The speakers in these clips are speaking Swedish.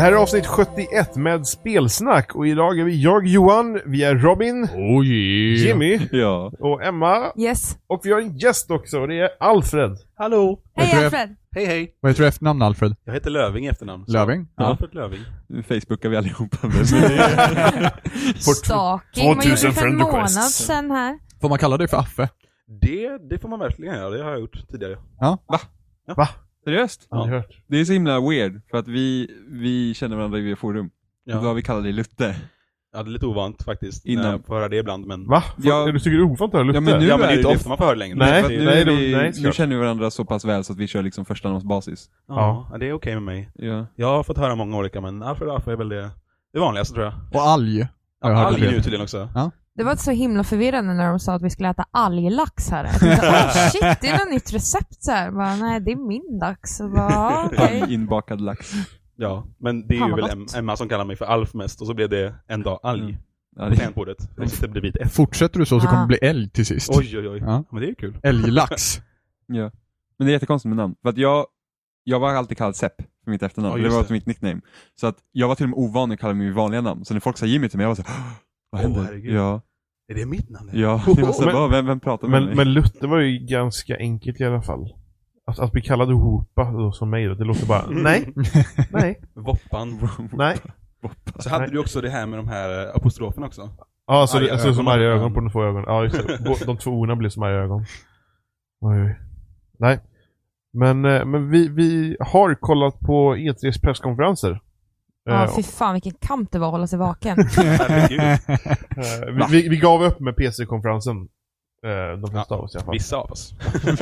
här är avsnitt 71 med spelsnack och idag är vi jag Johan, vi är Robin, Oh yeah. Jimmy Ja. och Emma Yes. och vi har en gäst också och det är Alfred. Hallå! Jag Hej tror jag- Alfred! Hej hej! Vad heter du efternamn Alfred? Jag heter Löving i efternamn. Så- Löving? Alfred Löving. Nu facebookar vi allihopa. Men Stalking. Man gjorde det 2000 för en friend månad requests. sen här. Får man kalla dig för Affe? Det, det får man verkligen göra, det har jag gjort tidigare. seriöst? Har ni hört? Det är så himla weird, för att vi, vi känner varandra i forum. Ja. Då har vi kallat dig Lutte. Ja, det är lite ovant faktiskt, Innan. när jag får höra det ibland men... Va? Ja. Du tycker det är ovant att höra Ja, Lutte? men nu Ja men är det är inte det- ofta man får höra det längre. Nej, För att det, nu, nej, är de- vi, nej, nu såklart. känner vi varandra så pass väl så att vi kör liksom förstahandsbasis. ja, det är okej med mig. Ja. Jag har fått höra många olika men Alfred och Alfred är väl det, det vanligaste tror jag. Och alg? har jag hört Alg det. nu tydligen också. Det var så himla förvirrande när de sa att vi skulle äta alglax här. Jag tänkte, oh shit, det är något nytt recept så här. Bara, nej, det är min lax. Så bara, ja, okej. Alg inbakad lax. Ja, men det är Fan, ju vad väl Em- gott. Emma som kallar mig för Alf mest och så blev det en dag Alg. Mm. Ja, På det, tangentbordet. Den sitter bredvid F. Fortsätter du så så kommer Ah. det bli älg till sist. Oj oj oj. Ja. Ja. Men det är ju kul. Älglax. men det är jättekonstigt med namn. För att jag, jag var alltid kallad Sepp för mitt efternamn. Ja, det just var det. mitt nickname. Så att jag var till och med ovan att kalla mig vid vanliga namn. Så när folk sa Jimmy till mig, jag var så här, "Åh, vad Åh, händer? herregud. ja, Är det mitt namn? ja. Oh, Det var så här, men- "Åh, vem, vem pratar med Men, mig? men Lutte var ju ganska enkelt i alla fall. Att, att bli kallad Hopa då, som mig då, det låter bara nej, nej, Voppan. nej. Så hade Nej. du också det här med de här eh, apostroferna också? Ja, så, Arga det, så som ögon. arga ögon på de två ögonen. Ja, just det. Bå- De två orna blir som arga ögon. Oj, oj. Nej. Men, eh, men vi, vi har kollat på E3s presskonferenser. Ja, Eh, fy fan vilken kamp det var att hålla sig vaken. Herregud. eh, vi- vi, vi gav upp med PC-konferensen. Eh, De flesta Ja, av oss i alla fall. Vissa av oss.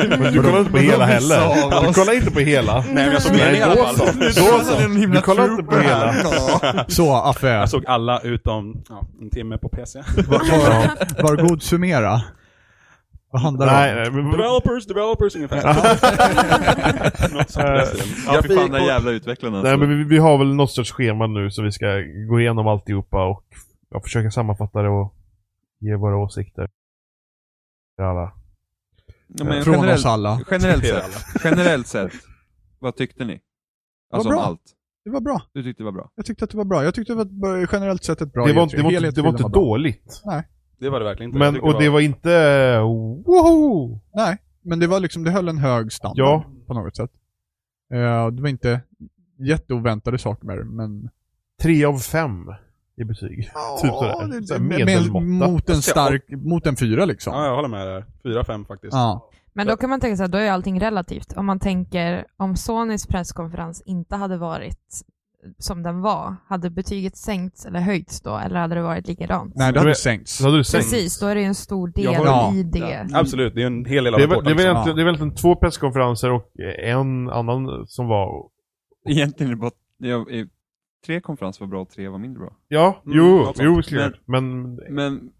Men du kollade inte på hela av heller. Du oss. kollade inte på hela. Nej men jag såg Nej, meningen i alla då fall. så. Nu Då tror så. Det är en himla Du kollar inte på trooper hela. här. Så Affe, Jag såg alla utom ja, en timme på PC. var, var, var god summera. Vad handlar det om? Nej, nej, men, developers, developers ungefär. Något Eh. sånt på det sättet. Ja, fy fan den och- jävla utvecklaren alltså. nej, men vi, vi har väl något sorts schema nu så vi ska gå igenom alltihopa och ja, försöka sammanfatta det och ge våra åsikter. Till alla. Ja, men Från generellt, oss alla. generellt Till sett, generellt sett, vad tyckte ni? Alltså om bra. allt. Det var bra. Du tyckte det var bra? Jag tyckte att det var bra. Jag tyckte det var ett- generellt sett ett bra Det var, det var, inte- E3. det var Helhetsbilden inte bra. dåligt. Det var det verkligen inte. Jag Men, tyckte och det var inte... Woho! Nej, men det var liksom, det höll en hög standard Ja. på något sätt. Eh, det var inte jätteoväntade saker med det, men... Tre av fem i betyg. typ Ja, sådär. det- sådär men- medelmåtta. Mot en stark, mot en fyra liksom. Ja, jag håller med där. Fyra, fem faktiskt. Ja. Men då kan man tänka sig att då är ju allting relativt. Om man tänker om Sonys presskonferens inte hade varit som den var, hade betyget sänkts eller höjts då? Eller hade det varit likadant? Nej, det Men- hade sänkts. Så hade du sänkt. Precis, då är det ju en stor del Jag håller- i det. Absolut, det är en hel del av Det är, väl, det, rapporten är väl liksom. egentligen, det är väl egentligen två presskonferenser och en annan som var... Egentligen är det bara, jag, är- tre konferenser var bra och tre var mindre bra. Ja, Mm, jo, något sånt. jo, såklart. Men, Men,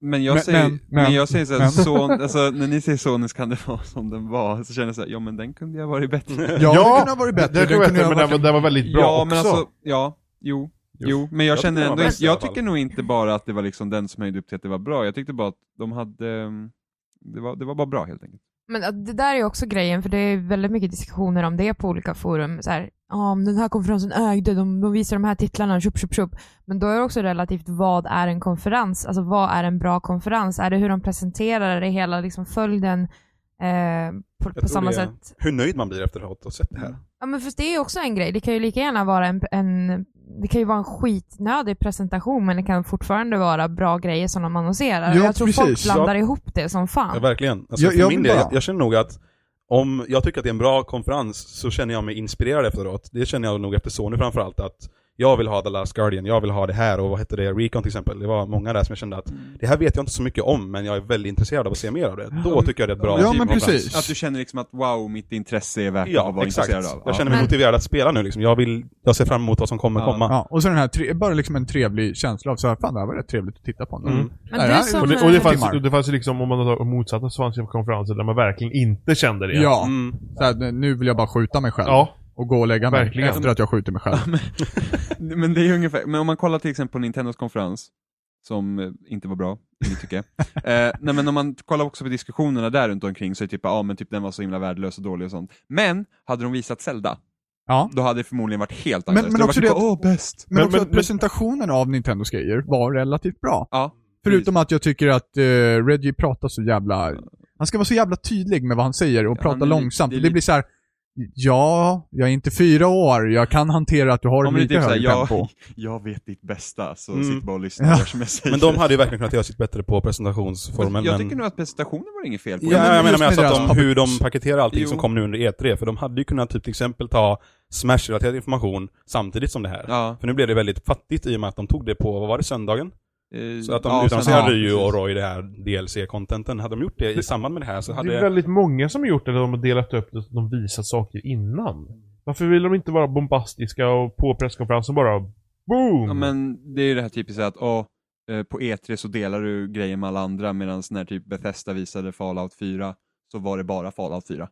men jag Men- säger, men- men, men- jag säger såhär, men. son, alltså, när ni säger Sonys kan det vara som den var, så känner jag såhär, ja men den kunde jag varit bättre. Ja, det kunde ha varit bättre. Det, det, Den kunde ha men den, varit- var, den var väldigt bra ja, också. men alltså, ja, jo. Jo. Jo, men jag, Jag tycker känner den var ändå, bäst i alla jag fall. tycker nog inte bara att det var liksom den som höjde upp till att det var bra, jag tyckte bara att de hade, ehm, det var, det var bara bra helt enkelt. Men att det där är ju också grejen, för det är väldigt mycket diskussioner om det på olika forum. Så här, "Ja, om den här konferensen ägde, de, de visar de här titlarna, tjup, tjup, tjup. Men då är det också relativt, vad är en konferens? Alltså vad är en bra konferens? Är det hur de presenterar det hela, liksom följden eh, på, på tror samma det är- sätt? Hur nöjd man blir efter att ha sett det här. Ja men för det är ju också en grej, det kan ju lika gärna vara en, en det kan ju vara en skitnödig presentation men det kan fortfarande vara bra grejer som de annonserar. Ja, jag tror folk precis. blandar ihop det som fan. Ja, verkligen. Alltså, Jag- för jag min vill del, bara- jag, jag känner nog att om jag tycker att det är en bra konferens så känner jag mig inspirerad efteråt. Det känner jag nog efter Sony framförallt att jag vill ha The Last Guardian, jag vill ha det här och vad hette det, Recon till exempel. Det var många där som jag kände att Mm. det här vet jag inte så mycket om men jag är väldigt intresserad av att se mer av det. Då tycker jag det är ett bra Ja, typ men av konferens. precis. Att du känner liksom att wow, mitt intresse är värt att Ja, vara exakt. intresserad av. Jag känner mig Men- motiverad att spela nu liksom. Jag, vill, jag ser fram emot vad som kommer Ja. komma. Ja, och så den här, tre, bara liksom en trevlig känsla av så här, fan det här var rätt trevligt att titta på. Mm. Men Nej, du nej, som, och det, och det, fanns, Timmar. och det fanns ju liksom, om man tar motsatta, så fanns det konferenser där man verkligen inte kände det. Ja, Mm. så här, nu vill jag bara skjuta mig själv. Ja. Och gå och lägga mig Verkligen. efter att jag skjuter mig själv. Men det är ju ungefär, men om man kollar till exempel på Nintendos konferens, som eh, inte var bra, i mitt tycke. eh, nej men om man kollar också på diskussionerna där runt omkring så är det typ, ja ah, men typ den var så himla värdelös och dålig och sånt. Men, hade de visat Zelda, Ja. Då hade det förmodligen varit helt Men- annorlunda. men Det hade också varit det typ, åh, bäst. Men, Men- också men- att presentationen av Nintendos grejer var relativt bra. Ja. Förutom att jag tycker att eh, Reggie pratar så jävla... Han ska vara så jävla tydlig med vad han säger och Ja, prata men det- långsamt. det Det, är det blir så här. Ja, jag är inte fyra år. Jag kan hantera att du har Ja, en men det är lite typ såhär, högre jag, tempo. jag vet ditt bästa, så Mm. sitt bara och lyssna Ja. och gör som jag säger. Men de hade ju verkligen kunnat göra sitt bättre på presentationsformen. jag men... tycker nog att presentationen var det inget fel på. Ja, men jag just menar med med alltså deras att de, public- hur de paketerar allting Jo. som kom nu under E3, för de hade ju kunnat typ till exempel ta Smash-relaterad information samtidigt som det här. Ja, För nu blev det väldigt fattigt i och med att de tog det på, vad var det, söndagen? eh, Så att de ja, utannonserade sen- ju ja, och Roy det här DLC-contenten. Hade de gjort det i samband med det här så hade... Det är väldigt många som har gjort det, där de har delat upp det så att de visat saker innan. Varför vill de inte vara bombastiska och på presskonferensen bara boom? Ja, men det är ju det här typiska att åh, eh, på E3 så delar du grejer med alla andra medan när typ Bethesda visade Fallout 4 så var det bara Fallout 4.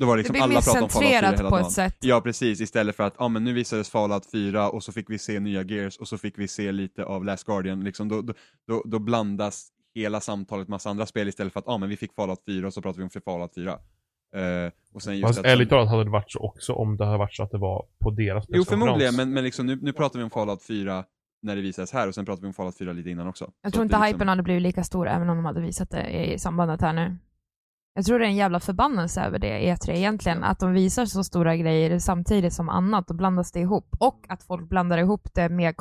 Då var det Det liksom blir alla pratade om Fallout 4 miscentrerat hela på dagen. ett sätt. Ja precis, istället för att ja men nu visades Fallout 4 och så fick vi se nya Gears och så fick vi se lite av Last Guardian. Liksom, då, då, då, då blandas hela samtalet med massa andra spel istället för att ja men vi fick Fallout 4 och så pratar vi om för Fallout 4. Eh, och sen just Fast att ärligt talat hade det varit så också om det hade varit så att det var på deras Jo presskonferens. förmodligen, men, men liksom, nu, nu pratar vi om Fallout 4 när det visas här och sen pratar vi om Fallout 4 lite innan också. Jag Så tror att inte det är liksom- hypen hade blivit lika stor även om de hade visat det i sambandet här nu. Jag tror det är en jävla förbannelse över det E3 egentligen, att de visar så stora grejer samtidigt som annat och blandas det ihop. Och att folk blandar ihop det med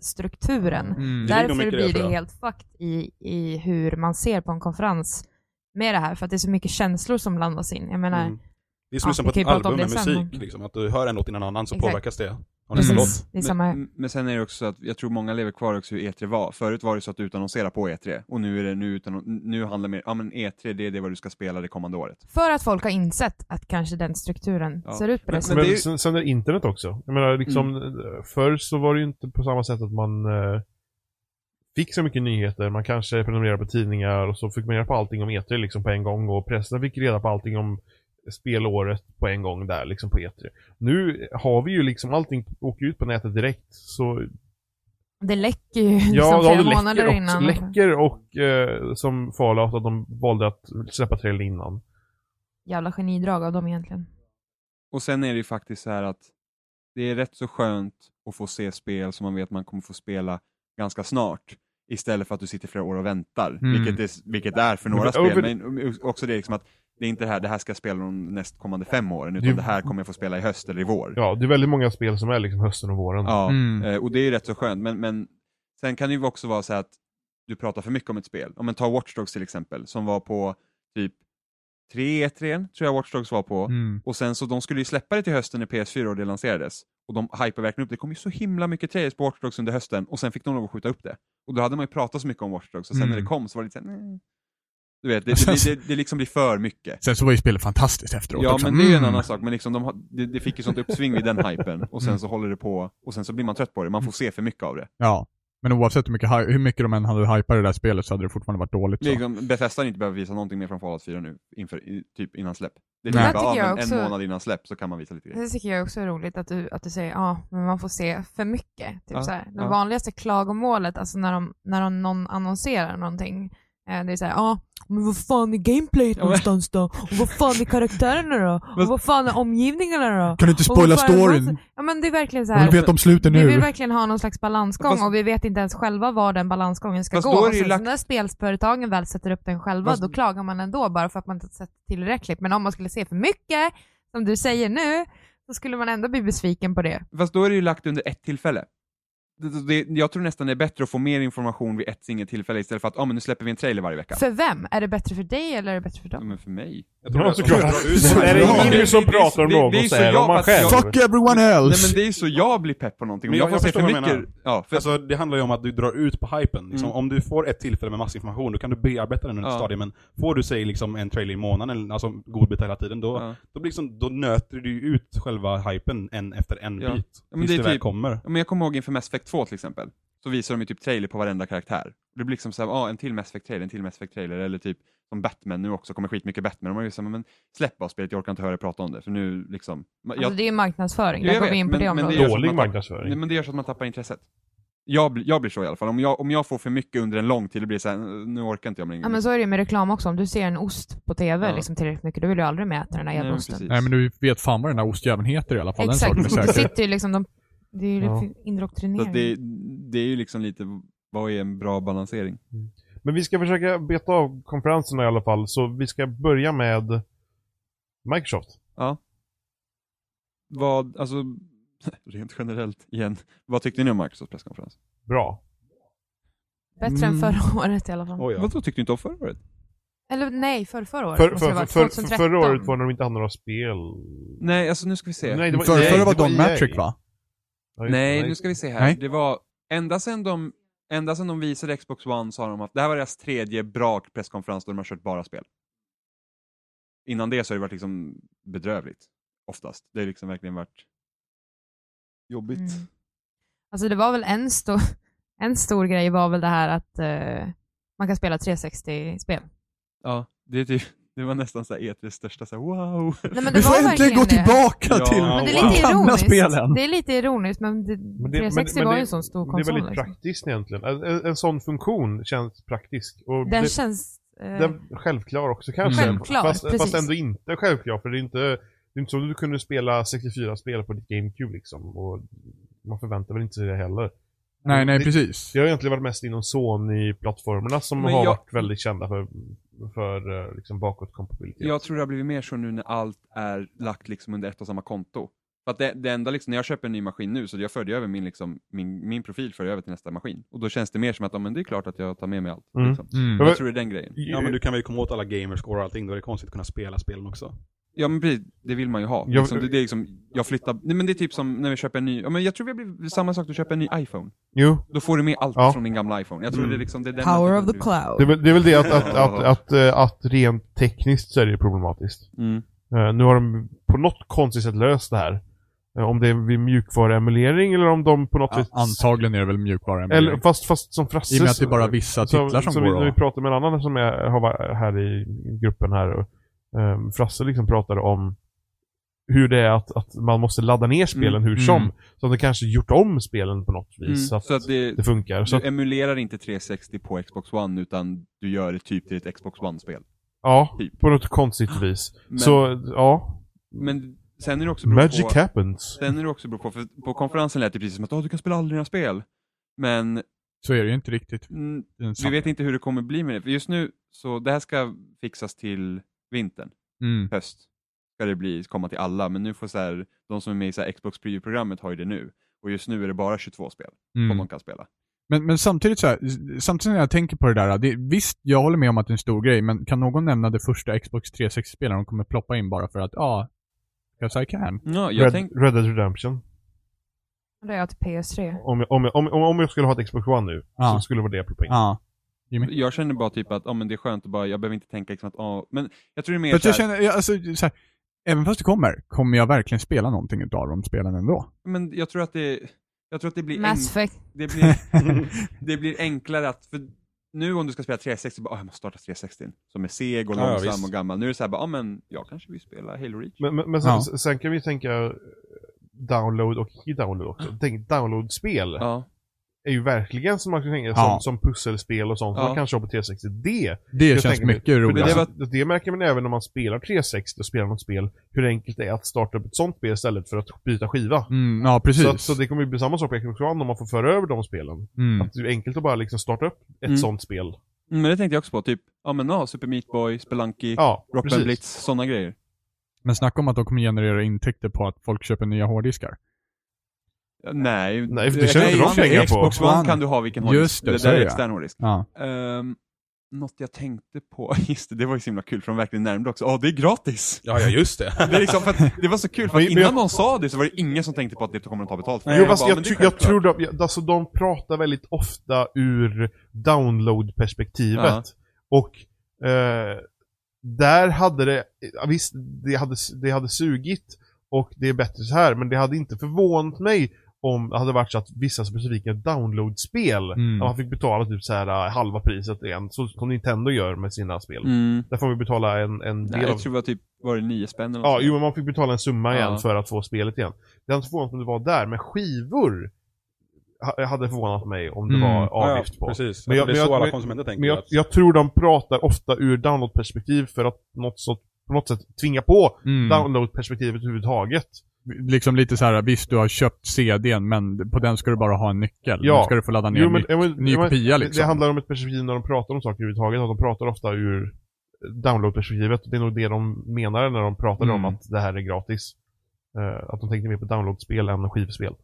konferensstrukturen. Mm. Det ligger nog Därför mycket i det, blir tror det jag. helt fucked i, i hur man ser på en konferens med det här, för att det är så mycket känslor som blandas in. Jag menar, Mm. Det är som Ja, liksom vi på kan ju ett prata om album med det sen, musik, men- liksom. Att du hör en låt innan en annan så Exakt. påverkas det. Av nästa precis. låt. Det är samma Men, men sen är det också så att jag tror många lever kvar också hur E3 var. Förut var det så att du utannonserade på E3 och nu är det nu utan, nu handlar det mer, ja men E3 det är det vad du ska spela det kommande året. För att folk har insett att kanske den strukturen Ja. ser ut på det Men- sättet. Men, det är ju- sen, Mm. sen är det internet också. Jag menar, liksom, eh, förr så var det ju inte på samma sätt att man eh, fick så mycket nyheter. Man kanske prenumererade på tidningar och så fick man reda på allting om E3 liksom, på en gång och pressen fick reda på allting om spelåret på en gång där liksom på E3. Nu har vi ju liksom allting åker ut på nätet direkt så Det läcker ju ja, liksom de Mm, flera läcker månader också. innan. Läcker och eh, som Fallout att de valde att släppa trailern innan. Jävla genidrag av dem egentligen. Och sen är det ju faktiskt så här att det är rätt så skönt att få se spel som man vet man kommer få spela ganska snart istället för att du sitter flera år och väntar, Mm. vilket, är, vilket är för några Men spel. över- Men också det är liksom att det är inte det här, det här ska jag spela de nästkommande fem åren, utan Det- det här kommer jag få spela i höst eller i vår. Ja, det är väldigt många spel som är liksom hösten och våren. Ja, Mm. eh, och det är ju rätt så skönt. Men, men sen kan det ju också vara så här att du pratar för mycket om ett spel. Om man tar Watch Dogs till exempel, som var på typ 3 E3, tror jag Watch Dogs var på. Mm. Och sen så de skulle ju släppa det till hösten när PS4 och det lanserades. Och de hypade verkligen upp det. Det kom ju så himla mycket trailers på Watch Dogs under hösten och sen fick de lov att skjuta upp det. Och då hade man ju pratat så mycket om Watch Dogs och sen när det Mm. kom så var det lite såhär, nej. Du vet, det, det, det, det liksom blir för mycket. Sen så var ju spelet fantastiskt efteråt Ja, också. men det är ju en Mm. Mm. annan sak. Men liksom de, har- det, det fick ju sånt uppsving vid den hypen och sen så håller det på och sen så blir man trött på det. Man får se för mycket av det. Ja. Men oavsett hur mycket, hy- hur mycket de än hade hypat det där spelet så hade det fortfarande varit dåligt. Så. Liksom, Bethesda har inte behöver visa någonting mer från Fallout 4 nu, inför, i, typ innan släpp. Det är Nej. typ Jag bara, tycker ja, jag men en också- månad innan släpp så kan man visa lite grejer. Det tycker jag också är roligt att du, att du säger ja, men man får se för mycket. Typ Ja, så här. Det ja. vanligaste klagomålet, alltså när, de, när de, någon annonserar någonting, eh, det är såhär, ja, men vad fan är gameplayet Ja, men- någonstans då? Och vad fan är karaktärerna då? Och vad fan är omgivningarna då? Kan du inte Och spoila vad fan är det som- storyn? Ja men det är verkligen så Jag här. vill veta om slutet Vi vill nu. verkligen ha någon slags balansgång Fast- och vi vet inte ens själva var den balansgången ska Fast gå. då är det Och ju sen lagt- så när spelföretagen väl sätter upp den själva, Fast- då klagar man ändå bara för att man inte sett tillräckligt. Men om man skulle se för mycket, som du säger nu, så skulle man ändå bli besviken på det. Fast då är det ju lagt under ett tillfälle. Det, det, jag tror nästan det är bättre att få mer information vid ett singelt tillfälle istället för att ah, men nu släpper vi en trailer varje vecka. För vem? Är det bättre för dig eller är det bättre för dem? Men för mig. Jag tror Ja, att de såklart. drar ut Så de här- är det Ja. ingen Det- det- som det- pratar om det- det är någon, ju så så är det om jag man fast jag- själv. Fuck everyone Nej else! men det är så jag blir pepp på någonting. Om Men jag, jag- får jag se för förstår vad du mycket. menar. Ja, för, Alltså, det handlar ju om att du drar ut på hypen. Liksom, Mm. Om du får ett tillfälle med massinformation, då kan du bearbeta den under Ja. ett stadie, men får du, säg, liksom, en trailer i månaden, eller, alltså godbit hela tiden, då, ja. då, blir liksom, då nöter du ju ut själva hypen en efter en Ja. bit. men tills det det, är väl typ- kommer. Ja, Men jag kommer ihåg inför Mass Effect 2 till exempel, så visar de ju typ trailer på varenda karaktär. Och det blir liksom såhär, ah, en till Mass Effect-trailer, en till Mass Effect-trailer, eller typ som Batman nu också, kommer skitmycket Batman. Och man är ju såhär, men släpp av spelet, jag orkar inte höra er prata om det, för nu liksom. Jag, Alltså, det är marknadsföring, Jo, jag där går vi vet, in på men- det men det området. gör- Dålig Nej, marknadsföring. nej, men det gör så att man tappar intresset. jag, bli- jag blir så i alla fall. Om jag, om jag får för mycket under en lång tid, det blir så här, nu orkar inte jag längre. Ja, men så är det ju med reklam också. Om du ser en ost på TV Ja. liksom tillräckligt mycket, då vill du aldrig mer äta den där Nej, jävla men osten. precis. Nej men du vet fan vad den här ostjäveln heter i alla fall. Exakt. Den saken är Det säker. sitter ju liksom de... Det är ju Ja. Så indoktrinering. att det, det är ju liksom lite, vad är en bra balansering? Men vi ska försöka beta av konferenserna i alla fall, så vi ska börja med Microsoft. Vad, alltså, rent generellt igen, vad tyckte ni om Microsofts presskonferens? Bra. Bättre Mm. än förra året i alla fall. Oj, ja. Vadå, tyckte du inte om förra året? Eller nej, för, förra året För, måste för, det vara. för, för, 2013. förra året var det när de inte hade några spel. Nej, alltså nu ska vi se. Nej, det var- För, nej, förra var det var Don EA. Matrick va? Ja, just det. Nej, nu ska vi se här. Nej. Det var, ända sedan de, ända sedan de visade Xbox One så har de haft, det här var deras tredje bra presskonferens då de har kört bara spel. Innan det så har det varit liksom bedrövligt, oftast. Det har liksom verkligen varit jobbigt. Mm. Alltså det var väl en stor, en stor grej var väl det här att eh, man kan spela 360-spel. Ja, det, är typ, det var nästan så här E3s största så här, wow. Nej, men det Vi får var äntligen verkligen gå det. tillbaka Ja, till men Men det Wow. är lite gamla ironiskt. spelen. Det är lite ironiskt, men, det, Men det- 360 men- men var ju det- en sån stor Det är konsol. väldigt liksom. praktiskt egentligen. En, en, en sån funktion känns praktisk. Och Den det, känns... eh, den, självklar också kanske. Mm. Självklar, fast, fast precis. ändå inte självklar, för det är inte, det är inte så att du kunde spela 64 spel på ditt GameCube liksom. Och man förväntar väl inte sig det heller. Nej, nej Det- precis. Det har egentligen varit mest inom Sony-plattformarna som Men har jag- varit väldigt kända för, för eh, liksom bakåtkompatibilitet. Jag tror det har blivit mer så nu när allt är lagt liksom under ett och samma konto. För att det, det enda liksom, när jag köper en ny maskin nu så jag för jag över min, liksom, min, min profil för jag över till nästa maskin. Och då känns det mer som att ja, men det är klart att jag tar med mig allt. Mm. Liksom. Mm. Jag Jag vet- tror det är den grejen. Ja men du kan väl komma åt alla gamerscore och allting, då är det konstigt att kunna spela spelen också. Ja men precis, det vill man ju ha. Jag- Liksom, det, det är liksom, jag flyttar, nej, men det är typ som när vi köper en ny, ja, men jag tror vi har blivit samma sak, du köper en ny iPhone. Jo, Då får du med allt Ja. från din gamla iPhone. Jag tror Mm. det är liksom, det är den Power of attityden the du- det är cloud. väl det, är väl det att, att, att, att, eh, att rent tekniskt så är det problematiskt. Mm. Eh, Nu har de på något konstigt sätt löst det här. Eh, Om det är vid mjukvaruemulering eller om de på något Ja, sätt... antagligen är det väl mjukvara än Eller fast, fast som Frasse... I och med att det är bara vissa titlar som, som vi, går när vi att... pratade med en annan som är, har varit här i gruppen här. Och, ehm, Frasse liksom pratade om hur det är att, att man måste ladda ner spelen Mm. hur som. Mm. Så att de kanske gjort om spelen på något vis. Mm. Så att, Så att det, det, funkar. Så att, du emulerar inte 360 på Xbox One utan du gör det typ till ett Xbox One-spel. ja, typ. på något konstigt vis. Men- Så, ja. Men sen är det också beror Magic på, happens. sen är det också beror på, för på konferensen lät det precis som att "Åh, du kan spela alla dina spel. Men Så är det ju inte riktigt. mm, Mm. vi vet inte hur det kommer bli med det. För just nu, så det här ska fixas till vintern, Mm. höst. Ska det bli, komma till alla, men nu får så här, de som är med i så här Xbox Preview-programmet har ju det nu. Och just nu är det bara 22 spel som Mm. de kan spela. Men, men samtidigt så här, samtidigt när jag tänker på det där, det, visst jag håller med om att det är en stor grej, men kan någon nämna det första Xbox 360-spelaren de kommer ploppa in bara för att, ja, ah, yes I can. Ja, jag Red, tänk, Red Dead Redemption. Det är jag till PS3. Om jag, om, jag, om, om, om jag skulle ha ett Xbox One nu, Ja. så skulle det vara det jag ploppade in. Ja. jag känner bara typ att, ja men det är skönt att bara, jag behöver inte tänka liksom att, ja, men jag tror det är mer För att så här, jag känner, jag, alltså, så här, även fast det kommer, kommer jag verkligen spela någonting utav de spelen ändå? men jag tror att det, jag tror att det blir Mass Effect. det blir, det blir enklare att, för nu om du ska spela 360, bara, "Ah, jag måste starta 360 som är seg och Ja, ja, långsam visst. och gammal. Nu är det så här, bara, ah, men jag kanske vill spela Halo Reach. Men, men, men sen, Ja. sen kan vi tänka download och icke-download också. Tänk, download-spel Ja, är ju verkligen som man kan tänka Ja. som, som pusselspel och sånt. Ja. Man kan köpa på 360. Det Det jag känns tänker mig. mycket för det, roligare. det, var, det märker man även när man spelar 360 och spelar något spel. Hur enkelt det är att starta upp ett sånt spel istället för att byta skiva. Mm, ja, precis. Så, att, så det kommer ju bli samma sak på Xbox One om man får föra över de spelen. mm. Att det är enkelt att bara liksom starta upp ett Mm. sånt spel. Mm, men det tänkte jag också på, typ, ja men ja, Super Meat Boy, Spelunky, Ja, Rock Band precis. Blitz, sådana grejer. Men snacka om att de kommer generera intäkter på att folk köper nya hårddiskar. Ja, Nej, Nej, för det tjänar inte de pengar på. Xbox One Fan. kan du ha vilken Just hårddisk. det, det så där är är det. extern hårddisk. Ja. Ehm, något jag tänkte på, just det, det var ju så himla kul för de verkligen närmde också, ja det är gratis! Ja, ja just det. Det, är liksom för att, det var så kul, för Men- att men innan jag- någon sa det så var det ingen som tänkte på att det kommer att ta betalt för. Nej, Jo, jag fast bara, jag, men det är tr- jag självklart. tror de, jag- alltså de pratar väldigt ofta ur download-perspektivet. Ja. Och eh, där hade det, ja, visst, det hade, det hade sugit och det är bättre så här, men det hade inte förvånat mig om det hade varit så att vissa specifika download-spel, Mm. där man fick betala typ så här eh, halva priset igen, så som Nintendo gör med sina spel. typ. Mm. Där får vi betala en, en del Nej, av jag tror det var typ, var det nio spänn eller Ja, något jo, sånt men man fick betala en summa igen Ja. för att få spelet igen. Det hade inte förvånat mig om det var där, men skivor ha- hade förvånat mig om det Mm. var avgift ja, på. Precis. Men Men jag- det är men så jag- alla men- konsumenter tänker. Men jag, att- jag tror de pratar ofta ur download-perspektiv för att något så, på något sätt tvinga på Mm. download-perspektivet överhuvudtaget. Liksom lite så här, visst du har köpt CDn men på den ska du bara ha en nyckel. Ja. Ja. ska du få ladda ner Jo, en men- ny- ja, men- ny ja, men- kopia det- liksom. Det handlar om ett perspektiv när de pratar om saker överhuvudtaget, att de pratar ofta ur download-perspektivet. Det är nog det de menar när de pratar om Mm. att det här är gratis. Eh, att de tänkte mer på download-spel än skivspel.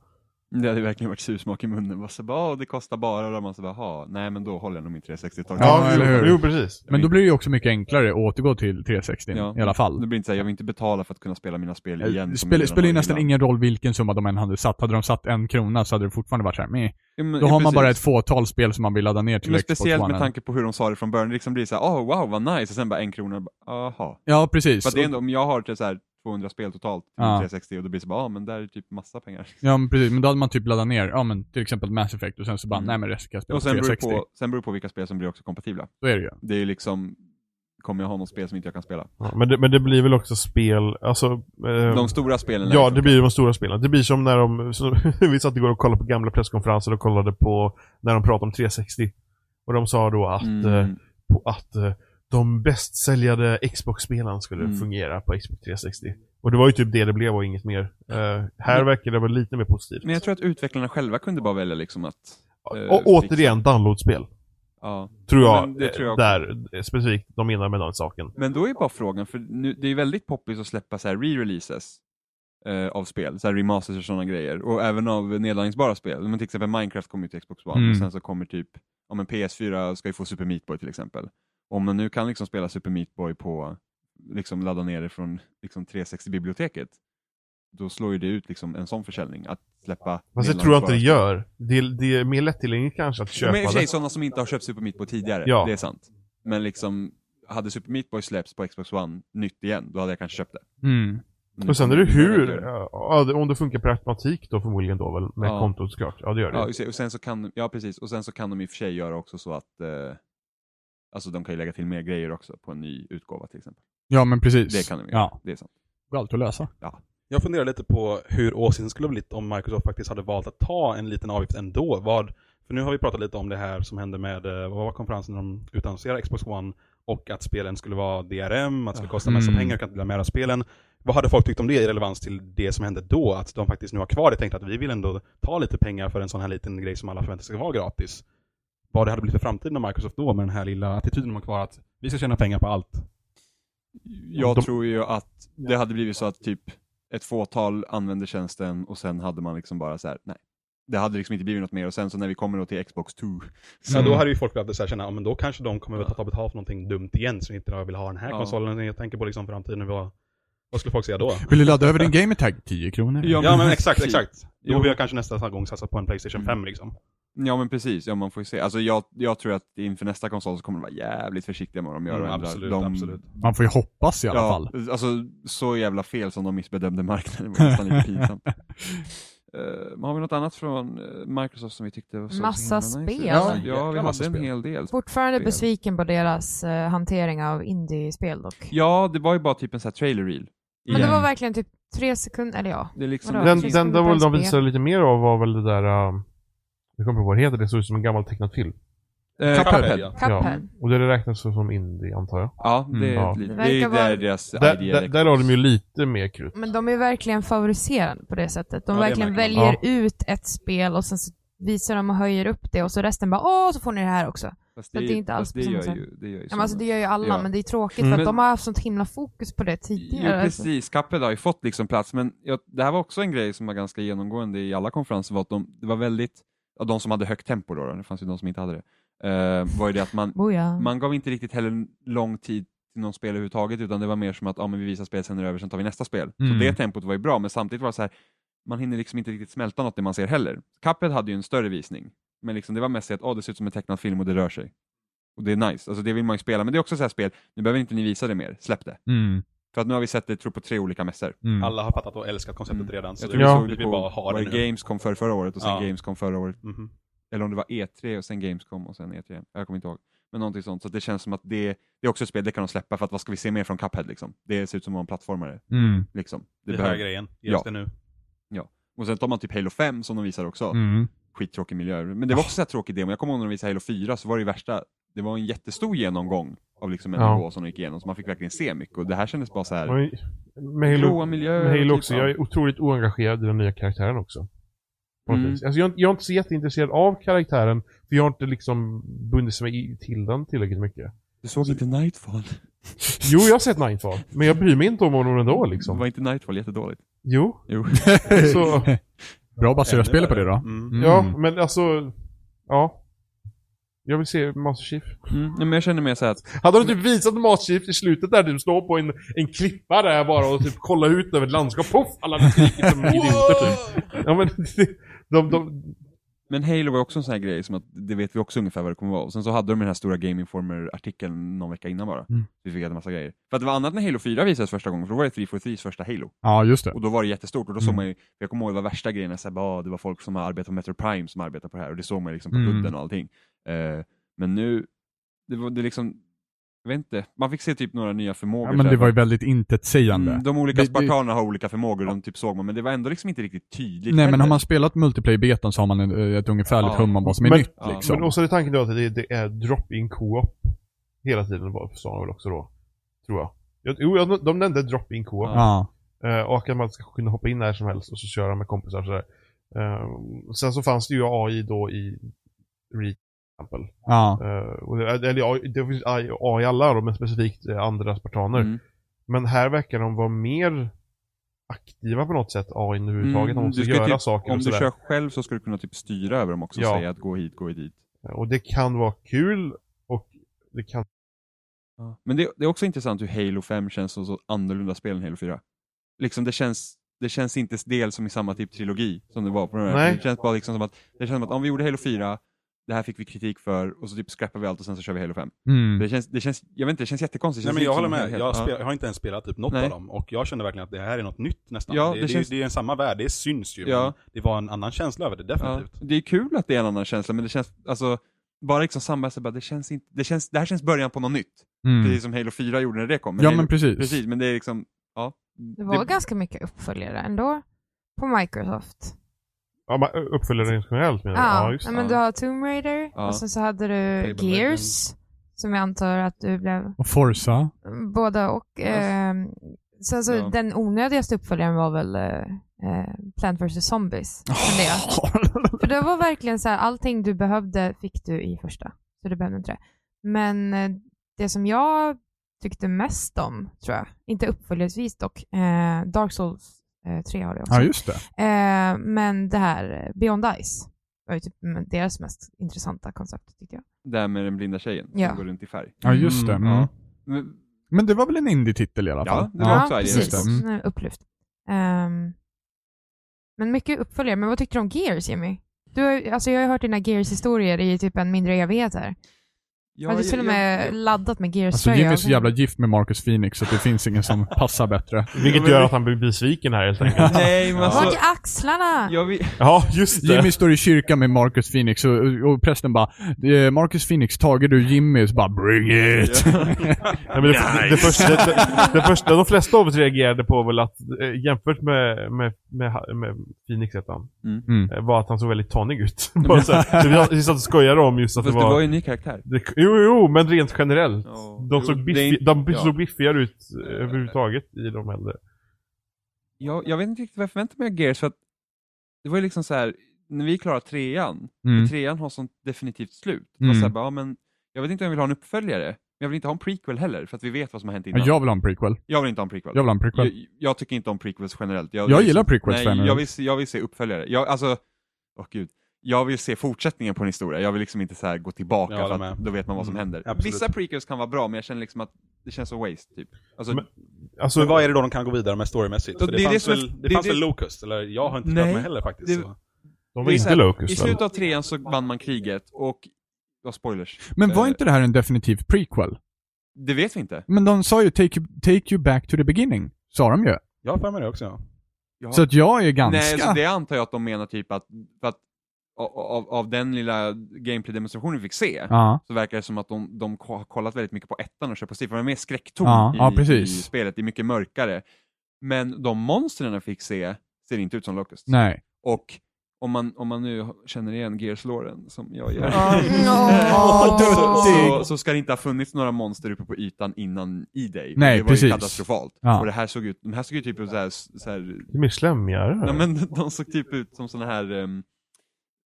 Det hade verkligen varit sursmak i munnen. Man så bara, "Åh, det kostar bara. Och man så bara, "Ha, nej men då håller jag nog min 360 ett tag. Ja, till." eller hur? Jo, precis. Men då blir det ju också mycket enklare att återgå till 360 Ja. i alla fall. Det blir inte såhär, jag vill inte betala för att kunna spela mina spel igen. Eh, Det som spelar jag redan spelar ju har nästan innan. ingen roll vilken summa de än hade satt. Hade de satt en krona så hade det fortfarande varit så här, meh. Ja, men- Då ja, har man bara ett precis. fåtal spel som man vill ladda ner till Men Xbox speciellt One. med tanke på hur de sa det från början, det liksom blir så här, oh, wow vad nice, och sen bara en krona, och bara, aha. Ja, precis. För att det är ändå, om jag har typ så här 200 spel totalt, till min Ja. 360, och då blir det så bara, ah, men där är typ massa pengar. Ja, men precis. Men då hade man typ laddat ner, ja men till exempel Mass Effect och sen så bara, Mm. nej men resten kan jag spela Och på sen beror, det 360. på, sen beror det på vilka spel som blir också kompatibla. Så är det ju. Det är ju liksom, kommer jag ha något spel som inte jag kan spela? Ja, men, det, men det blir väl också spel, alltså... eh, De stora spelen är Ja, liksom- det blir ju de stora spelen. Det blir som när de, som vi satt igår och kollade på gamla presskonferenser och kollade på när de pratade om 360. Och de sa då att, eh, Mm. på, att eh, de bäst säljade Xbox-spelen skulle Mm. fungera på Xbox 360. Och det var ju typ det det blev och inget mer. Eh, här verkar det vara lite mer positivt. Men jag tror att utvecklarna själva kunde bara välja liksom att, eh, och återigen, download-spel. ja. Tror Ja, jag, men det tror jag eh, där eh, specifikt de menar med den saken. Men då är bara frågan, för nu, det är väldigt poppis att släppa så här re-releases eh, av spel, så här remasters och sådana grejer. Och även av nedladdningsbara spel. Men till exempel Minecraft kommer ju till Xbox One, Mm. och sen så kommer typ, om en PS4 ska ju få Super Meat Boy till exempel. Om man nu kan liksom spela Super Meat Boy på, liksom ladda ner det från liksom 360-biblioteket, då slår ju det ut liksom en sån försäljning, att släppa Fast det tror jag inte det gör. Det, det är mer lättillgängligt kanske att köpa Men i och för sig det. sådana som inte har köpt Super Meat Boy tidigare, Ja. det är sant. Men liksom, hade Super Meat Boy släppts på Xbox One nytt igen, då hade jag kanske köpt det. Mm. Men Och sen är kommer det inte vara hur, det. ja, det- om det funkar per automatik då förmodligen då väl, med Ja. kontot såklart. Ja det gör det. Ja, just det. och sen så kan, ja, precis. Och sen så kan de i och för sig göra också så att eh, Alltså de kan ju lägga till mer grejer också på en ny utgåva till exempel. Ja, men precis. Det kan de göra. Ja, Det är sant. går alltid att lösa. Jag funderar lite på hur åsikten skulle ha blivit om Microsoft faktiskt hade valt att ta en liten avgift ändå. Vad, för nu har vi pratat lite om det här som hände med, eh, vad var konferensen när de utannonserade Xbox One och att spelen skulle vara DRM, att det skulle kosta massa Mm. pengar och att inte med alla spelen. Vad hade folk tyckt om det i relevans till det som hände då? Att de faktiskt nu har kvar det tänkte att vi vill ändå ta lite pengar för en sån här liten grej som alla förväntar sig ska vara gratis. Vad det hade blivit för framtiden av Microsoft då med den här lilla attityden de har kvar att vi ska tjäna pengar på allt. Jag De- tror ju att det hade blivit så att typ ett fåtal använde tjänsten och sen hade man liksom bara så här, nej. Det hade liksom inte blivit något mer och sen så när vi kommer då till Xbox 2. Ja, Mm. då hade ju folk börjat så här känna, ja, men då kanske de kommer att ta betalt för någonting dumt igen, så inte jag vill ha den här Ja. konsolen. Jag tänker på liksom framtiden, vad, vad skulle folk säga då? Vill du ladda över din gamertag? 10 kronor. Ja, Ja men exakt, precis. exakt. Då Jo. Mm. vill jag kanske nästa gång satsa på en Playstation 5 liksom. Ja men precis, ja man får ju se. Alltså jag, jag tror att inför nästa konsol så kommer de vara jävligt försiktiga med vad de gör och Mm, ändrar. absolut, de, absolut. Man får ju hoppas i alla fall. Alltså så jävla fel som de missbedömde marknaden, det var nästan lite pinsamt. Uh, har vi något annat från eh, Microsoft som vi tyckte var så Massa så himla nice? Ja, spel. Ja, ja, vi jäkla hade en massa spel. hel del. Fortfarande Spel. besviken på deras eh, hantering av indiespel dock. Ja, det var ju bara typ en sån här trailer reel. Men det igen. var verkligen typ tre sekunder, eller ja. Det är liksom... Vadå? Den, Precis, den där som väl de PSP. visade lite mer av var väl det där, um, jag kommer inte ihåg vad det heter, det såg ut som en gammal tecknad film. Eh, Cuphead, Cuphead. ja. Cuphead. Och det räknas väl som indie antar jag. Ja, det Mm, är, ja. ett Det litet- det verkar är ju vara- där deras Där, idé där, läcker. där har de ju lite mer krut. Men de är verkligen favoriserade på det sättet. De Ja, det verkligen märker man. väljer ut ett spel och sen så visar de och höjer upp det och så resten bara åh, så får ni det här också. Fast det är inte alls fast på det samma gör sätt. ju, det gör ju Ja, men alltså, det gör ju alla, Ja. men det är tråkigt Mm. för att Men- de har haft sånt himla fokus på det tidigare. Jo, alltså. precis. Cuphead har ju fått liksom plats, men jag, det här var också en grej som var ganska genomgående i alla konferenser, var att de, det var väldigt, ja, de som hade högt tempo då, då, det fanns ju de som inte hade det, eh, var ju det att man, Boja. Mm. man gav inte riktigt heller en lång tid till någon spel överhuvudtaget, utan det var mer som att ja, men vi visar spel, sen är det över, sen tar vi nästa spel. Mm. Så det tempot var ju bra, men samtidigt var det så här, man hinner liksom inte riktigt smälta något det man ser heller. Cuphead hade ju en större visning, men liksom det var mest att oh, det ser ut som en tecknad film och det rör sig. Och det är nice, alltså det vill man ju spela, men det är också så här spel, nu behöver inte ni visa det mer, släpp det. Mm. För att nu har vi sett det tror på tre olika mässor. Mm. Alla har fattat och älskat konceptet Mm. redan, så Jag det, tror vi Ja. såg vi det vill på bara ha var det det nu. Gamescom för förra året och sen Ja. Gamescom förra året. Mhm. Eller om det var E3 och sen Gamescom och sen E3. Jag kommer inte ihåg. Men någonting sånt. Så att det känns som att det, det är också ett spel, det kan de släppa för att vad ska vi se mer från Cuphead liksom? Det ser ut som en plattformare. Mm. Liksom. Det Det är här behöver. grejen, ge Ja. oss det nu. Och sen tar man typ Halo 5 som de visar också. Mm. skittråkig miljö. Men det var också så här tråkig demo. Jag kommer ihåg när de visade Halo 4 så var det ju värsta, det var en jättestor genomgång av liksom en Ja. nivå som de gick igenom, så man fick verkligen se mycket och det här kändes bara så här Men- Med gråa Halo, miljöer. med Halo typ, också, ja. jag är otroligt oengagerad i den nya karaktären också. På något Mm. vis. Alltså jag, jag är inte så jätteintresserad av karaktären, för jag har inte liksom bundit mig i- till den tillräckligt mycket. Du såg inte Nightfall? Jo, jag har sett Nightfall, men jag bryr mig inte om honom ändå liksom. Var inte Nightfall jättedåligt? Jo, Jo. så, Bra att basera spelet på det då. Mm. Mm. ja, men alltså, ja. Jag vill se Master Chief. Mm, nej, men jag känner mer så här att, Hade de typ visat Master Chief i slutet där du står på en, en klippa där bara och typ kollar ut över ett landskap, poff! Alla hade skrikit som idioter typ. Ja men, de, de, de, men Halo var också en sån här grej som att det vet vi också ungefär vad det kommer vara. Och sen så hade de den här stora Game Informer-artikeln någon vecka innan bara. Mm. Vi fick en massa grejer. För att det var annat när Halo 4 visades första gången, för då var det 343 första Halo. Ja, just det. Och då var det jättestort och då såg Mm. man ju, jag kommer ihåg det var värsta grejen, så här, bara, ah, det var folk som arbetar på Metro Prime som arbetar på det här och det såg man ju liksom på Mm. kudden och allting. Eh, men nu, det var det liksom, jag vet inte, man fick se typ några nya förmågor. Ja, så men här, det var ju väldigt intetsägande. Mm, de olika Det- det- spartanerna har olika förmågor, de typ såg man, men det var ändå liksom inte riktigt tydligt Nej, men heller. har man spelat multiplayer-betan så har man en, ett ungefärligt Ja. hum om vad som är Men- nytt Ja. liksom. men och så är tanken då att det, det är drop-in co-op. Hela tiden var- sa de väl också då. Tror jag. jag jo, jag- de nämnde drop-in co-op. Ja. Eh, och att man ska kunna hoppa in när som helst och så köra med kompisar sådär. Eh, sen så fanns det ju AI då i Reach till exempel. Ja. Eh, och det, eller ja, det finns AI i alla då, men specifikt eh, andra spartaner. Mm. Men här verkar de vara mer aktiva på något sätt, AI överhuvudtaget. Mm, de måste du ska ju göra typ- saker och Om du sådär. kör själv så ska du kunna typ styra över dem också och Ja. säga att gå hit, gå dit. Och det kan vara kul och det kan... Men det, det är också intressant hur Halo 5 känns som så annorlunda spel än Halo 4. Liksom det känns, det känns inte del som i samma typ trilogi som det var på den här. Nej. Det känns bara liksom som att, det känns som att om vi gjorde Halo 4, det här fick vi kritik för och så typ scrappar vi allt och sen så kör vi Halo 5. Mm. Det, känns, det känns, jag vet inte, det känns jättekonstigt. Det Nej känns men jag inte håller som en med, helhet. jag, Ja. spe, jag har inte ens spelat typ något Nej. av dem och jag kände verkligen att det här är något nytt nästan. Ja, det, det det, känns- det, är en samma värld, det syns ju Ja. men det var en annan känsla över det Ja, definitivt. det är kul att det är en annan känsla, men det känns, alltså, bara liksom samma, så bara, det känns inte, det känns, det här känns början på något nytt. Mm. Precis som Halo 4 gjorde när det kom. Ja, Halo, men precis. precis, men det är liksom, ja. Det var ganska mycket uppföljare ändå på Microsoft. Ja, man uppfyller det generellt menar jag. Ja, Ja, just ja, det. men du har Tomb Raider Ja. och sen så hade du Fable Gears som jag antar att du blev Och Forza. båda och. ehm, sen så Ja. den onödigaste uppföljaren var väl eh, eh, Plant vs Zombies. Men det, för det var verkligen så här, allting du behövde fick du i första. Så du behövde inte det. Men eh, det som jag tyckte mest om, tror jag, inte uppföljarsvis dock, eh, Dark Souls eh, 3 har det också. ja, just det. Eh, men det här eh, Beyond Ice var ju typ mm, deras mest intressanta koncept tyckte jag. Det här med den blinda tjejen Ja. som går runt i färg. Ja, just det. Mm, Mm. ja. Men, Men det var väl en indie-titel i alla Ja, fall? det var- också precis. Just det. Mm. Nu är jag Upplyft. Ehm, men mycket uppföljare. Men vad tyckte du om Gears, Jimmy? Du, har ju- alltså jag har ju hört dina Gears-historier i typ en mindre evighet här. ja, har du till och med laddat med Alltså Gears-tröja? Jimmy är så jävla gift med Marcus Phoenix så det finns ingen som passar bättre. Vilket gör att han blir besviken här helt enkelt. Nej, men Vart alltså, är axlarna? jag vill, ja, just det. Jimmy står i kyrkan med Marcus Phoenix och, och prästen bara "Eh, Marcus Phoenix, tager du Jimmy? Så bara bring it! Nej, men det, det, det, första, det, det första de flesta av oss reagerade på väl att eh, jämfört med, med, med, med Phoenix hette han, Mm. Mm. eh, var att han såg väldigt tanig ut. Bara så här. Så vi, vi satt och skojade om just att fast det det var... var ju en ny karaktär. det, jo, jo, men rent generellt. Ja. De såg, Jo, det är biffi, inte- de ja. såg biffigare ut eh, överhuvudtaget i de äldre. Jag, jag vet inte riktigt vad jag förväntade mig av Gears, för att det var ju liksom så här, när vi klarade trean, Mm. trean har sånt definitivt slut. Det Mm. var så här, bara, ja, men, jag vet inte om jag vill ha en uppföljare, men jag vill inte ha en prequel heller, för att vi vet vad som har hänt Ja, innan. Jag vill ha en prequel. Jag vill inte ha en prequel. Jag vill ha en prequel. Jag, jag tycker inte om prequels generellt. Jag gillar prequels nej, generellt. Jag vill, se- jag vill se uppföljare. Jag, alltså, åh gud. Jag vill se fortsättningen på en historia. Jag vill liksom inte så här gå tillbaka Jag håller för att med. då vet man vad som Mm, händer. absolut. Vissa prequels kan vara bra, men jag känner liksom att det känns som waste, typ. Alltså, Men- Alltså, Men vad är det då de kan gå vidare med storymässigt? Och För det, det är det fanns som är- väl, det det är fanns det- väl Locust, eller jag har inte Nej, spelat med heller faktiskt. det- så. de det var är så inte här, I Locust väl? slutet av trean så vann man kriget och, ja spoilers. Men var Eh, inte det här en definitiv prequel? Det vet vi inte. Men de sa ju take you, take you back to the beginning. Sa de ju. Jag har för mig det också. Ja. Ja. Så att jag är ganska... Nej, så det antar jag att de menar typ att, för att av, av, av den lilla gameplay-demonstrationen vi fick se, Ja. så verkar det som att de, de ko- har kollat väldigt mycket på ettan och kör på siffror. De är mer skräckton Ja, i, ja, precis. i spelet, det är mycket mörkare. Men de monstren jag fick se ser inte ut som Locust. Nej. Och om man, om man nu känner igen Gears-låren som jag gör. Åh, så, så, duttig. så ska det inte ha funnits några monster uppe på ytan innan i dig. Nej, det var ju precis. katastrofalt. Ja. Och det här såg ut, de här såg ju typ ut så här, så här Det är mer slemmigare. Nej, men de såg typ ut som såna här ehm,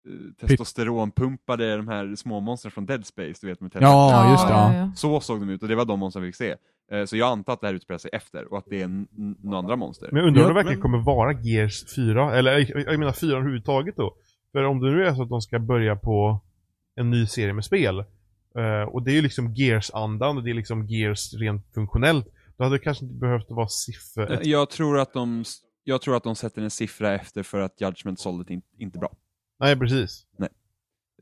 eh, testosteronpumpade, de här små monstren från Dead Space, du vet med testo- Ja, just det. Ja, Ja. ja, ja. Så såg de ut och det var de monstren vi fick se. Eh, Så jag antar att det här utspelar sig efter och att det är n- n- några andra monster. Men jag undrar om Ja, det verkligen men- kommer vara Gears 4, eller jag, jag menar 4 överhuvudtaget då. För om det nu är så att de ska börja på en ny serie med spel, eh, och det är ju liksom Gears-andan, och det är liksom Gears rent funktionellt, då hade det kanske inte behövt vara siffror. Eh, Jag tror att de, s- jag tror att de sätter en siffra efter för att Judgment sålde in, inte bra. Nej, precis.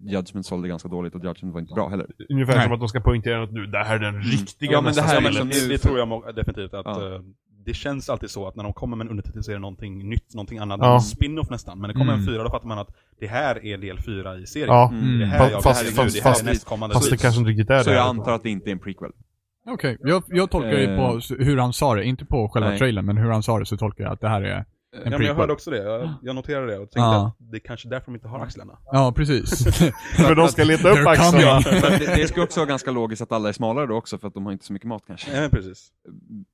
Judgment sålde ganska dåligt och Judgment var inte bra heller. Ungefär Nej. som att de ska poängtera något nu, det här är den riktiga Mm. Ja, men nästa det här är spelet. liksom- det, det tror jag må- definitivt att Ja. eh, det känns alltid så att när de kommer med en undertitel så är det någonting nytt, någonting annat, Ja. en spin-off nästan. Men det kommer en Mm. fyra, då fattar man att det här är del fyra i serien. Ja, Mm. Det här Fast- är jag, fast- herregud, fast- det här fast- är nästkommande. Fast det kanske inte riktigt är Så det. jag antar att det inte är en prequel. Okej, jag, jag tolkar det på s- hur han sa det. Inte på själva Nej. trailern, men hur han sa det så tolkar jag att det här är... Ja, men jag prequel. hörde också det, jag, jag noterade det och tänkte Ja. att det är kanske är därför de inte har axlarna. Ja, precis. För de ska leta upp They're axlarna. coming. Men det, det skulle också vara ganska logiskt att alla är smalare då också för att de har inte så mycket mat kanske. Ja, precis.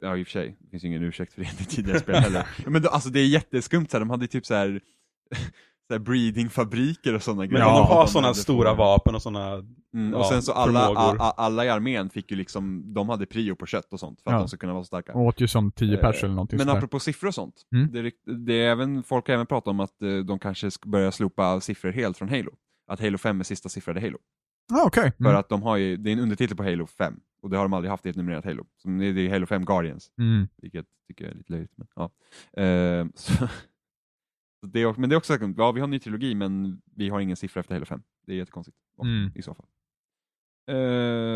Ja i och för sig, det finns ju ingen ursäkt för det i tidigare spel heller. Ja, Men då, alltså det är jätteskumt så här. de hade ju typ så här, så här breedingfabriker och sådana Men grejer. om de har hade sådana för- stora vapen och sådana... Mm, och ja, sen så alla, a, förmågor. a, alla i armén fick ju liksom, de hade prio på kött och sånt för att Ja. de skulle kunna vara så starka. Och åt ju som 10 Eh, pers eller någonting Men sådär. apropå siffror och sånt, Mm. det är, rikt- det är även, folk har även pratat om att eh, de kanske ska börja slopa siffror helt från Halo. Att Halo 5 är sista siffrade Halo. Ja, okej. För Mm. att de har ju, det är en undertitel på Halo 5 och det har de aldrig haft i ett numrerat Halo. Så det är det är Halo 5 Guardians. Mm. Vilket tycker jag är lite löjligt. Men, ja. Ehm, så, så det är, också- men det är också sagt, ja vi har en ny trilogi men vi har ingen siffra efter Halo 5. Det är jättekonstigt också, Mm. i så fall. Ehm,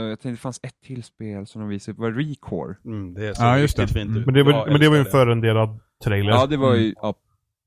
jag tänkte det fanns ett till spel som de visade upp, var Recore. Mm, det är så Ja, just riktigt det. fint ut. Mm. Men det, var, Jag men det var ju en älskar förenderad trailer. Ja det var ju, Mm. ja,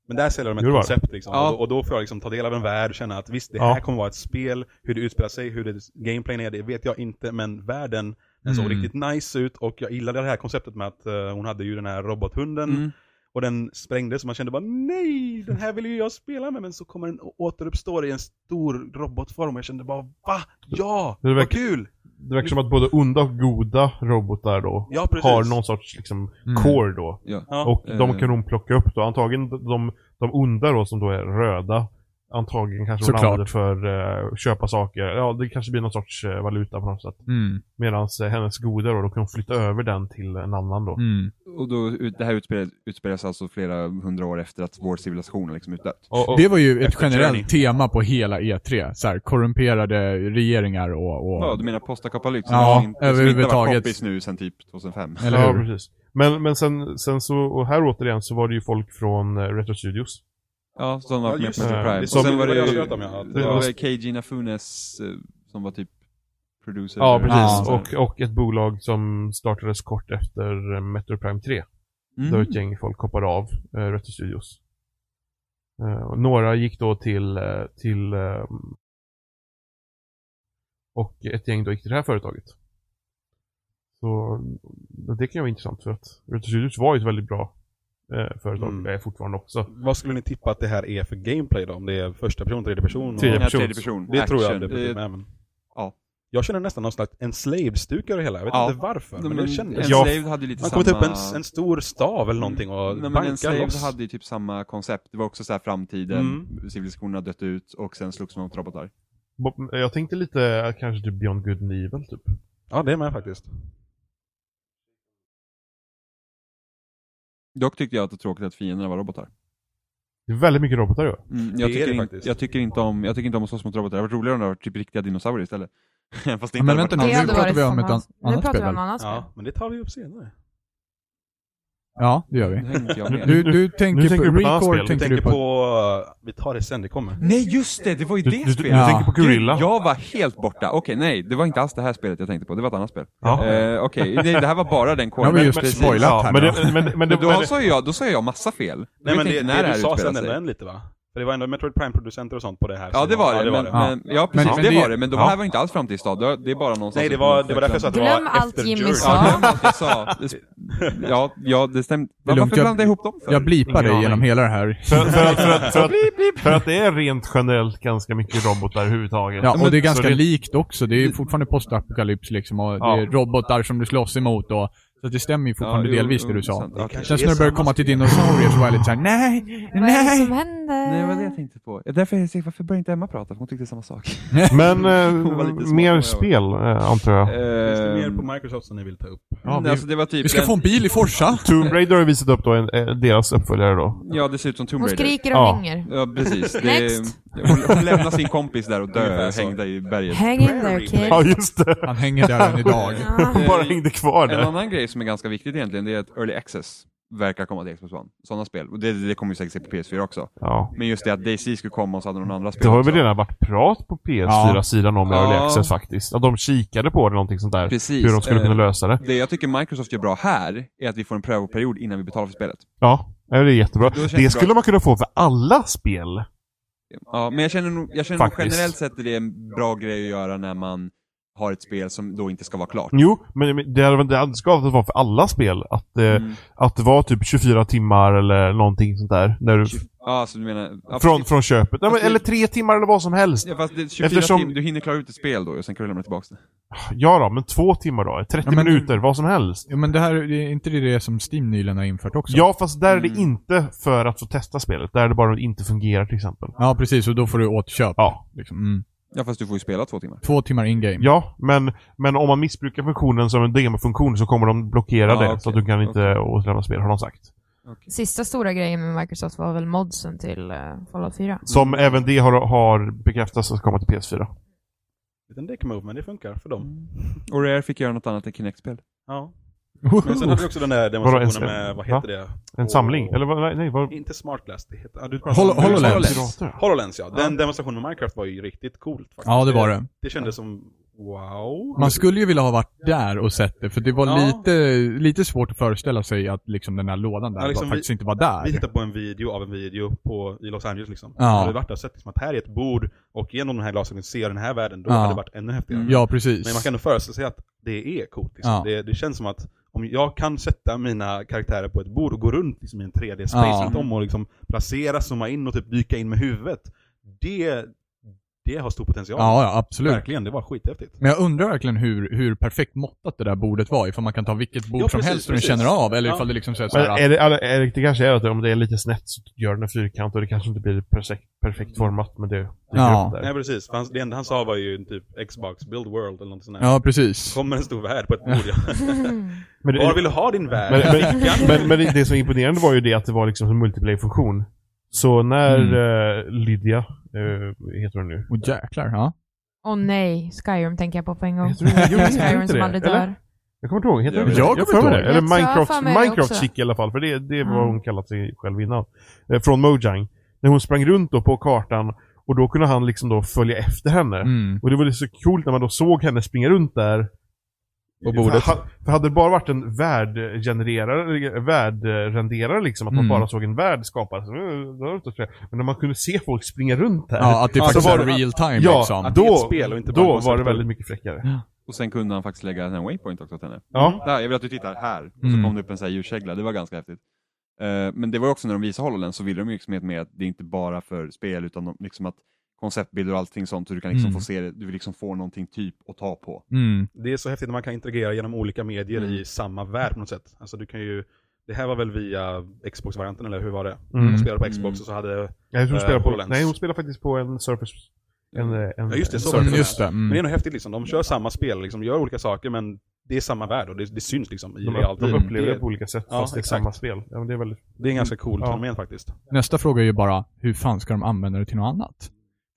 Men där säljer de Jo, det ett var det. koncept liksom. Ja. Och, då, och då får jag liksom ta del av en värld och känna att visst, det Ja. här kommer vara ett spel. Hur det utspelar sig, hur det gameplayen är, det vet jag inte. Men världen, den såg Mm. riktigt nice ut. Och jag gillade det här konceptet med att eh, hon hade ju den här robothunden. mm, Och den sprängdes och man kände bara nej, den här vill ju jag spela med. Men så kommer den å- återuppstå i en stor robotform. Och jag kände bara va? Ja, Det vad verkar- kul! Mm. Det verkar som att både onda och goda robotar då Ja, precis. har någon sorts liksom Mm. core då. ja. Ja. Och de Eh. kan hon plocka upp då. Antagligen de, de onda då som då är röda. Antagligen kanske hon Såklart. använder för eh, att köpa saker. Ja, det kanske blir någon sorts eh, valuta på något sätt. Mm. Medan eh, hennes goda då, då kan hon flytta över den till en annan då. Mm. Och då, ut- det här utspelar, utspelar sig alltså flera hundra år efter att vår civilisation har liksom utdött. Och, och, Det var ju ett Efter generellt Journey. tema på hela E3. Så här, korrumperade regeringar och... och... Ja, du menar postakapalyx? Ja, som inte, som inte har varit överhuvudtaget. kompis nu sedan typ 2005. Eller ja, hur? precis. Men, men sen, sen så, och här återigen så var det ju folk från eh, Retro Studios. Ja, som var Ja, med just på det. Metroid Prime. Det Och som- sen var det det, var det ju- jag pratade om, ja. det Det var var- väl KG Nafunes eh, som var typ producer. Ja, eller- precis. Ja. Och, och ett bolag som startades kort efter eh, Metro Prime 3. Mm. Där ett gäng folk hoppade av eh, Retro Studios. Eh, och några gick då till, eh, till eh, och ett gäng då gick till det här företaget. Så det kan ju vara intressant för att Retro Studios var ju ett väldigt bra eh, företag. Mm. Det är fortfarande också. Vad skulle ni tippa att det här är för gameplay då? Om det är första person, tredje person? och- Tredje Ja, person. tredje person. Det tror jag Action. definitivt Eh, med. Men... ja. Jag känner nästan någon slags enslaved-stuk över det hela. Jag vet Ja. inte varför, men, men det kändes... Ja. Enslaved hade ju lite Man samma... kommer ta upp en, en stor stav eller någonting och Nej, men banka Enslaved loss. hade ju typ samma koncept. Det var också så här framtiden, Mm. civilisationen hade dött ut och sen slogs man mot robotar. Bo- Jag tänkte lite eh, kanske typ Beyond Good and Evil typ. Ja, det är med faktiskt. Dock tyckte jag att det var tråkigt att fienderna var robotar. Det är väldigt mycket robotar ju. Mm, Det jag, är tycker det in, faktiskt. jag, tycker inte om, jag tycker inte om att slåss mot robotar. Det hade varit roligare om det hade varit typ riktiga dinosaurier istället. Fast det Ja, inte men hade vänta nu, varit alls hade roligt. pratar vi om ett fantastiskt. an- annat Nu pratar vi spel, om annat spel. Ja, men det tar vi upp senare. Ja, det gör Det vi. hänger inte jag med. Du, du tänker, tänker du på... på ett annat Record spel. Du Jag tänker tänker du på... på... Vi tar det sen, det kommer. Nej just det, det var ju Du, det du, du spelet! Ja. tänker på Gorilla? Jag var helt borta. Okej, nej, det var inte alls det här spelet jag tänkte på. Det var ett annat spel. Ja. Eh, Okej, nej, det här var bara den Nu har kåren. vi just Precis. spoilat Ja, här men, nu. det, men, men, men, Men det- då men, sa ju jag, då sa jag massa fel. Nej, Jag men vet det, inte det, du här sa utspelar sen sig. ändå en lite va? För det var ändå Metroid Prime-producenter och sånt på det här. Ja, som det var ja, det. Men, det. men, ja, precis. men det, det- var det. Men det ja. här var inte alls framtidsstad. Det, det är bara någon som- Nej, det var, det var därför jag sa att det var Glöm allt efter Jimmy Journey. sa. Ja, glöm allt jag sa. Det, ja, ja, det stämmer. Varför lugnt, jag- blanda ihop dem för? Jag blipar Ingen dig aning. genom hela det här. För, för, att, för, att, för, att, för att det är rent generellt ganska mycket robotar överhuvudtaget. Ja, och det är ganska Så likt också. Det är ju fortfarande postapokalyps liksom och det är Ja. robotar som du slåss emot och... Så att det stämmer ju fortfarande jo, delvis jo, det du sa. sant. Ja, okej. Sen när du börjar komma till dinosaurier så var jag lite såhär, nej, Vad är det som nej. händer? Nej, det var det jag tänkte på. Ja, Därför är jag säker, varför började inte Emma prata? För hon tyckte samma sak. Men eh, Hon var lite smart, mer jag var. spel, eh, antar jag. Finns det Ehm, mer Mm. på Microsoft som ni vill ta upp? Ja, nej, vi, alltså det var typ vi ska en- få en bil i Forsa. Tomb Raider har ju visat upp då en, eh, deras uppföljare då. Ja, det ser ut som Tomb Hon Raider. skriker och Ja. hänger. Ja, precis. Det, Next. hon, hon lämnar sin kompis där och Ungefär dör så. hängda i berget. Hang in there kid. Ja, just det. Han hänger där än idag. Ja. Hon bara hängde kvar En där. annan grej som är ganska viktigt egentligen, det är att Early Access verkar komma till Xbox One. Sådana spel. Och det, det kommer ju säkert till PS4 också. Ja. Men just det att DayZ skulle komma och så hade någon andra spel Det har också. väl redan varit prat på PS4-sidan om Ja. Early Access faktiskt. Att de kikade på det, någonting sånt där. Precis. Hur de skulle kunna Eh, lösa det. Det jag tycker Microsoft gör bra här är att vi får en prövoperiod innan vi betalar för spelet. Ja, eh, det är jättebra. Då känns det Det skulle man kunna få för alla spel. Ja, men jag känner nog, jag känner nog Faktiskt. generellt sett att det är en bra grej att göra när man har ett spel som då inte ska vara klart. Jo, men men det hade det hade skavt att vara för alla spel. Att, eh, Mm. att det var typ 24 timmar eller någonting sånt där. När du, Ja, så du menar... Ja, från, precis. från köpet. Nej, men, Fast- eller tre timmar eller vad som helst. Ja, fast det är 24 Eftersom- tim- du hinner klara ut ett spel då och sen kan du lämna tillbaka det. Ja då, men två timmar då? 30 Ja, men- minuter? Vad som helst? Ja, men det här, det är inte det det som Steam nyligen har infört också? Ja, fast där är Mm. det inte för att få testa spelet. Där är det bara att det inte fungerar till exempel. Ja, precis. Och då får du återköp. Ja. Liksom. Mm. Ja, fast du får ju spela två timmar. Två timmar in-game. Ja, men, men om man missbrukar funktionen som en demo-funktion så kommer de blockera Ja, det. okej, Mm. Så att du kan inte återlämna spel, har de sagt. Sista stora grejen med Microsoft var väl modsen till eh, Fallout 4. Som även det har, har bekräftats att komma till PS4. Utan det kan man upp, men det funkar för dem. Och Rare fick göra något annat än Kinect-spel. Ja. Men sen hade vi också den där Vadå, demonstrationen en- med, vad heter va? det? En Och- samling? Eller vad, nej, nej, vad... Inte Smart Glass, det heter... Ja, du pratar Hol- om- HoloLens. Pirater. HoloLens ja. Den demonstrationen med Minecraft var ju riktigt coolt faktiskt. Ja, det var det. Det kändes som, wow. Man skulle ju vilja ha varit där och sett det, för det var Ja. lite, lite svårt att föreställa sig att liksom den här lådan där Ja, liksom var, vi- faktiskt inte var där. Vi tittade på en video av en video på, i Los Angeles liksom. Ja. Hade vi varit där och sett liksom, att här är ett bord och genom den här glasögonen ser den här världen, då Ja. Mm. hade det varit ännu häftigare. Ja, precis. Mm. Men man kan nog föreställa sig att det är coolt. Liksom. Ja. Det, det känns som att om jag kan sätta mina karaktärer på ett bord och gå runt liksom, i en 3D-space Ja. runt om och liksom, placera, zooma in och typ dyka in med huvudet. Det, det har stor potential. Ja, ja, absolut. Verkligen, det var skithäftigt. Men jag undrar verkligen hur, hur perfekt måttat det där bordet var, ifall man kan ta vilket bord Ja, som precis, helst och den precis. känner av, eller Ja. ifall det liksom säger Men såhär... är det, eller är det, det kanske är att om det är lite snett så gör den en fyrkant och det kanske inte blir perfekt, perfekt format men det dyker Ja. upp där. Nej precis, för han, det enda han sa var ju typ Xbox Build World eller något sånt där. Ja, precis. Kommer en stor värld på ett bord ja. Men, det, Var vill du ha din värld? men, men, men, men det- det som är imponerande var ju det att det var liksom en multiplayer-funktion. Så när Mm. eh, Lydia, eh, heter hon nu? Och jäklar, ja. Åh nej, Skyrim tänker jag på på en gång. Heter hon- jo, Lilla heter hon Skyrim inte som det? aldrig Eller? dör. Jag kommer inte ihåg, heter Jag hon det? vet inte. Jag kommer inte ihåg. Jag Eller tror jag har för Minecraft, mig det Minecraft också. Chick i alla fall, för det, det var Mm. vad hon kallat sig själv innan. Eh, från Mojang. När hon sprang runt då på kartan och då kunde han liksom då följa efter henne. Mm. Och det var ju så coolt när man då såg henne springa runt där. På bordet. För, ha- för hade det bara varit en världgenererare, eller världrenderare liksom, att Mm. man bara såg en värld skapas. eh, då var det inte så kul. Men när man kunde se folk springa runt där. Ja, att det Ja, faktiskt så är var det- real time ja, liksom. att det är då, ett spel och inte bara en då koncept. var det väldigt mycket fräckare. Och sen kunde han faktiskt lägga en waypoint också åt henne. Ja. Där, jag vill att du tittar här. Och så Mm. kom det upp en sån här ljuskägla, det var ganska häftigt. Eh, men det var också när de visade HoloLens så ville de ju liksom med att det är inte bara för spel utan de, liksom att konceptbilder och allting sånt så du kan liksom Mm. få se det, du vill liksom få någonting typ att ta på. Mm. Det är så häftigt när man kan interagera genom olika medier Mm. i samma värld på något sätt. Alltså du kan ju, det här var väl via Xbox-varianten eller hur var det? Mm. Man spelade på Xbox Mm. och så hade, Nej, hon Eh, spelar på, HoloLens. nej, hon spelar faktiskt på en Surface. En, eh, en, Ja, just det, så en var Mm, Surface. just det. men det är Mm. nog häftigt liksom, de kör samma spel, liksom, gör olika saker men det är samma värld och det, det syns liksom i De, realtid. de upplever det det, på olika sätt Ja, fast det är exakt. samma spel. Ja, men det är väldigt... det är en ganska cool Ja. fenomen faktiskt. Nästa fråga är ju bara, hur fan ska de använda det till något annat?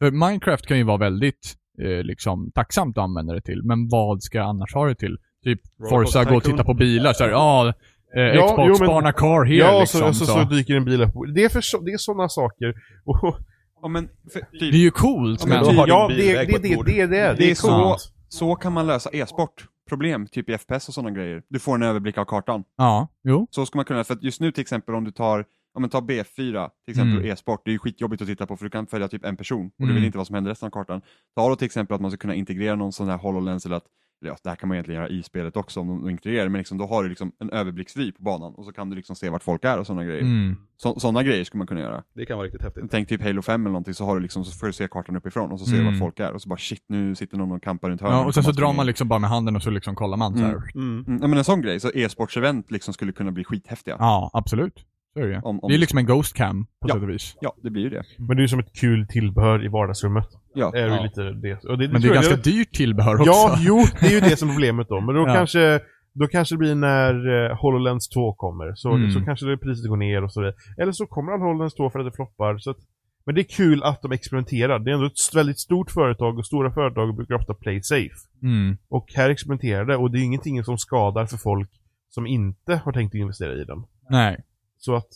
För Minecraft kan ju vara väldigt eh, liksom, tacksamt att använda det till, men vad ska jag annars ha det till? Typ Forza, gå och Tycoon. titta på bilar såhär, ja, eh, Ja, Xbox, jo, men- spana car here ja, och liksom. så, och så, så. så dyker en bil upp. Det är, för, så- det är sådana saker. Och, Ja, men, för, typ, Det är ju coolt, men men... då har du ja, typ. en det, bilväg det, på det, ett det, bord. det, det, Det är är så- sant. så kan man lösa e-sport problem, typ i FPS och sådana grejer. Du får en överblick av kartan. Ja, jo. Så ska man kunna, för att just nu till exempel om du tar, om man tar B4 till exempel Mm. och e-sport, det är ju skitjobbigt att titta på för du kan följa typ en person och du Mm. vet inte vad som händer resten av kartan. Ta då till exempel att man ska kunna integrera någon sån här HoloLens eller att eller ja, det här kan man egentligen göra i spelet också om de inkluderar det, men liksom, då har du liksom en överblicksvy på banan och så kan du liksom se vart folk är och sådana Typ. grejer. Mm. Så, sådana grejer skulle man kunna göra. Det kan vara riktigt häftigt. Tänk typ Halo 5 eller någonting så, har du liksom, så får du se kartan uppifrån och så ser du Mm. vart folk är och så bara shit nu sitter någon och kampar runt hörnet. Ja, och sen så drar man liksom bara med handen och så liksom kollar man så här. Mm. Mm, ja, men en sån grej, så e-sportsevent liksom skulle kunna bli skithäftiga. Ja, Ja, absolut. Så är det ju. Om- om Det är det- liksom en ghost cam på Ja. sätt och vis. det blir ju det. Men det är ju som ett kul tillbehör i vardagsrummet. Ja. Det är ju Ja. lite det. Och det, Men det tror jag- är ganska dyrt tillbehör också. Ja, jo, det är ju det som är problemet då. Men då Ja. kanske då kanske det blir när eh, HoloLens 2 kommer. Så, Mm. så kanske det priset går ner och så vidare. Eller så kommer all HoloLens 2 för att det floppar. Så att, men det är kul att de experimenterar. Det är ändå ett väldigt stort företag och stora företag brukar ofta play safe. Mm. Och här experimenterar det och det är ingenting som skadar för folk som inte har tänkt att investera i den. Nej. Så att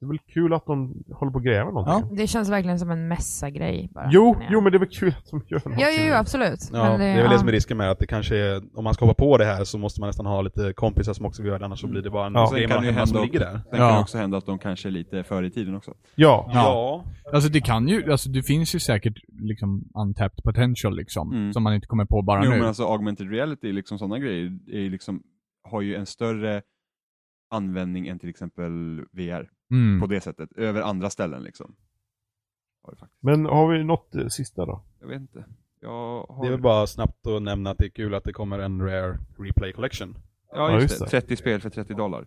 det är väl kul att de håller på att gräva någonting. Det känns verkligen som en mässagrej bara. Jo, känner jag. jo men det är väl kul att de gör någonting. Ja, jo, jo, absolut. Ja, Men det är väl ja. det som är risken med att det kanske är, om man ska hoppa på det här så måste man nästan ha lite kompisar som också vill göra det, annars så blir det bara en Ja. game Sen kan av det ju hemma som hända- ligger där. Sen kan Ja. det också hända att de kanske är lite före i tiden också. Ja. Ja. Alltså det kan ju, alltså det finns ju säkert liksom untapped potential liksom. Mm. Som man inte kommer på bara Jo nu. men alltså augmented reality, liksom sådana grejer, är ju liksom, har ju en större användning än till exempel VR mm. på det sättet, över andra ställen liksom. Har det faktiskt. Men har vi något eh, sista då? Jag vet inte. Jag har... Det är väl bara snabbt att nämna att det är kul att det kommer en Rare Replay Collection. Ja, Ja just just det, det. 30 spel för 30 dollar.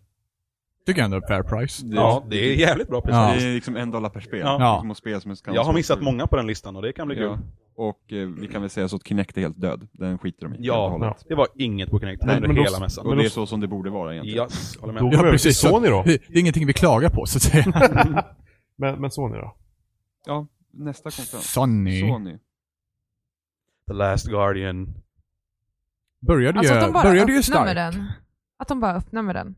Tycker jag ändå är fair price. Det, Ja, det är jävligt bra precis. Ja. det är liksom en dollar per spel. Ja. Liksom, och spel som kan Jag har missat många på den listan och det kan bli kul. Ja. Och eh, vi kan väl säga så att Kinect är helt död. Den skiter de i helt och Ja, hållet. det var inget på Connect Nej, under men då- hela mässan. Och Men det är då- så som det borde vara egentligen. Yes, håller med. Då går vi över till precis. Så- Sony då. Det är ingenting vi klagar på så att säga. Men, men Sony då? Nästa konferens. Sonny. Sony. The Last Guardian. Började ju, Alltså att de bara började ju öppnar starkt. med den. Att de bara öppnar med den.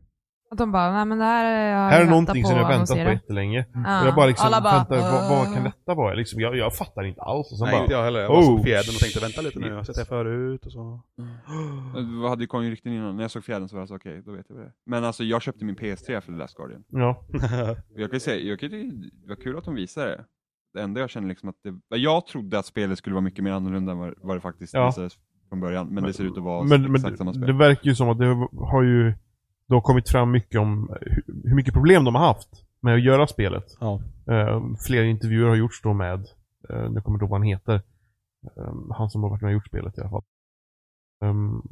Att de bara, nej men det här är jag Här är väntat någonting på som jag att väntat på annonsera." jättelänge. Ja. Och jag bara liksom Alla bara, väntar, vad, vad kan "Åh." detta vara? Liksom, jag, jag fattar inte alls. Och sen Nej, bara, inte jag heller. Jag var så Oh, på fjädern och tänkte vänta lite nu, shit. jag har sett det här förut och så. Jag hade ju Conny rykten innan. När jag såg fjärden så var jag så okej, då vet jag vad det är. Men alltså jag köpte min PS3 för The Last Guardian. ja. Och Jag kan ju säga, jag kan, ju- det var kul att de visade det. Det enda jag känner liksom att det, jag trodde att spelet skulle vara mycket mer annorlunda än vad, vad det faktiskt Ja. visades från början. Men, det ser ut att vara Men, men exakt samma det spel. verkar ju som att det har ju då har kommit fram mycket om hur, hur mycket problem de har haft med att göra spelet. Ja. Eh, fler intervjuer har gjorts då med, eh, nu kommer jag inte ihåg vad han heter, Eh, han som har varit med och gjort spelet i alla fall. Ehm,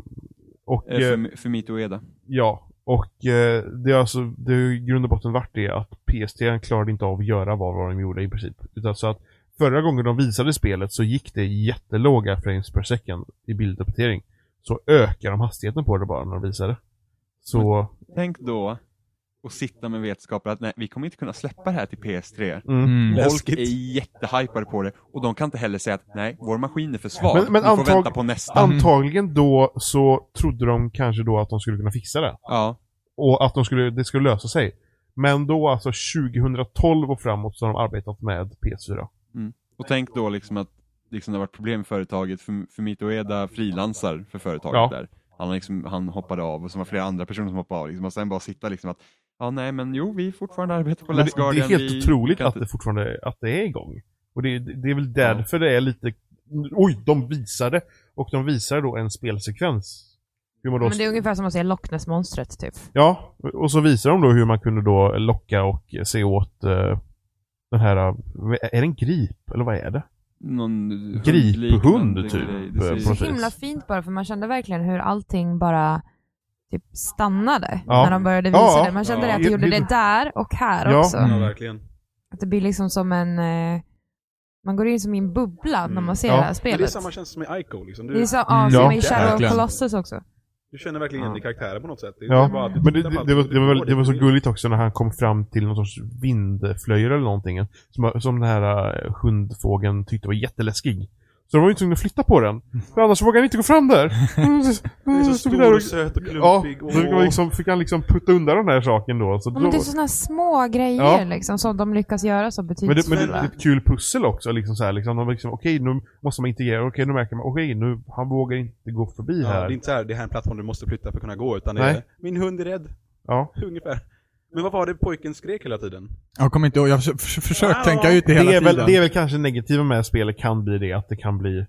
och, Eh, eh, för, för Mito Ueda. Ja, och eh, det har alltså, det har ju i grund och botten varit det att PS3 klarade inte av att göra vad vad de gjorde i princip. Utan så att förra gången de visade spelet så gick det jättelåga frames per second i bilduppdatering. Så ökar de hastigheten på det bara när de visade. Så, Tänk då och sitta med vetskapen att nej, vi kommer inte kunna släppa det här till PS3. mm. Mm. Folk Läskigt. är jättehypade på det och de kan inte heller säga att nej, vår maskin är för svag. Men- men vi får antag- vänta på nästa. Mm. Antagligen då så trodde de kanske då att de skulle kunna fixa det. Ja. Och att de skulle, det skulle lösa sig. Men då alltså 2012 och framåt så har de arbetat med PS4. Och tänk då liksom att liksom det har varit problem med företaget, för, för Mitoeda frilansar för företaget Ja. där. Han, liksom, han hoppade av och så var det flera andra personer som hoppade av. Liksom, och sen bara sitta liksom att, ja nej men jo vi fortfarande arbetar på Men Last det, det Guardian. är helt vi otroligt kan att inte- det fortfarande att det är igång. Och det, det, det är väl därför det är lite, oj, de visade. Och de visar då en spelsekvens. Hur man då, Men det är ungefär som att se Loch Ness-monstret typ. Ja, och så visar de då hur man kunde då locka och se åt eh, den här, eh, är det en grip eller vad är det? Någon Griphund, hundliknande typ, grej. eh, Det på Så ser, något- Precis. himla fint bara, för man kände verkligen hur allting bara typ stannade Ja. när de började visa Ja. det. Man kände Ja. det att det gjorde Det- det där och här Ja. också. Mm. Ja, verkligen. Att det blir liksom som en... Eh, man går in som i en bubbla när Mm. man ser Ja. det här Men spelet. det är samma känsla som i Ico, liksom. Det är du, så, ja, Mm. som Ja, i Shadow verkligen. of Colossus också. du känner verkligen igen Ja. i karaktären på något sätt. Det är bara Ja, att du men det, tittar på det, allt det, var, och det, var, det var så går. gulligt också när han kom fram till någon sorts vindflöjel eller någonting. Som, som den här eh, hundfågeln tyckte var jätteläskig. Så de var ju tvungna att flytta på den. För annars vågade han inte gå fram där. Mm, Det är så stor och söt och Ja, klumpig. då fick, man liksom, fick han liksom putta undan den här saken då. Så Ja, då men det är sådana små grejer Ja. liksom, som de lyckas göra så men det, betydelsefulla. men det, det är ett kul pussel också. Liksom så här, liksom, de var liksom, okej, nu måste man integrera. Okej, nu märker man. Okej, nu, han vågar inte gå förbi Ja, här. det är inte så här, det här är en plattform du måste flytta för att kunna gå, utan det Nej. är, min hund är rädd, Ja. ungefär. Men vad var det pojken skrek hela tiden? Jag kommer inte ihåg, jag har förs- förs- försökt Ja. tänka ut det Det, hela är väl, tiden. det är väl kanske det negativa med spelet kan bli det att det kan bli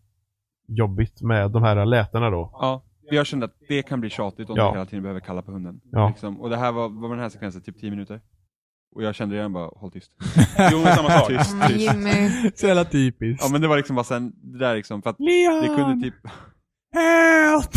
jobbigt med de här lätena då. ja, jag kände att det kan bli tjatigt om Ja. man hela tiden behöver kalla på hunden. Ja. Liksom. Och det här var, vad var den här sekvensen, typ 10 minuter. Och jag kände redan bara, håll tyst. Jo, men samma sak. Tyst, Men tyst. Mm, Jimmy. Så jävla typiskt. Ja men det var liksom bara sen, det där liksom, för att Leon! det kunde typ, Help!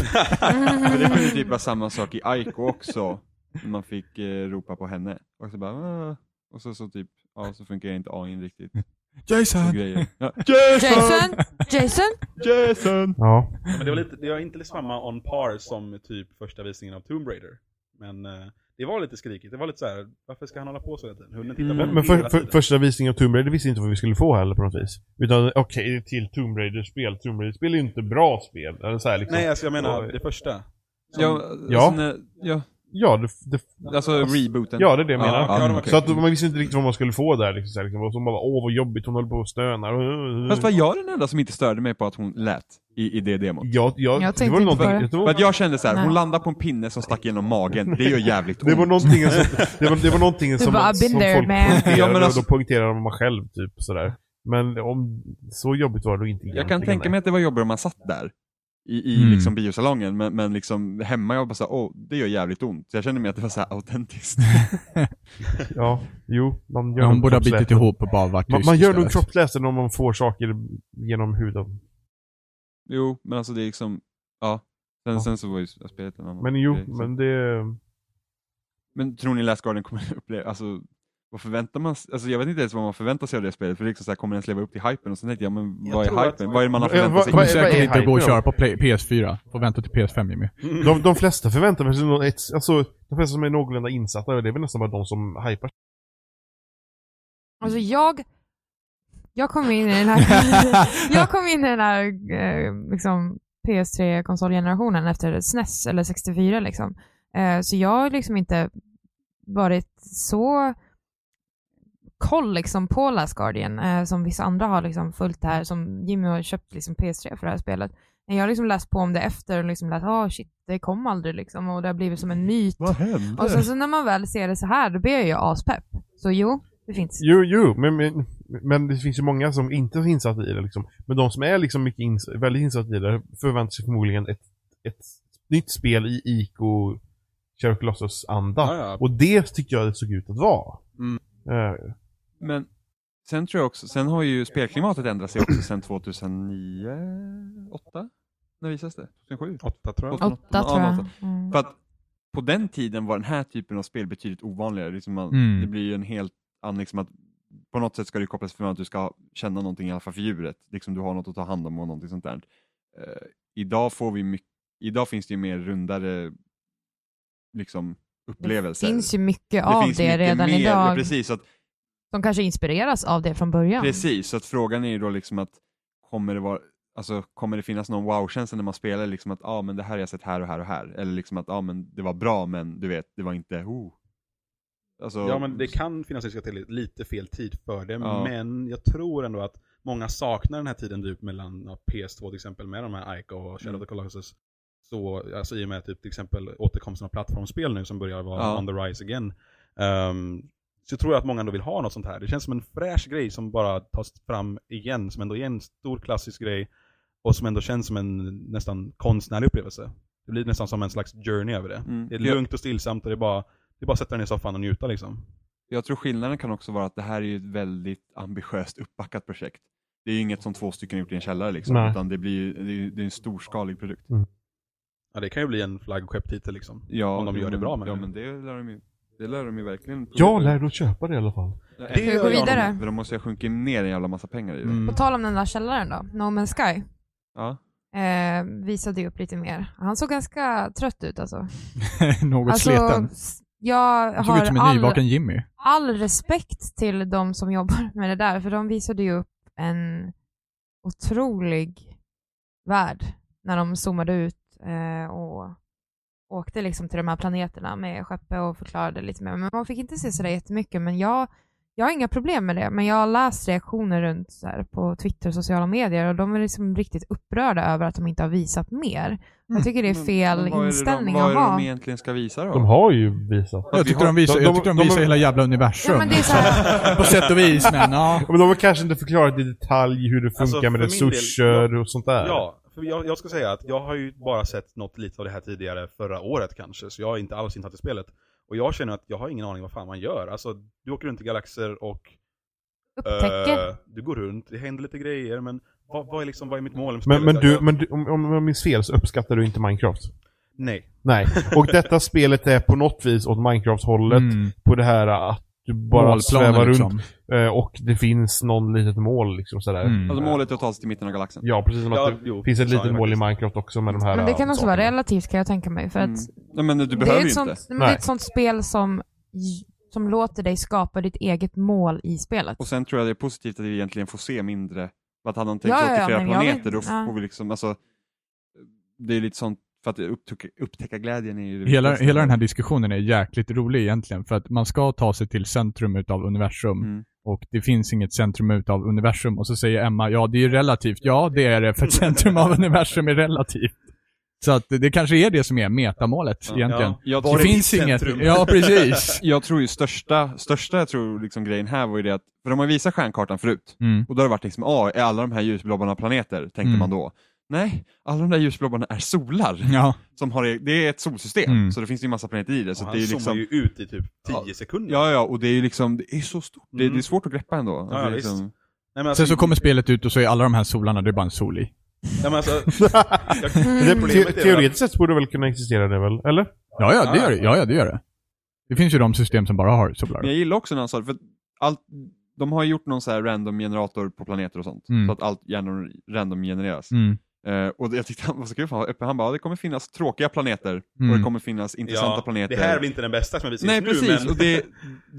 men det kunde typ vara samma sak i Aiko också. När man fick eh, ropa på henne. Och så bara, "Ah." och så, så typ, ja så funkar inte AIn riktigt. Och Jason! grejer. Ja. Jason? Jason? Jason! Ja. Ja, Men det var, lite, det var inte lite samma on par som typ första visningen av Tomb Raider. Men eh, det var lite skrikigt. Det var lite så här: varför ska han hålla på så hela tiden? Hunden tittar på Mm. honom Men för, hela för, tiden. första visningen av Tomb Raider visste inte vad vi skulle få heller på något vis. Utan okej, det är till Tomb Raider-spel. Tomb Raider-spel är ju inte bra spel. Eller så här, liksom. Nej, alltså jag menar Oj. det första. Som- Ja, alltså, Ja. när, ja, Ja, det, det, alltså rebooten. ja, det är det jag Ja, menar. ja, ja, mm, okej. Så att man visste inte riktigt vad man skulle få där. Liksom, så här, liksom. Och så man bara, åh vad jobbigt, hon håller på och stönar. Fast var jag den enda som inte störde mig på att hon lät i, i det demot? jag, jag, Jag det tänkte var inte någonting, på det. det var, För att jag kände så här, Nej. hon landade på en pinne som stack genom magen, det gör jävligt ont. det var någonting som, det var, det var någonting Du som, bara, "I've been som there, folk man." poängterade Ja, men alltså- och då poängterade man själv typ sådär. Men om, så jobbigt var det nog inte Jag kan egentligen, tänka nej. mig att det var jobbigare om man satt där i, i Mm. liksom biosalongen, men, men liksom hemma jag bara såhär, åh, det gör jävligt ont. Så jag kände mig att det var så här autentiskt. Ja, jo. Man gör Ja, hon nog borde ha kroppslätt. bitit ihop och bara varit Man, tyst man gör nog istället. kroppsläsaren om man får saker genom huden. jo, men alltså det är liksom, ja. Sen, Ja. sen så var ju spelet en annan Men jo, grej, så- men det... Men tror ni Last Guardian kommer uppleva, alltså vad förväntar man sig? Alltså jag vet inte ens vad man förväntar sig av det spelet, för det är liksom så här, kommer den ens leva upp till hypen? Och sen tänkte jag, men Jag vad tror är att- hypen? Vad är det man har Eh, vad- förväntat sig? Kommer vad är- säkert inte hypen gå och då? köra på play, PS4. Får vänta till PS5 Jimmy. De, de flesta förväntar sig något, alltså de flesta som är någorlunda insatta, det är väl nästan bara de som hypar. Alltså jag... Jag kom in i den här, jag kom in i den här eh, liksom, PS3-konsolgenerationen efter SNES eller 64 liksom. Eh, så jag har liksom inte varit så koll liksom, på Last Guardian eh, som vissa andra har liksom, följt det här, som Jimmy har köpt liksom, PS3 för det här spelet. Men Jag har liksom läst på om det efter och liksom läst, ah shit, det kom aldrig liksom och det har blivit som en myt. Vad hände? Och sen så när man väl ser det så här, då blir jag ju aspepp. Så jo, det finns. Jo, jo, men, men, men det finns ju många som inte är insatta i det liksom. Men de som är liksom mycket ins väldigt insatta i det förväntar sig förmodligen ett, ett nytt spel i ICO Sherlock Lossos-anda. Ja, ja. Och det tyckte jag det såg ut att vara. Mm. Eh, Men sen tror jag också, sen har ju spelklimatet ändrat sig också sen 2009, 8 När visades det? 2007? Åtta tror jag. Åtta. Åtta tror jag. Mm. För att på den tiden var den här typen av spel betydligt ovanligare. Liksom man, Mm. Det blir ju en helt annan, liksom att på något sätt ska det kopplas för att du ska känna någonting i alla fall för djuret. Liksom du har något att ta hand om och någonting sånt där. Eh, idag får vi mycket, idag finns det ju mer rundare liksom upplevelser. Det finns ju mycket av det, finns mycket redan mer, idag. Precis, så att De kanske inspireras av det från början. Precis, så att frågan är ju då liksom att kommer det vara Alltså kommer det finnas någon wow-känsla när man spelar liksom att ja ah, men det här har jag sett här och här och här eller liksom att ja ah, men det var bra men du vet det var inte oh. Alltså, Ja men det kan finnas risk att det är lite fel tid för det, Ja. men jag tror ändå att många saknar den här tiden typ mellan ja, PS2 till exempel med de här Ico och Mm. Shadow of the Colossus. Så, alltså i och med typ till exempel återkomsten av plattformsspel nu som börjar vara Ja. on the rise again. Ehm, så jag tror att många ändå vill ha något sånt här. Det känns som en fräsch grej som bara tas fram igen, som ändå är en stor klassisk grej och som ändå känns som en nästan konstnärlig upplevelse. Det blir nästan som en slags journey över det. Mm. Det är Jag- lugnt och stillsamt och det är bara, det är bara att sätta den i soffan och njuta liksom. Jag tror skillnaden kan också vara att det här är ju ett väldigt ambitiöst uppbackat projekt. Det är ju inget som två stycken gjort i en källare liksom Nej. utan det blir ju, det är, ju- det är en storskalig produkt. Ja, det kan ju bli en flaggskepptitel liksom. Ja, Om de gör det bra med Ja det. men det lär de ju, det lär de ju verkligen. jag lärde att köpa det i alla fall. Ska vi gå vidare? För de måste ju ha sjunkit ner en jävla massa pengar i det. Mm. På tal om den där källaren då, No Man's Sky Ja. eh, visade ju upp lite mer. Han såg ganska trött ut alltså. Något alltså sleten. s- jag Han såg ut har som en all, nyvaken Jimmy. all respekt till de som jobbar med det där, för de visade ju upp en otrolig värld när de zoomade ut eh, och åkte liksom till de här planeterna med skeppet och förklarade lite mer. Men man fick inte se sådär jättemycket, men jag, jag har inga problem med det. Men jag har läst reaktioner runt så här på Twitter och sociala medier och de är liksom riktigt upprörda över att de inte har visat mer. Jag tycker det är Mm. Men- fel men vad är det inställning de, Vad att är det ha. de egentligen ska visa då? De har ju visat. Fast Jag vi tyckte har- de visade, de- jag de- tyckte de de- visade hela jävla Ja, universum. men det är så här, På sätt och vis, men ja. Men de har kanske inte förklarat i detalj hur det funkar Alltså, med för resurser min del- och sånt där. Ja, för jag, jag ska säga att jag har ju bara sett något lite av det här tidigare förra året kanske, så jag är inte alls insatt i spelet. Och jag känner att jag har ingen aning vad fan man gör. Alltså, du åker runt i galaxer och Upptäcker. eh, du går runt, det händer lite grejer, men vad, vad, är, liksom, vad är mitt mål med Men, spelet? Alltså, men, Jag- du, jag- men du, om, om jag minns fel så uppskattar du inte Minecraft. Nej. Nej. Och detta spelet är på något vis åt Minecraft-hållet. Mm. På det här att du bara svävar Målplaner runt liksom. eh, och det finns någon litet mål liksom sådär. Mm. Alltså målet är att ta sig till mitten av galaxen. Ja, precis som Ja, att det jo, finns ett sa jag litet mål i faktiskt. Minecraft också med de här Men det eh, kan också vara sakerna. relativt kan jag tänka mig. För Mm. att Ja, men du det, är behöver ju ett inte. sånt, men det är Nej. ett sånt spel som, som låter dig skapa ditt eget mål i spelet. Och sen tror jag det är positivt att vi egentligen får se mindre. För att hade han tänkt Ja, sig ja, åka ja, flera men jag planeter vet- då får ja. vi liksom, alltså, det är lite sånt, för att upptäcka, upptäcka glädjen är ju det Hela, viktigaste. hela den här diskussionen är jäkligt rolig egentligen, för att man ska ta sig till centrum utav universum Mm. och det finns inget centrum utav universum och så säger Emma, ja det är ju relativt. Ja, det är det, för att centrum av universum är relativt. Så att det kanske är det som är metamålet Ja. egentligen. Jag, Var Det är finns mitt inget. centrum? Ja, precis. jag tror ju största, största jag tror liksom grejen här var ju det att, för de har ju visat stjärnkartan förut. Mm. Och då har det varit liksom, ja, är alla de här ljusblobbarna planeter? Tänkte Mm. man då. Nej, alla de där ljusblobbarna är solar. Ja. Som har, e- det är ett solsystem, Mm. så det finns ju en massa planeter i det. Så Och det han är ju zoomar liksom, ju ut i typ 10 Ja. sekunder. ja, ja, och det är ju liksom, det är så stort. Det, Mm. det är svårt att greppa ändå. Att Ja, det är visst. liksom, Nej, men alltså, Sen så kommer spelet ut och så är alla de här solarna, det är bara en sol i. Nej, men alltså, Det, jag, problemet te är väl teoretiskt sett borde det väl kunna existera det väl? Eller? Ja, ja, det gör det. Ja, ja, det gör det. Det finns ju de system som bara har solar. Men jag gillar också när han sa det, för att allt, de har ju gjort någon så här random generator på planeter och sånt. Mm. Så att allt gärna random genereras. Mm. Eh, och det- jag tyckte han var så kul, för han var öppen. Han bara, "Ja, det kommer finnas tråkiga planeter och Mm. det kommer finnas att- intressanta ja, planeter. Det här blir inte den bästa som jag visar Nej just nu, precis, men... och det,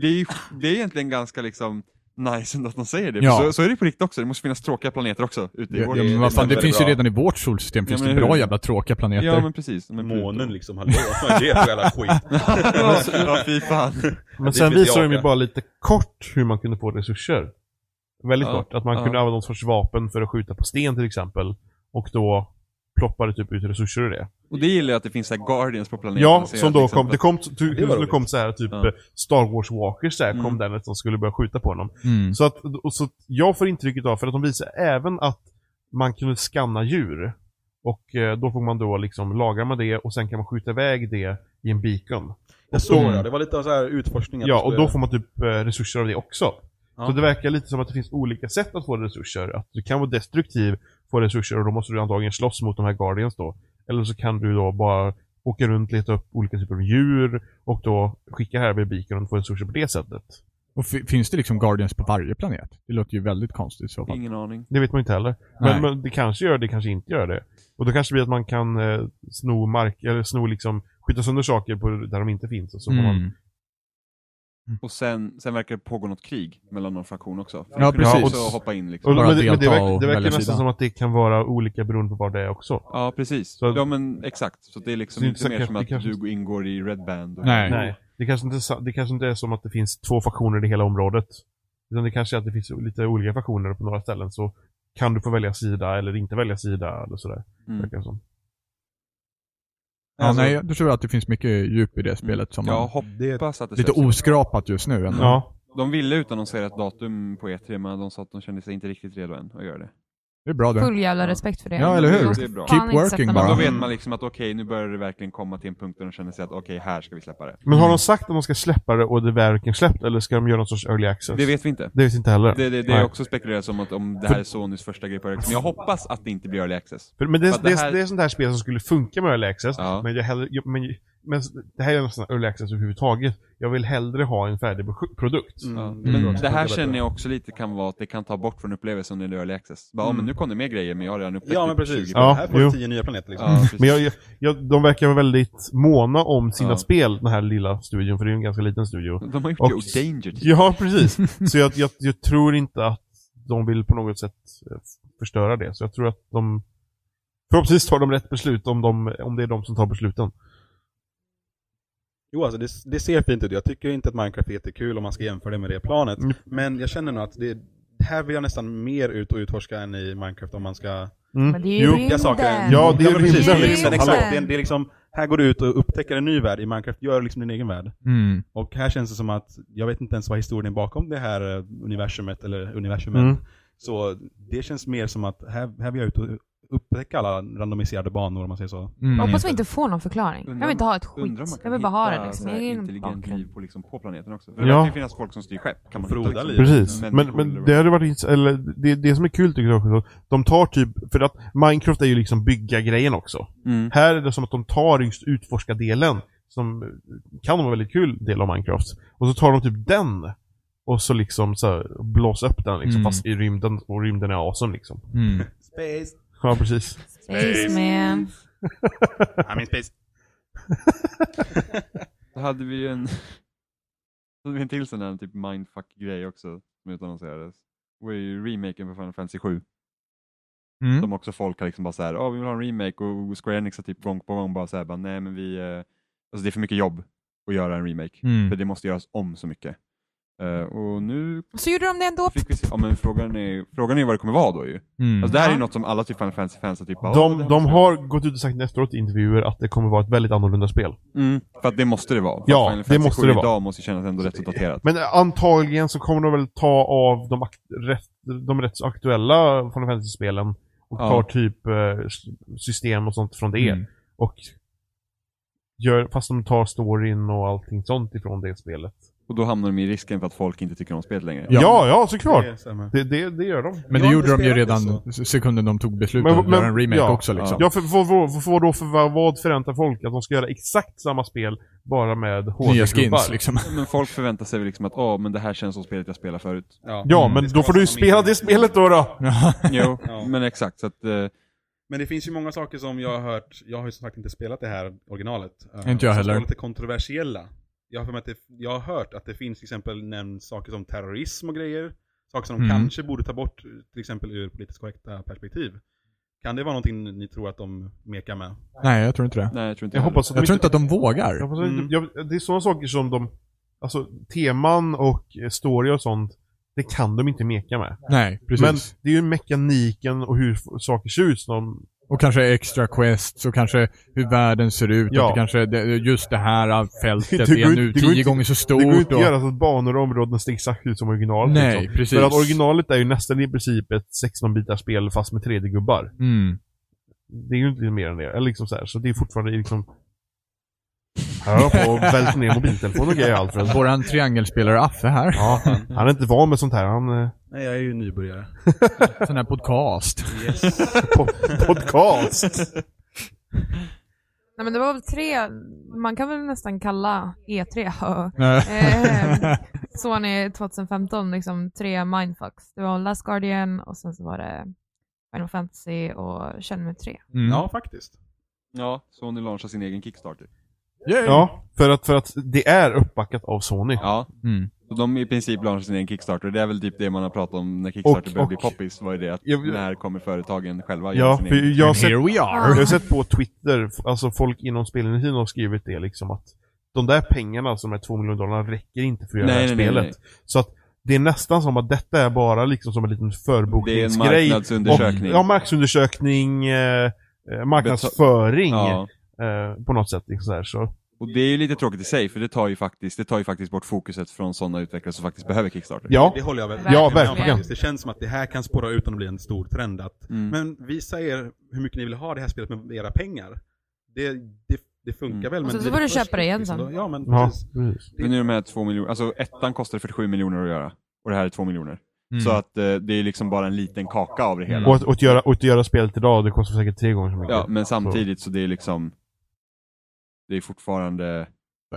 det, är, ju- det är egentligen ganska liksom nice ändå att de säger det. Ja. För Så, så är det på riktigt också, det måste finnas tråkiga planeter också ute i Ja, vår ja, men vad fan, det finns ju bra. redan i vårt solsystem, finns Ja, men det bra hur? jävla tråkiga planeter. Ja men precis. Men Pluto. Månen liksom, hallå, vad är det för jävla skit? ja fy fan. Men det sen vet visar jag, de ju ja. bara lite kort hur man kunde få resurser. Väldigt Ja, kort. Att man ja. kunde använda någon sorts vapen för att skjuta på sten till exempel. Och då ploppade typ ut resurser ur det. Och det gillar jag att det finns så här Guardians på planeten. Ja, Så som jag då liksom- kom, det kom, du, det var det roligt. kom så här typ Ja. eh, Star Wars Walkers så här, Mm. kom den som skulle börja skjuta på honom. Mm. Så att, och så att jag får intrycket av, för att de visar även att man kunde skanna djur. Och eh, då får man då liksom, lagar man det och sen kan man skjuta iväg det i en beacon. Jag såg Mm. det, det var lite av så här utforskning. att Ja, du och skulle- då får man typ eh, resurser av det också. Ja. Så det verkar lite som att det finns olika sätt att få resurser. Att du kan vara destruktiv, få resurser och då måste du antagligen slåss mot de här Guardians då. Eller så kan du då bara åka runt, leta upp olika typer av djur och då skicka här med beacon och få resurser på det sättet. Och fi- finns det liksom Guardians på varje planet? Det låter ju väldigt konstigt i så fall. Ingen aning. Det vet man inte heller. Men, Nej. men det kanske gör det, kanske inte gör det. Och då kanske det blir att man kan eh, sno mark, eller sno liksom, skjuta sönder saker på, där de inte finns. Och så får man, Mm. Och sen, sen verkar det pågå något krig mellan någon fraktion också. För Ja, då kunde man precis. också hoppa in liksom. och, Bara men det, men det, delta verkar, och det verkar välja nästan sida. som att det kan vara olika beroende på var det är också. Ja, precis. Så att- ja, men exakt. Så det är liksom Så det är inte inte mer säkert- som det att kanske- du ingår i Red Band. Och... Nej. Nej. Mm. Det kanske, inte, är sa- det kanske inte är som att det finns två faktioner i hela området. Utan det kanske är att det finns lite olika faktioner på några ställen. Så kan du få välja sida eller inte välja sida eller sådär. Mm. Verkar det som. Ja, Alltså- nej, jag tror att det finns mycket djup i det spelet som Jag ja, Det- hoppas att det lite släpps. oskrapat just nu ändå. Ja. De ville utannonsera ett datum på E3, men de sa att de kände sig inte riktigt redo än att göra det. Det är bra det. Full jävla Ja. respekt för det. Ja, eller hur? Det är bra. Keep Fan, inte working sätta mig. bara. Men då vet Mm. man liksom att okej, nu börjar det verkligen komma till en punkt där de känner sig att okej, här ska vi släppa det. Men har de sagt att de ska släppa det och det verkligen släppt? Eller ska de göra någon sorts early access? Det vet vi inte. Det vet inte heller. Det, det, det Nej. är också spekulerat som att om det här är Sonys första grej på Early Access. Men jag hoppas att det inte blir Early Access. För, men det, För att det, det är- här- det är sånt här spel som skulle funka med early access. Ja. Men, jag hellre, jag, men, men det här är nästan early access överhuvudtaget. Jag vill hellre ha en färdig pro- produkt. Mm. Ja. Mm. Men Mm. det här känner jag också lite kan vara att det kan ta bort från upplevelsen när det är Early Access. Bara, ja, men nu kom det mer grejer, men jag har redan upptäckt Ja, men typ precis. 20 Ja, här får jo. du tio nya planeter liksom. Ja, precis. Men jag, jag, jag, de verkar vara väldigt måna om sina Ja. spel, den här lilla studion, för det är ju en ganska liten studio. De har gjort Och- det Danger typ. Ja, precis. Så jag, jag, jag tror inte att de vill på något sätt eh, förstöra det. Så jag tror att de Förhoppningsvis tar de rätt beslut om, de, om det är de som tar besluten. Jo, alltså det, det ser fint ut. Jag tycker inte att Minecraft är jättekul om man ska jämföra det med det planet. Mm. Men jag känner nog att det, det här vill jag nästan mer ut och utforska än i Minecraft om man ska... Mm. Men det är ju Jo. Jag saknar rymden. en- Ja, det är men precis, rymden, det är liksom. Exakt, Hallå. det, är, det är liksom, här går du ut och upptäcker en ny värld. I Minecraft gör du liksom din egen värld. Mm. Och här känns det som att, jag vet inte ens vad historien är bakom det här eh, universumet, eller universumet. Mm. Så det känns mer som att här, här vill jag ut och upptäcka alla randomiserade banor om man säger så. Mm. Jag hoppas vi inte får någon förklaring. Jag Undrar vill inte ha ett skit. Undrar om man Jag kan vill bara ha det hitta liksom. så här Ingen intelligent bakgrund. liv på, liksom, på planeten också. För Det Ja. verkar ju finnas folk som styr skepp. Kan man hitta, Froda liksom, lite. Precis, människor Typ. men, eller men vad det hade varit, ins- eller det, det som är kul tycker jag också, att de tar typ, för att Minecraft är ju liksom bygga grejen också. Mm. Här är det som att de tar just utforska-delen, som kan vara en väldigt kul del av Minecraft, och så tar de typ den och så liksom så här, blåser upp den liksom, Mm. fast i rymden, och rymden är awesome liksom. Mm. Space! Ja, precis. Space man. I mean space. Då hade vi ju en, då hade vi en till sån där typ mindfuck-grej också som utannonserades. Det var ju remaken på Final Fantasy 7. Mm. Som också folk har liksom bara såhär, ja vi vill ha en remake och Square Enix har typ gång på gång bara såhär, bara, nej men vi, eh, alltså det är för mycket jobb att göra en remake. Mm. För det måste göras om så mycket. Eh, och nu Så gjorde de det ändå. fick vi se, ja men frågan är, frågan är vad det kommer vara då ju. Mm. Alltså det här är ju Ja. något som alla typ Final Fantasy-fans har typ bara, "Åh, det De, här de måste har gått ut och sagt efteråt i intervjuer att det kommer vara ett väldigt annorlunda spel. vi göra." Mm, för att det måste det vara. För Ja, att Final det Fantasy måste 7 det vara. Alltså, idag måste ju kännas ändå rätt så daterat. Men antagligen så kommer de väl ta av de, akt- rätt, de rätt så aktuella Final Fantasy-spelen och Ja. tar typ eh, s- system och sånt från det. Mm. Och gör, fast de tar storyn och allting sånt ifrån det spelet. Och då hamnar de i risken för att folk inte tycker om spelet längre. Ja, ja, såklart. Det är samma. Det, det, det gör de. Men det Jag har gjorde inte de ju spelat det redan sekunden de tog beslutet Men- att göra en men- remake ja. också liksom. Ja, för, för, för, för, för, då, för vad- vad förväntar folk? Att de ska göra exakt samma spel, bara med Nya hårdgubbar. skins liksom. Men folk förväntar sig väl liksom att, åh men det här känns som spelet jag spelar förut. Ja. Ja, Mm. men Det ska då får vara du ju som spela min- det spelet då. då. Ja. Jo, Ja. men exakt. Så att, eh, Men det finns ju många saker som jag har hört, jag har ju som sagt inte spelat det här originalet. Eh, Inte jag som heller. är lite kontroversiella. Jag har, för mig att det, jag har hört att det finns till exempel nämnt saker som terrorism och grejer. Saker som de Mm. kanske borde ta bort, till exempel ur politiskt korrekta perspektiv. Kan det vara någonting ni tror att de mekar med? Nej, jag tror inte det. nej jag tror inte Jag heller. hoppas att de Jag tror inte att de vågar. Jag förstår Mm. inte- jag, det är sådana saker som de, alltså teman och eh, story och sånt, det kan de inte meka med. Nej, precis. Men det är ju mekaniken och hur f- saker ser ut som de, Och kanske extra quests och kanske hur världen ser ut. Ja. Att det kanske, det, just det här äh, fältet Det går är inte- nu det går tio inte- gånger så stort. Det går ju inte och... att göra så att banor och områden ser exakt ut som originalet. Nej, liksom. precis. För att originalet är ju nästan i princip ett 16-bitars spel fast med 3D-gubbar. Mm. Det är ju inte mer än det. Eller liksom så, här. så det är fortfarande liksom... Här har jag på och vält ner mobiltelefonen och grejer Alfred. Våran triangelspelare Affe här. Ja, han är inte van med sånt här. Han... eh, Nej, jag är ju nybörjare. Mm. Sån här podcast. Yes. po- podcast! Nej men det var väl tre, man kan väl nästan kalla E E3 hö. Eh, Sony 2015, liksom tre mindfucks. Det var Last Guardian och sen så var det Final Fantasy och Shenmue 3. mm. Ja, faktiskt. Ja, Sony launchar sin egen Kickstarter. Yay. Ja, för att, för att det är uppbackat av Sony. Ja, Mm. så de i princip launchar sin egen Kickstarter. Det är väl typ det man har pratat om när Kickstarter Och- började bli och- poppis. Var ju det att Jag- när kommer företagen själva göra Ja, sin för egen? jag har And sett, Here we jag har are. sett på Twitter, f- alltså folk inom spelindustrin har skrivit det liksom att de där pengarna, som är 2 miljoner dollar, räcker inte för att göra Nej, det här nej, nej, spelet. nej. Så att det är nästan som att detta är bara liksom som en liten Det är en förbokningsgrej. marknadsundersökning. Och, ja, marknadsundersökning, eh, eh, marknadsföring Ja. eh, på något sätt. Liksom så här, så. Och det är ju lite tråkigt i sig, för det tar ju faktiskt, det tar ju faktiskt bort fokuset från sådana utvecklare som faktiskt behöver Kickstarter. Ja, Det håller jag väl Ja, med om verkligen. faktiskt. Det känns som att det här kan spåra ut om det blir en stor trend. Att, Mm. Men visa er hur mycket ni vill ha det här spelet med era pengar. Det, det, det funkar Mm. väl. Men Och sen så blir får du först köpa det igen liksom sen. då- Ja, men ja precis. precis. Men nu är de här två miljoner, alltså ettan kostade 47 miljoner att göra. Och det här är två miljoner. Mm. Så att eh, det är liksom bara en liten kaka av det hela. Och, att, och, att göra, och att göra spelet idag, det kostar säkert tre gånger så mycket. Ja, men samtidigt så det är liksom, det är fortfarande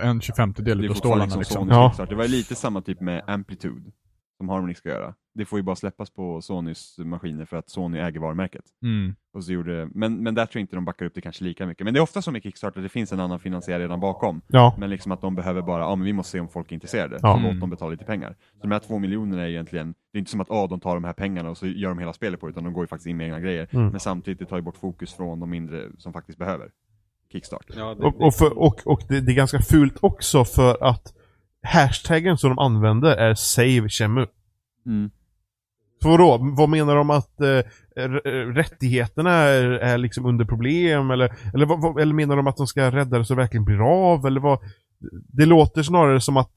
En 25 Det del är av fortfarande stålarna liksom liksom. Sonys Ja. Kickstarter. Det var ju lite samma typ med Amplitude som Harmonix ska göra. Det får ju bara släppas på Sonys maskiner för att Sony äger varumärket. Mm. Och så gjorde, men, men där tror jag inte de backar upp det kanske lika mycket. Men det är ofta som i Kickstarter, det finns en annan finansiär redan bakom. Ja. Men liksom att de behöver bara, ja men vi måste se om folk är intresserade. Ja. Mm. Så låt dem betala lite pengar. Så de här två miljonerna är egentligen, det är inte som att ah, de tar de här pengarna och så gör de hela spelet på det, utan de går ju faktiskt in med egna grejer. Mm. Men samtidigt, det tar ju bort fokus från de mindre som faktiskt behöver Kickstarter. Ja, det, Och, och, för, och, och det, det är ganska fult också för att hashtaggen som de använder är save Chemu. Mm. Så vadå? Vad menar de att eh, r- eh, rättigheterna är, är liksom under problem? Eller, eller, vad, vad, eller menar de att de ska rädda det så det verkligen blir av? Eller vad? Det låter snarare som att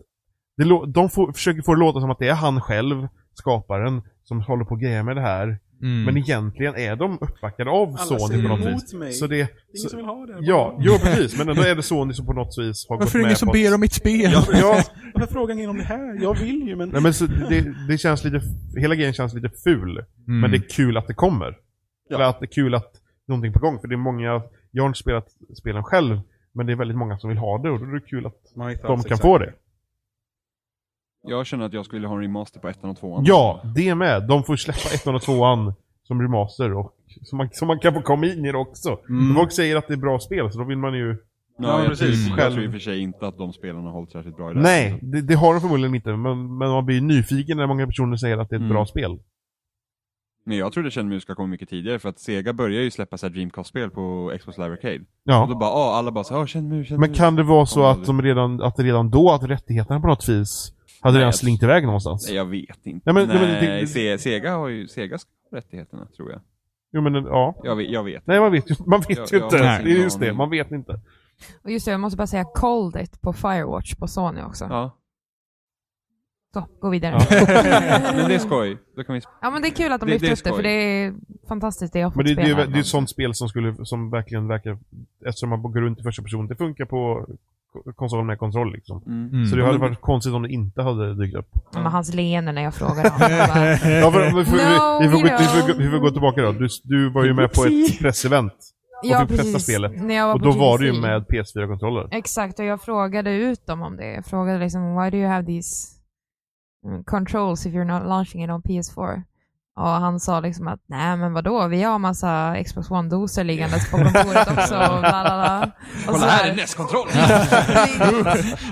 det, lå- de får, försöker få det låta som att det är han själv, skaparen, som håller på att greja med det här. Mm. Men egentligen är de uppbackade av Sony på något vis. mig. Så det, ingen så, som vill ha det. ja, jo precis. Men ändå är det Sony som på något vis har gått Varför är med det ingen som på att- ber om mitt spel? Ja, Ja. Varför frågar ingen om det här? Jag vill ju men... Nej men så det, det känns lite, hela grejen känns lite ful. Mm. Men det är kul att det kommer. Ja. Eller att det är kul att någonting är på gång. För det är många, jag har inte spelat spelen själv. Men det är väldigt många som vill ha det och då är det kul att Might de House, kan alltså exakt. få det. Jag känner att jag skulle vilja ha en remaster på ettan och tvåan. Ja, det med. De får släppa ettan och tvåan som remaster och så man, så man kan få komma in i det också. Mm. Folk säger att det är bra spel så då vill man ju... Ja, jag, precis. precis. Tror, jag Själv. tror i och för sig inte att de spelarna har hållit särskilt bra i det här. Nej, det, det har de förmodligen inte. Men, men man blir ju nyfiken när många personer säger att det är ett Mm. bra spel. Men jag trodde Känn Music komma mycket tidigare för att Sega började ju släppa så här Dreamcast-spel på Xbox Live Arcade. Och då Ja. bara, ah, alla bara så här, ah, Känn Music, Känn Men Music." kan det vara så Kommer att, de redan, att det redan då, att rättigheterna på något vis hade Nej, redan jag- slinkit iväg någonstans? Nej, jag vet inte. Nej, men- nej, Nej, men det- Se, Sega har ju, Sega ska ha rättigheterna tror jag. Jo men ja. Jag, vet- jag vet. Nej, man vet ju, man vet Jag- ju jag inte. har det ingen är just aning. det, man vet inte. Och just det, jag måste bara säga called it på Firewatch på Sony också. Ja. Så, gå vidare. Ja. Men det är skoj. Då kan vi... Ja men det är kul att de Det- det lyfter är upp det, för skoj. det är fantastiskt det jag har Men fått det, det, är, spela. det är ett sånt spel som, skulle, som verkligen verkar, eftersom man går runt i första person, det funkar på ko- konsol med kontroll liksom. Mm. Mm. Så det hade Men- varit konstigt om det inte hade dykt upp. Men hans leende när jag frågar honom. han bara, Ja, för, vi, får, vi, vi, får, gå- vi, får, gå- No, vi får gå tillbaka då. Du, du var ju med på ett pressevent ja fick testa precis. spelet. När jag var och på då var du ju GDC. med PS4-kontroller. Exakt, och jag frågade ut dem om det. Jag frågade liksom, why do you have these mm, controls if you're not launching it on PS4? Och han sa liksom att, nej men vadå, vi har massa Xbox One-doser liggandes på kontoret också. Och bla, bla, bla. Och så här. nästkontroll!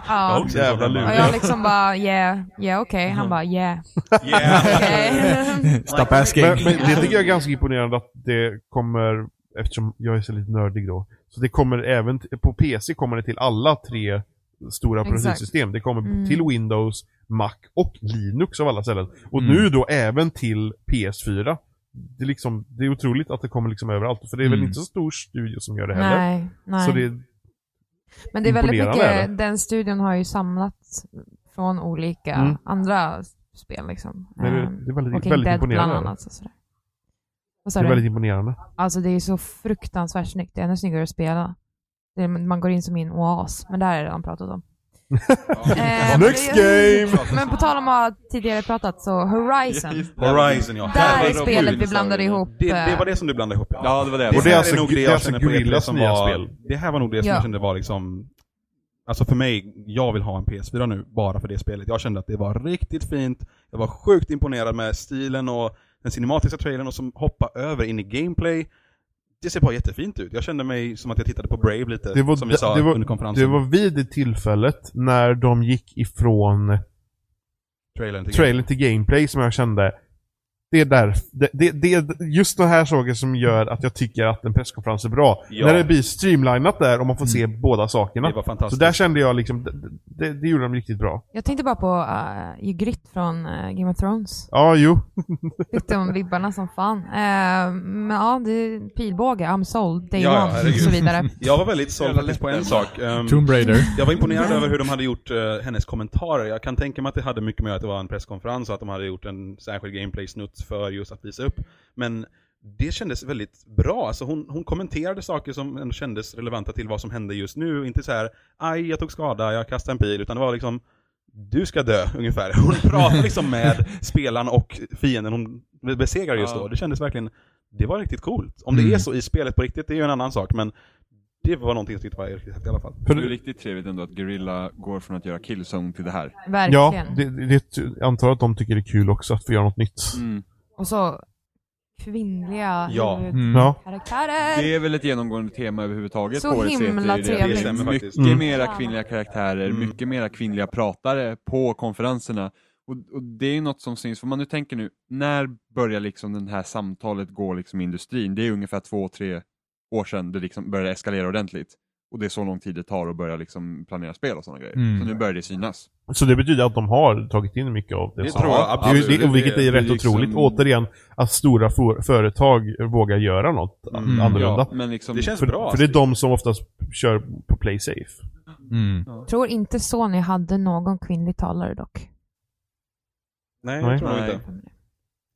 ja. Jävla Och jag liksom bara, yeah, yeah okej. Mm. Han bara, yeah, okej. Stop asking. Men, men det tycker jag är ganska imponerande att det kommer, eftersom jag är så lite nördig då, så det kommer även, t- på PC kommer det till alla tre stora Exakt. operativsystem. Det kommer Mm. till Windows, Mac och Linux av alla ställen. Och Mm. nu då även till PS4. Det är, liksom, det är otroligt att det kommer liksom överallt, för det är väl Mm. inte så stor studio som gör det heller. nej, nej. Så det, Men det är väldigt Imponerande är mycket, den studion har ju samlats från olika Mm. andra spel liksom. nej, det, Ehm, det är väldigt, Walking väldigt Dead bland imponerande. annat. Så sådär. Det Vad sa är du? väldigt imponerande. Alltså det är ju så fruktansvärt snyggt. Det är ännu snyggare att spela. Det är, man går in som i en oas, men det här har jag redan pratat om. Ehm, Next det- game! Men på tal om att ha tidigare pratat så Horizon. Horizon ja. Där är Herregud. spelet vi blandade ihop. Det, det eh, var det som du blandade ihop Ja, det var det. Och det är här alltså- nog det är jag alltså känner på E3 Gorillas som nya var- spel. Det här var nog det som Ja. jag kände var liksom... Alltså för mig, jag vill ha en PS4 nu bara för det spelet. Jag kände att det var riktigt fint, jag var sjukt imponerad med stilen och den cinematiska trailern och som hoppa över in i gameplay. Det ser bara jättefint ut. Jag kände mig som att jag tittade på Brave lite, Det var som d- vi sa det var- under konferensen. Det var vid det tillfället när de gick ifrån trailern till trailern till gameplay som jag kände det är där, det, det, det är just de här saker som gör att jag tycker att en presskonferens är bra. Ja. När det blir streamlinat där och man får se båda gameplay. sakerna. Det var Så fantastiskt. där kände jag liksom, det, det, det gjorde de riktigt bra. Jag tänkte bara på uh, Ygritte från eh, Game of Thrones. Ja, jo. Fick de vibbarna som fan. Eh, men ja, det är pilbåge, I'm sold, day Ja, ja, one och herregud. så vidare. Jag var väldigt såld faktiskt på en sak. Ehm, Tomb Raider. Jag var imponerad över hur de hade gjort eh, hennes kommentarer. Jag kan tänka mig att det hade mycket med att det var en presskonferens och att de hade gjort en särskild gameplay-snutt för just att visa upp. Men det kändes väldigt bra. Alltså hon, hon kommenterade saker som ändå kändes relevanta till vad som hände just nu. Inte så här, aj jag tog skada, jag kastade en pil, utan det var liksom du ska dö, ungefär. Hon pratade liksom med spelaren och fienden hon besegrar just Ja. då. Det kändes verkligen, det var riktigt coolt. Om det Mm. är så i spelet på riktigt, det är ju en annan sak, men det var någonting jag tyckte var riktigt häftigt i alla fall. För Det är det, riktigt trevligt ändå att Guerrilla går från att göra Killzone till det här. ja, Verkligen. det, det, jag antar att de tycker det är kul också att få göra något nytt. Mm. Och så kvinnliga Ja. Mm. Ja. huvudkaraktärer. Det är väl ett genomgående tema överhuvudtaget Så på årets himla E3, det är det. trevligt. Det stämmer faktiskt. Mycket Mm. mera kvinnliga karaktärer, Mm. mycket mera kvinnliga pratare på konferenserna. Och, och det är ju något som syns, för om man nu tänker nu, när börjar liksom den här samtalet gå liksom i industrin? Det är ungefär två, tre år sedan det liksom började eskalera ordentligt. Och det är så lång tid det tar att börja liksom planera spel och sådana grejer. Mm. Så nu börjar det synas. Så det betyder att de har tagit in mycket av det. Det som- tror jag Det är ju- absolut. det, och vilket är Det- rätt det är liksom- otroligt. Återigen, att stora for, företag vågar göra något Mm, annorlunda. Men liksom, Det känns För, bra. alltså. för det är de som oftast kör på play safe. Mm. Tror inte Sony hade någon kvinnlig talare dock. Nej, Nej. jag tror nog Nej. inte.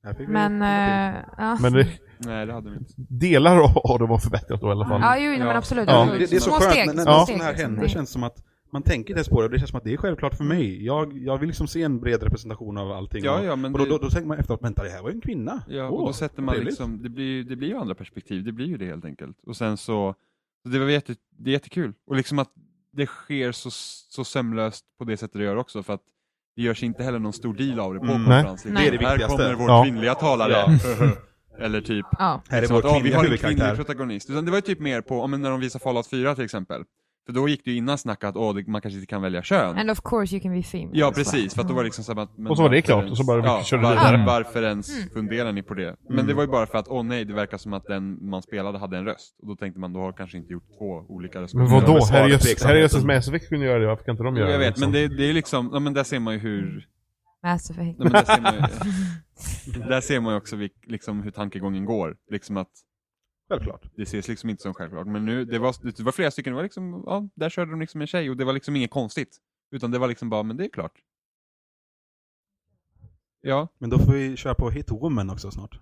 Här fick vi- Men, eh, ja. Men det, Nej, det hade vi inte. delar av dem har förbättrat då i alla fall. ja, jo, Ja. men absolut. Ja. Det, det är så små skönt steg. när, när små något steg, sånt här liksom. händer Nej. känns som att man tänker inte ens på det, det känns som att det är självklart för mig. Jag, jag vill liksom se en bred representation av allting. Ja, och, ja, men och då, det- då, då tänker man efteråt, vänta det här var ju en kvinna. Ja, Åh, och då sätter man trevligt. liksom, det blir, ju- det blir ju andra perspektiv, det blir ju det helt enkelt. Och sen så, så det var jätte, det är jättekul. Och liksom att det sker så, så sömlöst på det sättet det gör också, för att det görs inte heller någon stor deal av det på Mm. konferens. Liksom. Nej. Det är det Här viktigaste. kommer vår Ja. kvinnliga talare. Ja. Eller typ, Ja. Här är liksom vår att, ja, vi kvinnliga har en kvinnlig huvudkaraktär. protagonist. Utan det var ju typ mer på, ja, men när de visar Fallout 4 till exempel. För då gick det ju innan snack att åh, det, man kanske inte kan välja kön. And of course you can be female. Ja as well. precis, för att då var det liksom så här att, men Alltså. Och så var det varför klart, ens- och så bara vi ja, körde var- vidare. Mm. Varför ens funderar ni på det? Men det var ju bara för att, åh nej, det verkar som att den man spelade hade en röst. Och då tänkte man, då har kanske inte gjort två olika röster. Men Ja, vadå? men svaret Herrejösses, tveksamheten. herrejösses Mass Effect kunde göra det, varför kan inte de Jo, göra det? jag vet, liksom? men det, det är liksom, ja, men där ser man ju hur... Mass Effect. Ja, men där, ser man ju, där ser man ju också vilk, liksom hur tankegången går. Liksom att Självklart. det ses liksom inte som självklart. Men nu, det var, det var flera stycken, det var liksom, ja, där körde de liksom en tjej och det var liksom inget konstigt. Utan det var liksom bara, men det är klart. Ja. Men då får vi köra på Hitwoman också snart.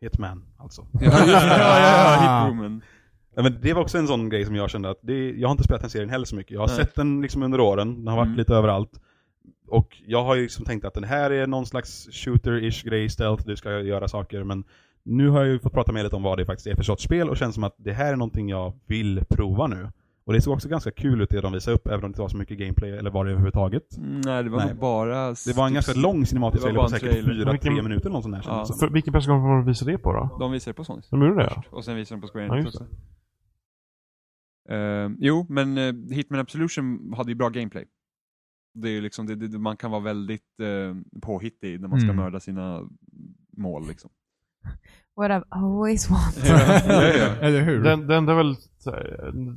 Hitman, alltså. Ja, ja, Ah. ja, Hitwoman. Ja, men det var också en sån grej som jag kände att det, jag har inte spelat den serien heller så mycket. Jag har Nej. sett den liksom under åren, den har varit Mm. lite överallt. Och jag har ju liksom tänkt att den här är någon slags shooter-ish grej, stealth, du ska göra saker. Men nu har jag ju fått prata med lite om vad det faktiskt är för sorts spel och känns som att det här är någonting jag vill prova nu. Och det såg också ganska kul ut det de visade upp, även om det inte var så mycket gameplay eller vad det är överhuvudtaget. Nej, det var Nej. nog bara... Det var en typ- ganska lång Det cinematisk var trailer bara på en säkert trailer. fyra, tre Vilken- minuter eller något sånt där. Ja. känns det som. För, vilken presskonferens var det de visade det på då? De visade det på Sony. De gjorde det? ja. Och sen visade de på Square Ja, Enix just också. Eh, jo, men eh, Hitman Absolution hade ju bra gameplay. Det är ju liksom, det, det, man kan vara väldigt eh, påhittig när man ska Mm. mörda sina mål liksom. What I've always wanted. Eller hur? Den, den där väl, så här,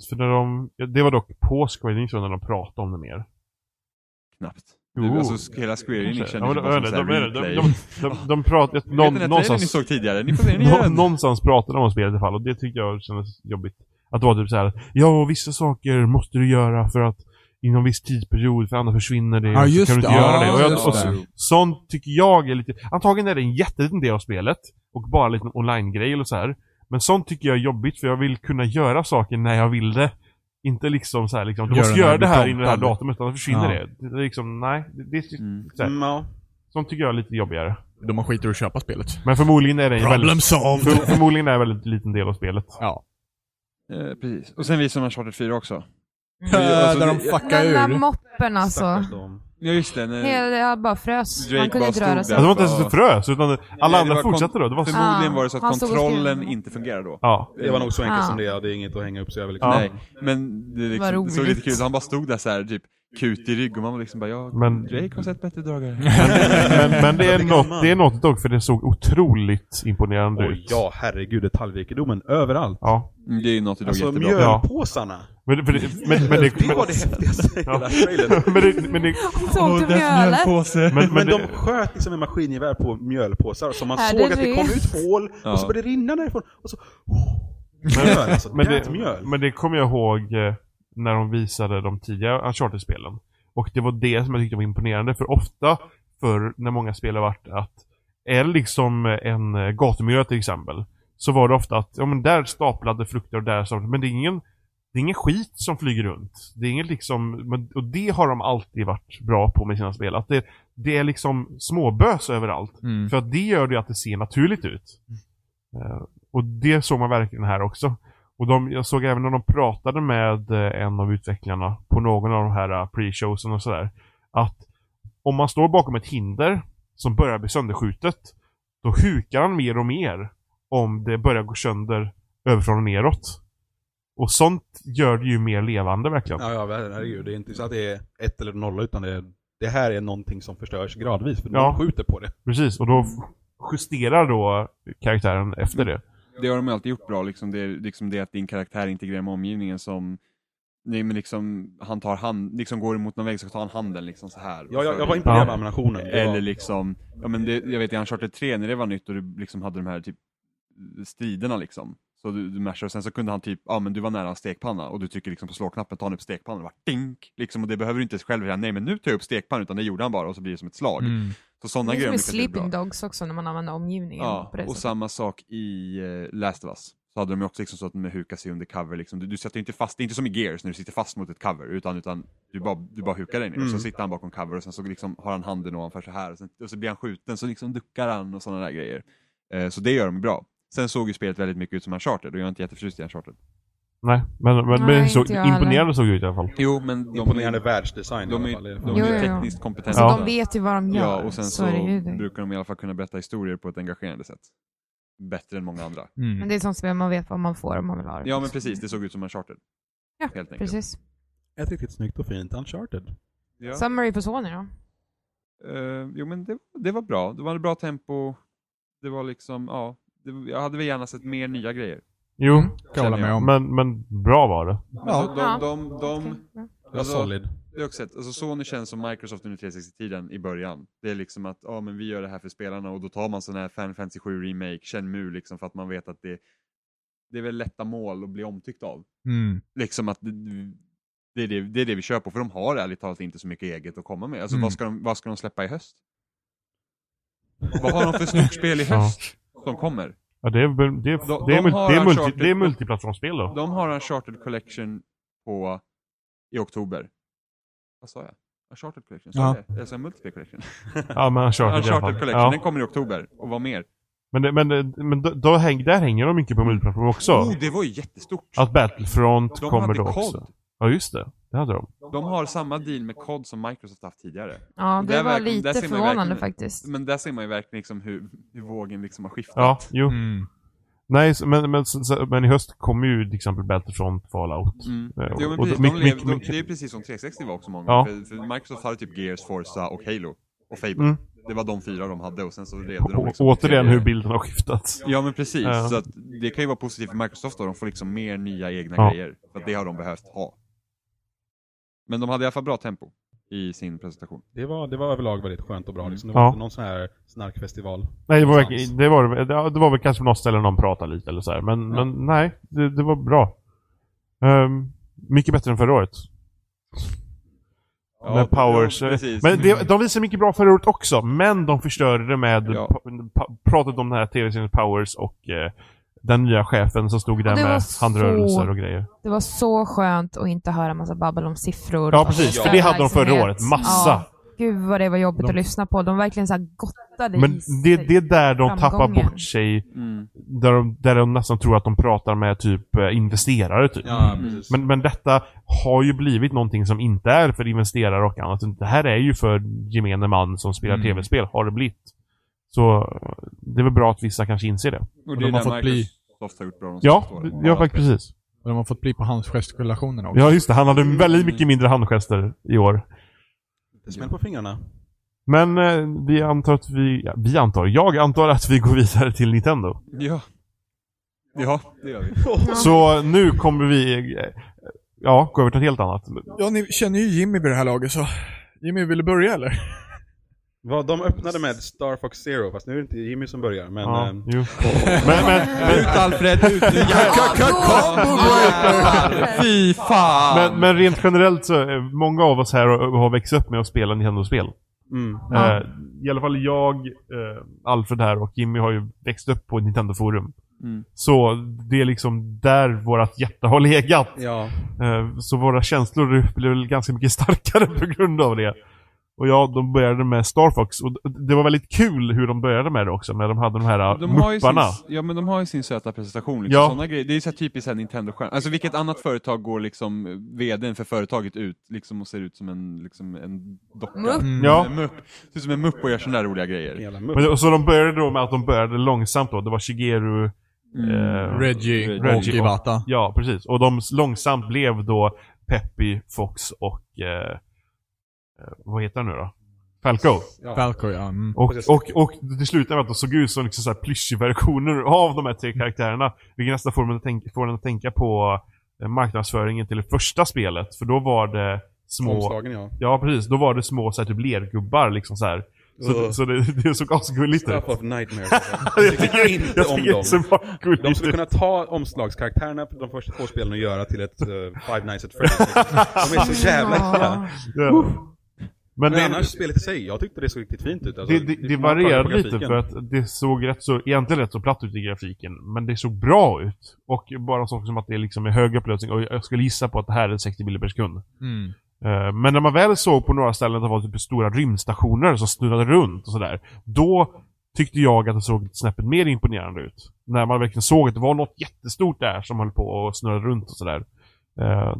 för när de, det var dock på Square Enix när de pratade om det mer. Knappt. Jo. Du, alltså hela Square Enix Kanske. Ja, kändes ju men bara som de- såhär de- de- replay. de- De, de pratade, Ni Vet den någon, här trailern ni någonstans, såg tidigare? Ni får se den nå, igen! någonstans pratade de om spelet i alla fall och det tyckte jag kändes jobbigt. Att det var typ så här, att, ja vissa saker måste du göra för att inom viss tidsperiod, för annars försvinner det. Ja, och så just kan du inte det. göra Ja, det. Och jag, just och, det. så- sånt tycker jag är lite, antagligen är det en jätteliten del av spelet och bara en liten online-grej eller så här. Men sånt tycker jag är jobbigt för jag vill kunna göra saker när jag vill det. Inte liksom så här, liksom, du Göra måste när göra du det här promptar. innan det här datumet, annars försvinner Ja. det. Det är liksom, nej. Det, det, är- Mm. så här. Mm, ja. Sånt tycker jag är lite jobbigare. De har skiter att köpa spelet. Men förmodligen är det en väldigt, Problem solved! för, förmodligen är det en väldigt liten del av spelet. Ja. Eh, precis. Och sen visade de Uncharted 4 också. Mm. Där de fuckar Den där ur. moppen alltså. Stackars dem. Ja just det, när- Hela- Jag bara frös. Drake Man kunde bara inte stod röra Alltså, sig. det var inte ens ett frös, utan alla det andra var kon- fortsatte då. Det var så... förmodligen Ah, var det så att han stod och kontrollen skrev. inte fungerade då. Ja. Det var nog så enkelt Ja. som det är, det är inget att hänga upp sig över liksom. Ja. Nej, men det, är Vad liksom, det roligt. såg lite kul ut. Han bara stod där så här, typ kut i rygg och man var liksom bara ja, Men, Drake har sett bättre dagar. men, men det, är kan något, man. det är något dock, för det såg otroligt imponerande Oj, ut. ja herregud, detaljrikedomen överallt. Ja. Mm, Det är ju något idag Alltså jättebra. mjölpåsarna. Men, för det, men, men, det, Det var det häftigaste i hela trailern. men, men, det, men, det, Såg du mjölet? men, Men men, de det, sköt liksom en maskingevär på mjölpåsar som man Är såg det att det det? kom ut hål Ja. och så började det rinna därifrån. Och så... Mjöl alltså, men, det, det, mjöl. men det kommer jag ihåg eh, när de visade de tidigare Uncharted-spelen. Och det var det som jag tyckte var imponerande, för ofta förr när många spel har varit att är det liksom en eh, gatumiljö till exempel. Så var det ofta att, ja men där staplade frukter och där staplade, men det är ingen det är ingen skit som flyger runt. Det är ingen liksom, men- och det har de alltid varit bra på med sina spel. Att det, det är liksom småbös överallt. Mm. För att det gör det ju att det ser naturligt ut. Eh, och det såg man verkligen här också. Och de, jag såg även när de pratade med eh, en av utvecklarna på någon av de här eh, pre-showsen och sådär. Att om man står bakom ett hinder som börjar bli sönderskjutet. Då hukar han mer och mer om det börjar gå sönder överifrån och neråt. Och sånt gör det ju mer levande verkligen. Ja, ja, herregud. Det är inte så att det är ett eller noll utan det, är, det här är någonting som förstörs gradvis för Ja. någon skjuter på det. Precis, och då justerar då karaktären efter det. Det har de alltid gjort bra, liksom det, är liksom det att din karaktär integrerar med omgivningen som Nej men liksom, han tar hand, liksom går emot någon väg så tar han handen liksom så här. Ja, jag, jag var imponerad Ja. av animationen. Det var- Eller liksom, ja men det, jag vet i Uncharted 3 när det var nytt och du liksom hade de här typ striderna liksom. Så du, du mashar och sen så kunde han typ, ja men du var nära en stekpanna och du trycker liksom på slåknappen, tar han upp stekpannan och bara dink! Liksom och det behöver du inte själv säga, nej men nu tar jag upp stekpannan utan det gjorde han bara och så blir det som ett slag. Mm. Så sådana Det är grejer som har i mycket blivit bra. Sleeping Dogs också när man använder omgivningen Ja, på det och sättet. samma sak i eh, Last of Us. Så hade de ju också liksom så att de hukar sig under cover. Liksom. Du, du sätter ju inte fast, det är inte som i Gears när du sitter fast mot ett cover, utan, utan du, bara, du bara hukar dig ner. Mm. Så sitter han bakom cover och sen så liksom har han handen ovanför så här och, sen, och så blir han skjuten så liksom duckar han och sådana där grejer. Eh, så det gör de bra. Sen såg ju spelet väldigt mycket ut som Uncharted och jag är inte jätteförtjust i Uncharted. Nej, men, men, men Nej, så, inte jag heller. imponerande såg det ut i alla fall. Jo, men de, Imponerande världsdesign de är i ju alla fall. i de Jo, alla fall. är jo, ju jo. tekniskt kompetenta. Alltså de vet ju vad de gör. ja, och sen så, är det ju. brukar de i alla fall kunna berätta historier på ett engagerande sätt. Bättre än många andra. Mm. Men det är sånt spel man vet vad man får om man vill ha det. Ja, men precis. Det såg ut som Uncharted. Ja, helt enkelt. Precis. Ett riktigt snyggt och fint Uncharted. Ja. Summary på Sony då? Eh, jo men det, det var bra. Det var ett bra tempo. Det var liksom, ja. Det, jag hade väl gärna sett mer nya grejer. Jo, Mm. kan jag hålla med om. men, men bra var det. Alltså, Ja. de, de, de, Okej, bra. Det var Alltså, solid. det är också ett, alltså Sony känns som Microsoft under 360-tiden i början. Det är liksom att, ja men vi gör det här för spelarna och då tar man sån här Final Fantasy 7 Remake, Shenmue liksom för att man vet att det, det är väl lätta mål att bli omtyckt av. Mm. liksom att det, det, är det, det är det vi kör på, för de har ärligt talat inte så mycket eget att komma med. Alltså Mm. vad, ska de, vad ska de släppa i höst? vad har de för stort spel i höst som kommer? Ja, det är, väl- det är, De- det är, de mul- har det är, multi, Uncharted- det är multiplattformsspel då. De har en Chartered Collection på, i oktober. Vad sa jag? Uncharted Collection? Sa Ja. jag det? Jag sa Multiplayer Collection. Ja, men Uncharted i alla fall. Uncharted Collection, Ja. den kommer i oktober. Och vad mer? Men, det, men, det- men då, då häng, där hänger de mycket på multiplattform också. Oh, det var ju jättestort! Att Battlefront De kommer hade då COD. också. Ja, just det. Det hade de. De har samma deal med COD som Microsoft haft tidigare. Ja, Där det var verkar- där lite ser man förvånande verkligen- faktiskt. Men där ser man ju verkligen liksom hur, hur vågen liksom har skiftat. Ja, jo. Mm. Nej, så- men, men, så- så- men i höst kommer ju till exempel Battlefront, Fallout. Mm. Eh, Jo, men och då- precis, de mycket- lever- mycket- de, mycket- det är precis som 360 var också många Ja. för, för Microsoft hade typ Gears, Forza och Halo och Fable. Mm. Det var de fyra de hade och sen så levde de Å- liksom återigen hur bilden har skiftats. Ja men precis, Ja. så att det kan ju vara positivt för Microsoft då, de får liksom mer nya egna Ja. grejer. För att det har de behövt ha. Men de hade i alla fall bra tempo i sin presentation. Det var, det var överlag väldigt skönt och bra. Liksom. Det Mm. Ja. var inte någon sån här snarkfestival. Nej, det var, Någonstans. verkligen- det, var, det, var, det var väl kanske på något ställe någon pratade lite eller så här. Men, Ja. men nej, det, det var bra. Ehm, mycket bättre än förra året. med powers. Jo, precis. men det, de visade mycket bra förra året också, men de förstörde det med Ja. pa- pa- pratet om den här tv-serien Powers och eh, den nya chefen som stod där det var med så- handrörelser och grejer. Det var så skönt att inte höra massa babbel om siffror. Ja, och precis. ja. För det hade de förra verksamhet. året. Massa. Ja. Gud vad det var jobbigt De- att lyssna på. De verkligen så här gottade Men i sig. det, det är där de tappar Framgången. bort sig. Mm. Där de, där de nästan tror att de pratar med typ eh, investerare, typ. Ja, Mm. precis. Men, men detta har ju blivit någonting som inte är för investerare och annat. Det här är ju för gemene man som spelar Mm. tv-spel, har det blivit. Så eh, det är väl bra att vissa kanske inser det. Och de har där fått bli- Microsoft har gjort bra de Ja, senaste åren. ja faktiskt precis. Och de har fått bli på hans gestikulationer också. Ja, just det. Han hade väldigt mycket mindre handgester i år. Det smäll på fingrarna. Men eh, vi antar att vi... Ja, vi antar. Jag antar att vi går vidare till Nintendo. Ja. Ja, det gör vi. Så nu kommer vi... eh, Ja, gå över till något helt annat. Ja, ni känner ju Jimmy vid det här laget så... Jimmy, vill du börja eller? Vad de öppnade med Star Fox Zero, fast nu är det inte Jimmy som börjar. Men, Ja, ehm, jo. men, men, men, Ut Alfred, ut! nu Ja, jävlar! då- Fy fan! men, men rent generellt så, eh, många av oss här har har växt upp med att spela Nintendo-spel. mm. Ja. Eh, I alla fall jag, eh, Alfred här och Jimmy har ju växt upp på ett Nintendo-forum. Mm. Så det är liksom där vårt hjärta har legat. Ja. Eh, Så våra känslor blev väl ganska mycket starkare på grund av det. Och ja, de började med Star Fox. Och d- det var väldigt kul hur de började med det också, när de hade de här de De har ju sin, mupparna. ja men de har ju sin söta presentation. Liksom. Ja. Såna grejer. Det är ju så här typiskt så här Nintendo-stjärna. Alltså vilket annat företag går liksom eh, vdn för företaget ut liksom, och ser ut som en, liksom, en docka? Mupp. Mm. Ja. En mupp. Ser ut som en mupp och gör sådana där roliga grejer. Jävla mupp. Men, och så de började då med att de började långsamt då. Det var Shigeru... Mm. eh, Reggie, Reggie. och Iwata. Ja, precis. Och de s- långsamt blev då Peppy, Fox och... Eh, eh, vad heter han nu då? Falco. Ja. Falco, ja. Mm. Och, Precis. och, och det slutade med att de såg ut som liksom så här plyschversioner av de här tre karaktärerna. Vilket nästan får, mig att tänka, får en att tänka på eh, marknadsföringen till det första spelet. För då var det små... Omslagen ja. Ja, precis. Då var det små så här, typ lergubbar liksom så här. Så, Ugh. så det, det såg asgulligt ut. Stuff of nightmares. alltså. Jag tycker inte jag om tycker dem. det såg bara gulligt De skulle ut. kunna ta omslagskaraktärerna på de första två spelen och göra till ett eh, Five Nights at Freddy's. De är så jävla äckliga. Ja. Ja. Men, Men det, annars spelet i sig, jag tyckte det såg riktigt fint ut. Alltså, det, det, det man kollar på varierade lite grafiken. för att det såg rätt så, egentligen rätt så platt ut i grafiken. Men det såg bra ut. Och bara saker som att det liksom är hög upplösning. Och jag skulle gissa på att det här är 60 bilder per sekund. Mm. Eh, Men när man väl såg på några ställen att det var typ stora rymdstationer som snurrade runt och sådär. Då tyckte jag att det såg snäppet mer imponerande ut. När man verkligen såg att det var något jättestort där som höll på och snurrade runt och sådär. Eh,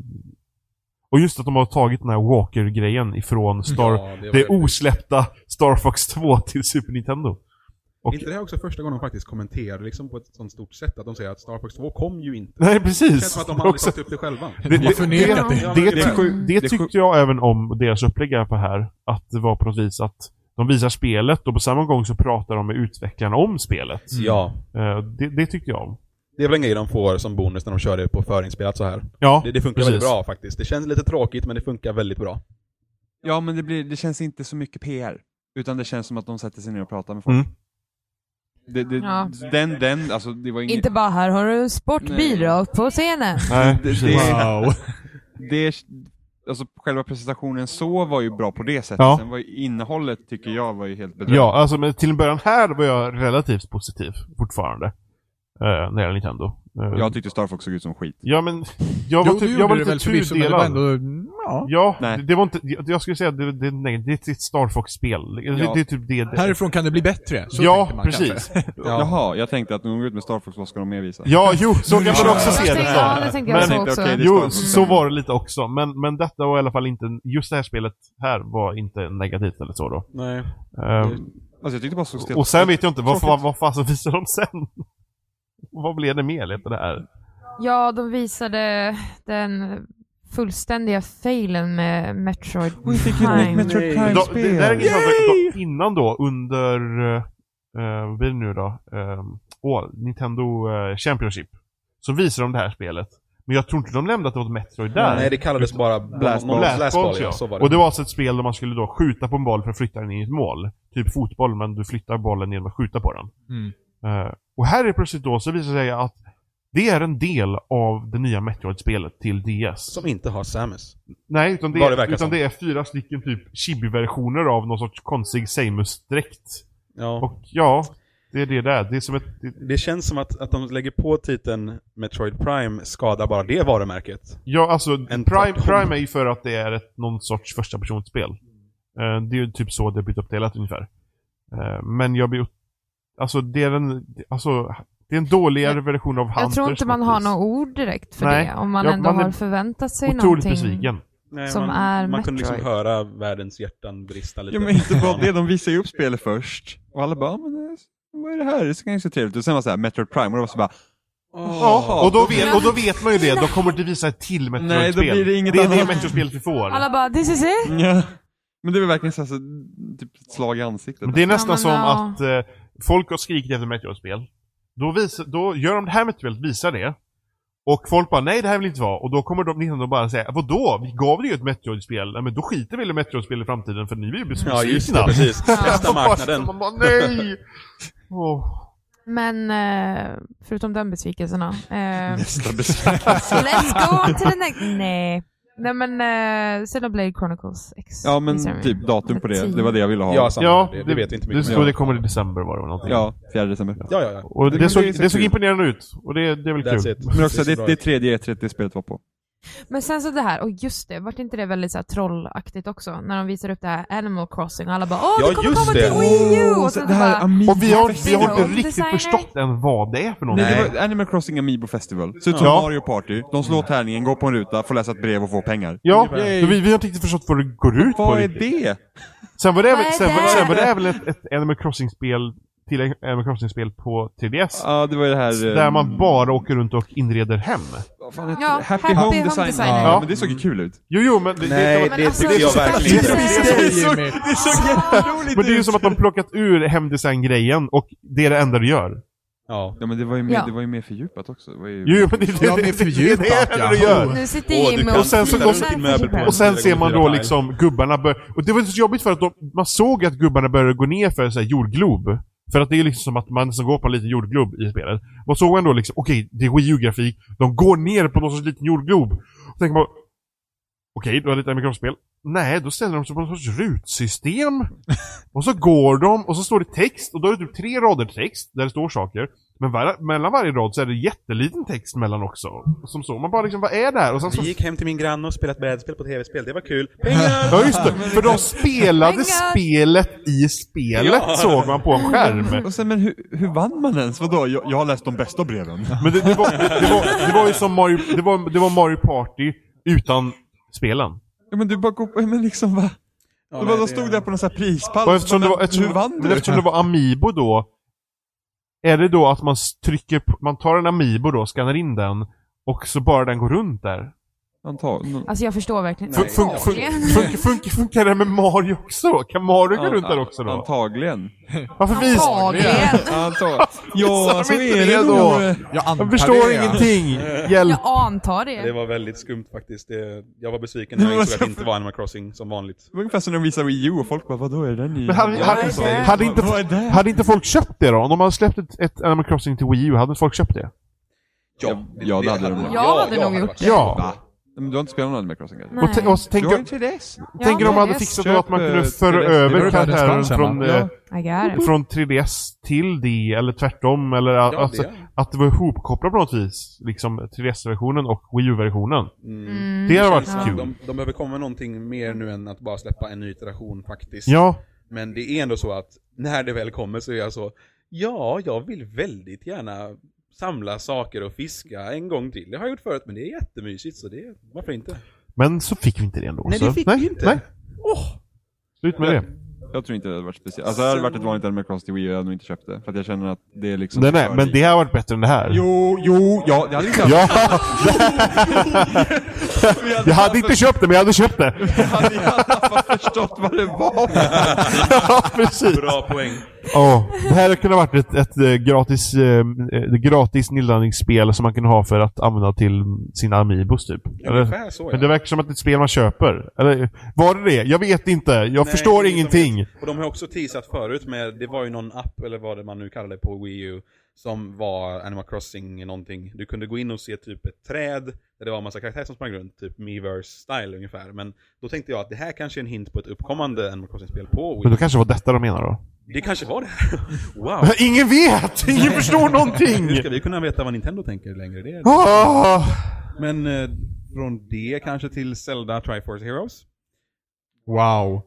Och just att de har tagit den här Walker-grejen ifrån Star... Ja, var Det väldigt- osläppta Star Fox 2 till Super Nintendo. och- Är inte det här också första gången de faktiskt kommenterar liksom, på ett sånt stort sätt? Att de säger att Star Fox 2 kom ju inte. Nej, Det känns precis! som att de aldrig Också- tagit upp det själva. det, De har förnekat det. det, Ja, det, men tyck- ungefär. det Det är sjuk- tyckte jag även om deras upplägg här på här. Att det var på något vis att de visar spelet och på samma gång så pratar de med utvecklarna om spelet. Ja. Eh, det, det tyckte jag om. Det är väl en grej de får som bonus när de kör det på förinspelat så här. Ja, Det, det funkar väldigt bra faktiskt. Det känns lite tråkigt men det funkar väldigt bra. Ja, men det, blir, det känns inte så mycket PR. Utan det känns som att de sätter sig ner och pratar med folk. Mm. Det, det, Ja. Den, den, alltså det var inget... Inte bara här har du sportbil Nej. rakt på scenen. Nej, Det- precis. det- Wow. Det, alltså själva presentationen så var ju bra på det sättet. Ja. Sen var ju innehållet tycker jag var ju helt bedrövligt. Ja, alltså men till en början här var jag relativt positiv fortfarande. Eh, när det gäller Nintendo. Eh, Jag tyckte Star Fox såg ut som skit. ja, men jag var, Jo, det typ, jag var gjorde det lite väl förvisso, men det var tudelad. ändå... Ja. Ja, Nej. det, det var inte, jag jag skulle säga att det, det, nej, det är ett Star Fox-spel. Det, det, Ja. det är typ det. det. Härifrån kan det bli bättre. Så ja, tänker man kanske. precis. Jaha, jag tänkte att när de går ut med Star Fox, vad ska de mer visa? Ja, jo, så kan man också se Jag det tänkte- som. Ja, det tänkte jag Men- så tänkte, också. okej, det- Jo, Star Fox. så var det lite också. Men, men detta var i alla fall inte, just det här spelet här var inte negativt eller så då. Nej. Ehm, Alltså jag tyckte bara så stelt. och sen vet jag inte, vad, Tråkigt. vad, vad fasen visade de sen? vad blev det mer efter det här? Ja, de visade den fullständiga failen med Metroid Vi fick ju ett nytt Prime. Metroid Då, det där är Prime-spel! intressant, då, innan då, under, eh, vad blir det nu då? Eh, åh, Nintendo eh, Championship. Så visar de det här spelet. Men jag tror inte de nämnde att det var ett Metroid där. Nej, det kallades bara Blast Balls. Blast Blast Ball, balls, ja. Så var det. Och det var alltså ett spel där man skulle då skjuta på en boll för att flytta den in i ett mål. Typ fotboll, men du flyttar bollen genom att skjuta på den. Mm. Eh, och här är plötsligt då så visar det sig att det är en del av det nya Metroid-spelet till DS. Som inte har Samus. Nej, utan, det Vad det verkar är, utan som. det är fyra stycken typ chibi-versioner av någon sorts konstig Samus-dräkt. Ja. Och ja, det är det där. Det är som ett... Det, Det känns som att, att de lägger på titeln Metroid Prime skadar bara det varumärket. ja, alltså En Prime, plattform. Prime är ju för att det är ett, någon sorts första personspel. Eh, det är ju typ så det har blivit uppdelat ungefär. Eh, men jag blir... Alltså det är en... Alltså, det är en dåligare version av Hunters. Jag tror inte man på ett har vis. några ord direkt för Nej, det. Om man jag- ändå man är har förväntat sig Otroligt någonting. besviken. Nej, Som man, är man kunde liksom Metroid. höra världens hjärtan brista lite. Ja men inte bara det, de visar ju upp spelet först. Och alla bara, "Ja, men det- vad är det här? Det ska ju se trevligt ut. Och sen var det så här, Metroid Prime, och det var så bara, Ja, och då, vet, och då vet man ju det. Då kommer det visa ett till Metroid-spel. Nej, då blir det inget är det annat. Metroid-spelet vi får. Alla bara “this is it”. ja. Men det var verkligen så här, så, typ ett slag i ansiktet. Men det är nästan men som ja. att eh, folk har skrikit efter Metroid-spel. Då, visar- då gör de det här Metroid-spelet, visar det. Och folk bara nej det här vill inte vara. Och då kommer de Nintendo bara säga vadå? Vi gav det ju ett Metroid-spel. Nej men då skiter vi i Metroid-spel i framtiden för ni vill ju bli så Ja, just det. besvikna." Precis. Testa marknaden. Man bara, nej! Åh. Men eh, förutom den besvikelsen då. Eh, Nästa besvikelse. Let's go to the next. Nej. Nej men uh, Xenoblade Chronicles X. Ja men visar typ vi. datum på det, det var det jag ville ha. Ja, Ja, samma. Ja, det, det vet vi Det inte mycket stod om. det kommer i december var det väl någonting. 4 december. Ja, ja, ja. Och det, Det- såg, det ser det såg kul. imponerande ut. Och det, det är väl That's kul. it. Men också, ser det, bra det ut. tredje E30-spelet var på. Men sen så det här, och just det, vart inte det väldigt så här trollaktigt också? När de visar upp det här Animal Crossing och alla bara åh Ja, det kommer just komma det. till Wii U! Oh, Och sen så bara, Amiibo Och vi har, vi har Festival inte riktigt Designer. förstått än vad det är för någonting. Nej, det var Animal Crossing Amiibo Festival. Ser ut som Ja. Mario Party. De slår tärningen, går på en ruta, får läsa ett brev och får pengar. Ja, Ungefär. för vi, vi har inte riktigt förstått vad det går ut på. Vad är riktigt. det? Sen var det, Vad är väl, sen, var, det? sen var det väl ett, ett Animal Crossing-spel till en- Animal Crossing-spel på 3DS. Ja, det var ju det här... eh, Där man bara åker runt och inreder hem. vad fan heter Ja, det? Happy Home Designer. Ja, Ja. men det såg ju kul ut. Jo, jo, men det, Nej, det, men det alltså, tycker jag det- verkligen det- inte. Jimmy. Det såg jätteroligt men det är ju som att de plockat ur hemdesign-grejen och det är det enda du gör. Ja. Ja, men det var ju mer, Ja. det var ju mer fördjupat också. Det var ju... Jo, jo, men det, det, Ja, det, det, men det, fördjupat, det är det enda du ja. gör. nu sitter Åh, du Jimmy kan och sen så- filar och sen- med din möbel på fiber. en Och sen Det ser går man fyra då tile. liksom gubbarna bör... Och det var inte så jobbigt för att de, man såg att gubbarna började gå ner för en sån här jordglob. För att det är liksom som att man som går på en liten jordglob i spelet. Man såg ändå liksom, okej, det är Wii U-grafik. De går ner på någon sorts liten jordglob. Och tänker man... Okej, du har lite Microsoft-spel. Nej, då ställer de sig på något sorts rutsystem. och så går de och så står det text och då är det typ tre rader text där det står saker. Men var, mellan varje rad så är det jätteliten text mellan också. Som så. Man bara liksom, vad är det här? Och sen så... Vi gick hem till min granne och spelade brädspel på tv-spel, det var kul. Pengar! Ja just det, för de spelade spelet i spelet Ja. såg man på en skärm. Och sen, men hur, hur vann man ens? Vadå? Jag, jag har läst de bästa breven. Men det, det, var, det, det, var, det var ju som Mario, det var, det var Mario Party utan spelen. Ja, men du bara går på, men liksom va? Ja, Du bara, men de det- stod där på någon sån här prispall. Och eftersom det var, Alltså, Men eftersom, hur vann men du? eftersom det var Amiibo då, är det då att man s- trycker, på- man tar en Amiibo då, skannar in den, och så bara den går runt där? Antagligen. Alltså jag förstår verkligen. Nej. Fun, fun, fun, fun, fun, funkar det med Mario också då? Kan Mario gå runt där också då? Antagligen. Varför visar Antagligen. Antagligen. Ja, Visar så de inte är det det då? nog. Jag antar Jag förstår det, ja. ingenting! Hjälp! Jag antar Det det. var väldigt skumt faktiskt. Det, jag var besviken när jag insåg att det alltså- inte var Animal Crossing som vanligt. Det var ungefär som när de visade Wii U och folk bara, vadå är det den Men hade, nya? hade, det. hade, inte, Vad är det? hade inte folk köpt det då? Om de hade släppt ett, ett Animal Crossing till Wii U, hade folk köpt det? Ja, ja, det hade de. Jag hade nog gjort varit- det. Ja! Men du har inte spelat någon Animal Crossing kanske? Nej. Och, t- och så Du tänk, har ju 3DS. tänk om de men hade det- fixat köp, det att man eh, kunde föra 3DS. Det var över ju bara karaktären dispensen, från, va? eh, Ja. I got it. från 3DS till det, eller tvärtom, eller a- Ja, alltså, det. att det var ihopkopplat på något vis. Liksom 3DS-versionen och Wii U-versionen. Mm. Mm. Det hade varit Känns som kul. De, de behöver komma med någonting mer nu än att bara släppa en ny iteration faktiskt. Ja, Men det är ändå så att när det väl kommer så är jag så, ja, jag vill väldigt gärna samla saker och fiska en gång till. Det har jag gjort förut, men det är jättemysigt, så det, varför inte? men så fick vi inte det ändå. Nej, så. det fick nej, vi inte. Nej, Åh! slut med det. Jag tror inte det hade varit speciellt. Alltså det hade varit ett vanligt Animal Crossing till Wii U, jag hade nog inte köpt det. För att jag känner att det är liksom... Nej, nej, men det här har varit bättre än det här. Jo, jo, ja, det hade vi Ja, jag hade inte köpt det, men jag hade köpt det. Jag hade i alla fall förstått vad det var. Ja, precis. Bra poäng. Ja, det här kunde ha varit ett, ett eh, gratis, eh, eh, gratis nedladdningsspel som man kan ha för att använda till sina Amiibos typ. Eller? Ungefär så, ja. Men det verkar som att det är ett spel man köper. Eller var det det? Jag vet inte. Jag Nej, förstår det är som ingenting. ett- Och de har också teasat förut med, det var ju någon app eller vad det man nu kallade på Wii U som var Animal Crossing någonting. Du kunde gå in och se typ ett träd där det var en massa karaktärer som sprang runt, typ Miiverse style ungefär. Men då tänkte jag att det här kanske är en hint på ett uppkommande Animal Crossing-spel på Men Wii då U. kanske det var detta de menar då? Det kanske var det här. Wow! Ingen vet! Ingen förstår Hur någonting! ska vi kunna veta vad Nintendo tänker längre? Det är det. Ah, Men eh, från det kanske till Zelda Triforce Heroes? Wow. Wow.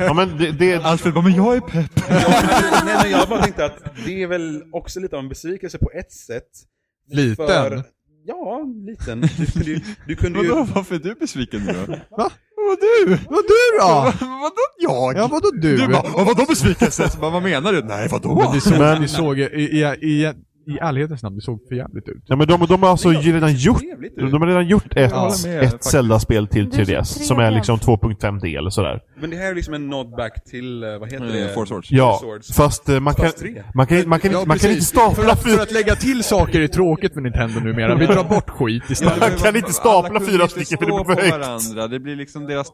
ja, men det, det, Alltså- Alfred bara, men jag är pepp. Nej, men jag bara tänkte att det är väl också lite av en besvikelse på ett sätt. Liten? ja, liten. Du kunde ju... Du kunde ju Vadå, varför är du besviken nu då? Vad du? Vad du då? Vadå jag? Ja, vadå du? Du bara, "Åh, vadå besvikelse? Så bara, vad menar du? Nej, vadå? Men det såg, Men- det såg i, i, i, i ärlighetens namn, det såg för jävligt ut. ja, men de, de har alltså redan gjort trevligt ut. de har redan gjort ett, håller med, ett faktiskt. Zelda-spel till Det är så 3DS, som är trevligt. liksom 2.5D eller sådär. Men det här är liksom en nodback till, eh, vad heter det? Four Swords. Ja, Swords. fast eh, man kan, Fast tre. man kan, man kan, Ja, man kan inte precis. För stapla att, för fyra, att lägga till saker är tråkigt för Nintendo numera. Vi drar bort skit istället. man kan inte stapla fyra stycken för det blir för högt. varandra. Det blir liksom deras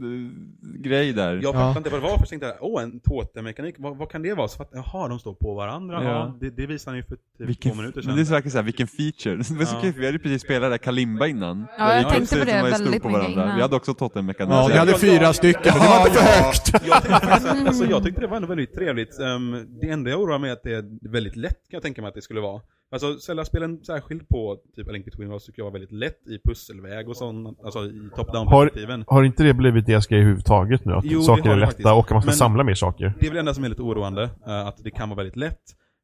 totem-grej där. Jag fattade inte vad det var för jag tänkte jag, åh en totemmekanik, vad, vad kan det vara? Så fatt, jaha, de står på varandra, Ja. ja. det, det visade ni för typ Vilken, två minuter men sedan. det är så verkligen såhär, vilken feature. Det var så Ja. kul, för vi hade ju precis spelat där Kalimba innan. Ja, Där jag vi tänkte precis på det var i stod väldigt mycket innan. Vi hade också totemmekanik. Ja, vi hade fyra stycken, men det var inte för högt. Jag tyckte, faktiskt- alltså, jag tyckte det var ändå väldigt trevligt. Ehm, det enda jag oroar mig är att det är väldigt lätt kan jag tänka mig att det skulle vara. Alltså Zelda-spelen särskilt på typ A Link Between Worlds tycker jag var väldigt lätt i pusselväg och sånt, alltså i top-down-perspektiven. Har inte det blivit deras grej överhuvudtaget nu? Att Jo, det saker har är det lätta faktiskt. och att man ska Men- samla mer saker? Det är väl det enda som är lite oroande, eh, att det kan vara väldigt lätt.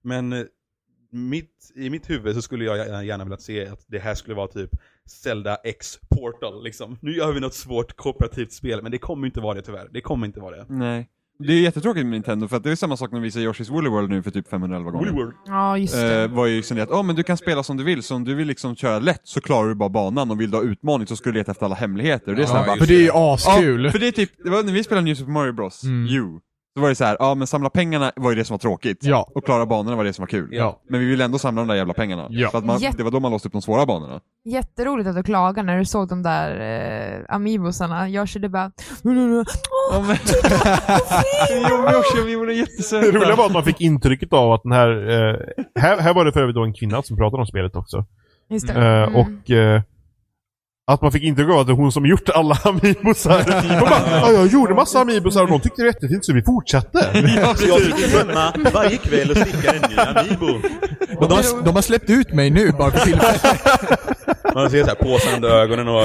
Men eh, mitt, i mitt huvud så skulle jag gärna- gärna vilja se att det här skulle vara typ Zelda X Portal liksom. Nu gör vi något svårt kooperativt spel, men det kommer inte vara det tyvärr. Det kommer inte vara det. Nej. Det är jättetråkigt med Nintendo, för att det är samma sak när de visar Yoshi's Woolly World nu för typ 511 gånger. Ja, just Eh, det. var ju liksom det att, ja men du kan spela som du vill, så om du vill liksom köra lätt så klarar du bara banan och vill du ha utmaning så ska du leta efter alla hemligheter. Och det är såhär Ja, bara, För det är ju Ja, askul. för det är typ, det var när vi spelade New Super Mario Bros, Mm. U, då var det så här, ja men samla pengarna var ju det som var tråkigt. Ja. Och klara banorna var det som var kul. Ja. Men vi ville ändå samla de där jävla pengarna. Ja. För att man, Jätte- det var då man låste upp de svåra banorna. Jätteroligt att du klagade när du såg de där eh, amibosarna. Jag körde bara... Ja, Typ men... jo, men också, vi gjorde Det roliga jättesöta. var att man fick intrycket av att den här... Eh, här, här var det för övrigt då en kvinna som pratade om spelet också. Just det. Eh, Mm. Och eh, Att man fick intryck av att det är hon som gjort alla amibosar. Hon bara, ja, jag gjorde massa amibosar och de tyckte det var jättefint så vi fortsatte. Så jag sitter hemma varje kväll och stickar en ny Amiibo. De har, de har släppt ut mig nu bara för tillfället. Man ser så här påsande ögonen och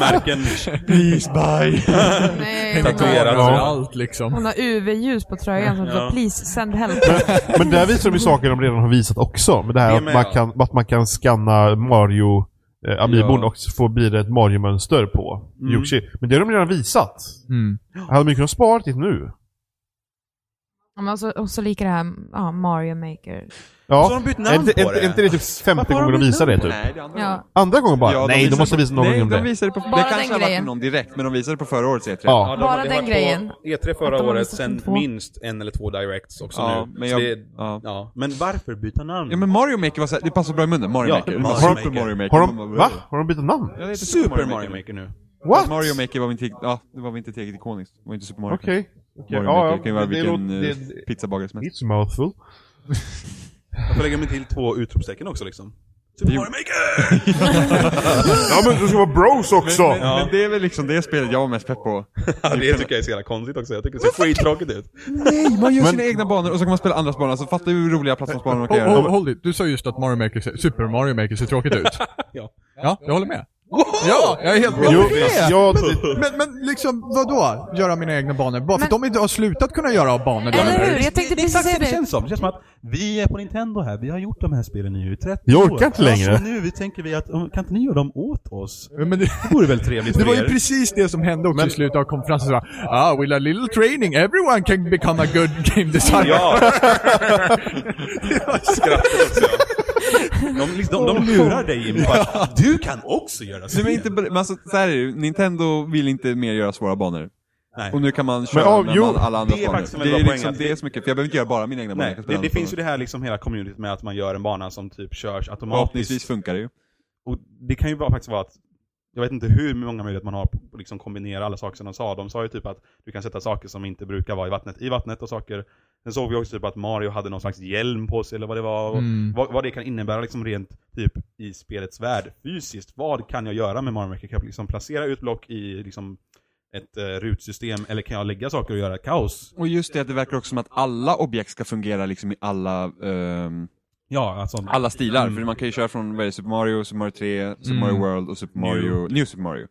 märken Please buy. Mm. Nej, hon, har, tatuerade. Ja. Överallt liksom. hon har UV-ljus på tröjan som står Ja. 'Please send help' Men där visar de ju saker de redan har visat också. Men det här Det att, med, man ja. kan, att man kan scanna Mario eh, Amibon Ja. och få bli ett Mario-mönster på Mm. Yoshi. Men det har de redan visat. Mm. Hade man ju kunnat spara till nu. Ja, men så, och så lika det här, ja, Mario Maker. Ja. Så har de bytt Är namn inte- på är inte- det. är inte det typ femte gången de visar det typ? Nej, det är andra Ja. Andra gången bara? Ja, de nej, de visar måste på- visa någon Nej, gång om de det. visade på... Bara det den kanske har varit grejen. någon direkt, men de visade på förra årets E E3. Ja. de har Bara ju den varit på grejen. E3 Att förra de har året, visat sen två. minst en eller två directs också Ja, nu. men Så jag... det, Mm. Ja. ja. Men varför byta namn? ja, men Mario Maker var så här, det passar bra i munnen. Mario Ja, Maker. Mario Super Maker. Mario Maker. Har de, Man bara, va? Har de bytt namn? Ja, det heter Super Mario Maker nu. What? Mario Maker var väl inte, tillräckligt- ja, det var väl inte tillräckligt ikoniskt. Det var inte Super Mario. Okej. Okej, Mario ja, Maker ja. kan ju vara Det vilken låter- eh, det- pizzabagare som helst. It's a mouthful. Jag får lägga mig till två utropstecken också liksom. Typ Super Mario Maker! Ja men det ska vara bros också! Men, men det är väl liksom det spelet jag var mest pepp på. Ja, det tycker jag är så jävla konstigt också. Jag tycker det ser skittråkigt ut. Nej, man gör Men- sina egna banor och så kan man spela andras banor. Alltså fatta hur roliga plattformsbanor man kan Håll, göra. håll, håll dit. Du sa just att Mario Maker, ser- Super Mario Maker ser tråkigt ut. Ja. Ja, jag håller med. Ja, jag är helt med. Jo, Jag- ja, Men, men liksom, vadå? Göra mina egna banor? Bara för att de inte har slutat kunna göra av banor. Eller där. hur? Jag tänkte det är precis exakt säga det det det. känns som. Det känns som att vi är på Nintendo här, vi har gjort de här spelen nu i 30 Jag orkar inte år. längre. Alltså, nu tänker vi att, om- kan inte ni göra dem åt oss? Men det, Det vore väl trevligt det för var ju er? precis det som hände också i slutet av konferensen. Så här, ah, with a little training, everyone can become a good game designer. Ja! Skrattet också. De, liksom, de, de lurar dig in på att du kan också göra Nej, men spel. inte, men alltså, så här är det ju. Nintendo vill inte mer göra svåra banor. Nej. Och nu kan man köra ja, med jo, man- alla andras det är banor. faktiskt en det är väldigt bra liksom poäng att- det är så mycket, för jag behöver inte göra bara mina egna banor. Jag Nej, kan spela det, det andras finns ju banor. det här liksom hela communityt med att man gör en bana som typ körs Förhoppningsvis automatiskt. funkar det ju. Och det kan ju vara, faktiskt vara att jag vet inte hur många möjligheter man har på att liksom kombinera alla saker som de sa. De sa ju typ att du kan sätta saker som inte brukar vara i vattnet i vattnet och saker. Sen såg vi också typ att Mario hade någon slags hjälm på sig eller vad det var. Och Mm. vad, vad det kan innebära liksom rent typ i spelets värld fysiskt. Vad kan jag göra med Mario Maker? Kan jag liksom placera ut block i liksom ett eh, rutsystem eller kan jag lägga saker och göra kaos? Och just det att det verkar också som att alla objekt ska fungera liksom i alla, ehm, Ja, alltså. alla stilar. För man kan ju köra från vad är det, Super Mario, Super Mario 3, Super Mm. Mario World och Super Mario, New Super Mario.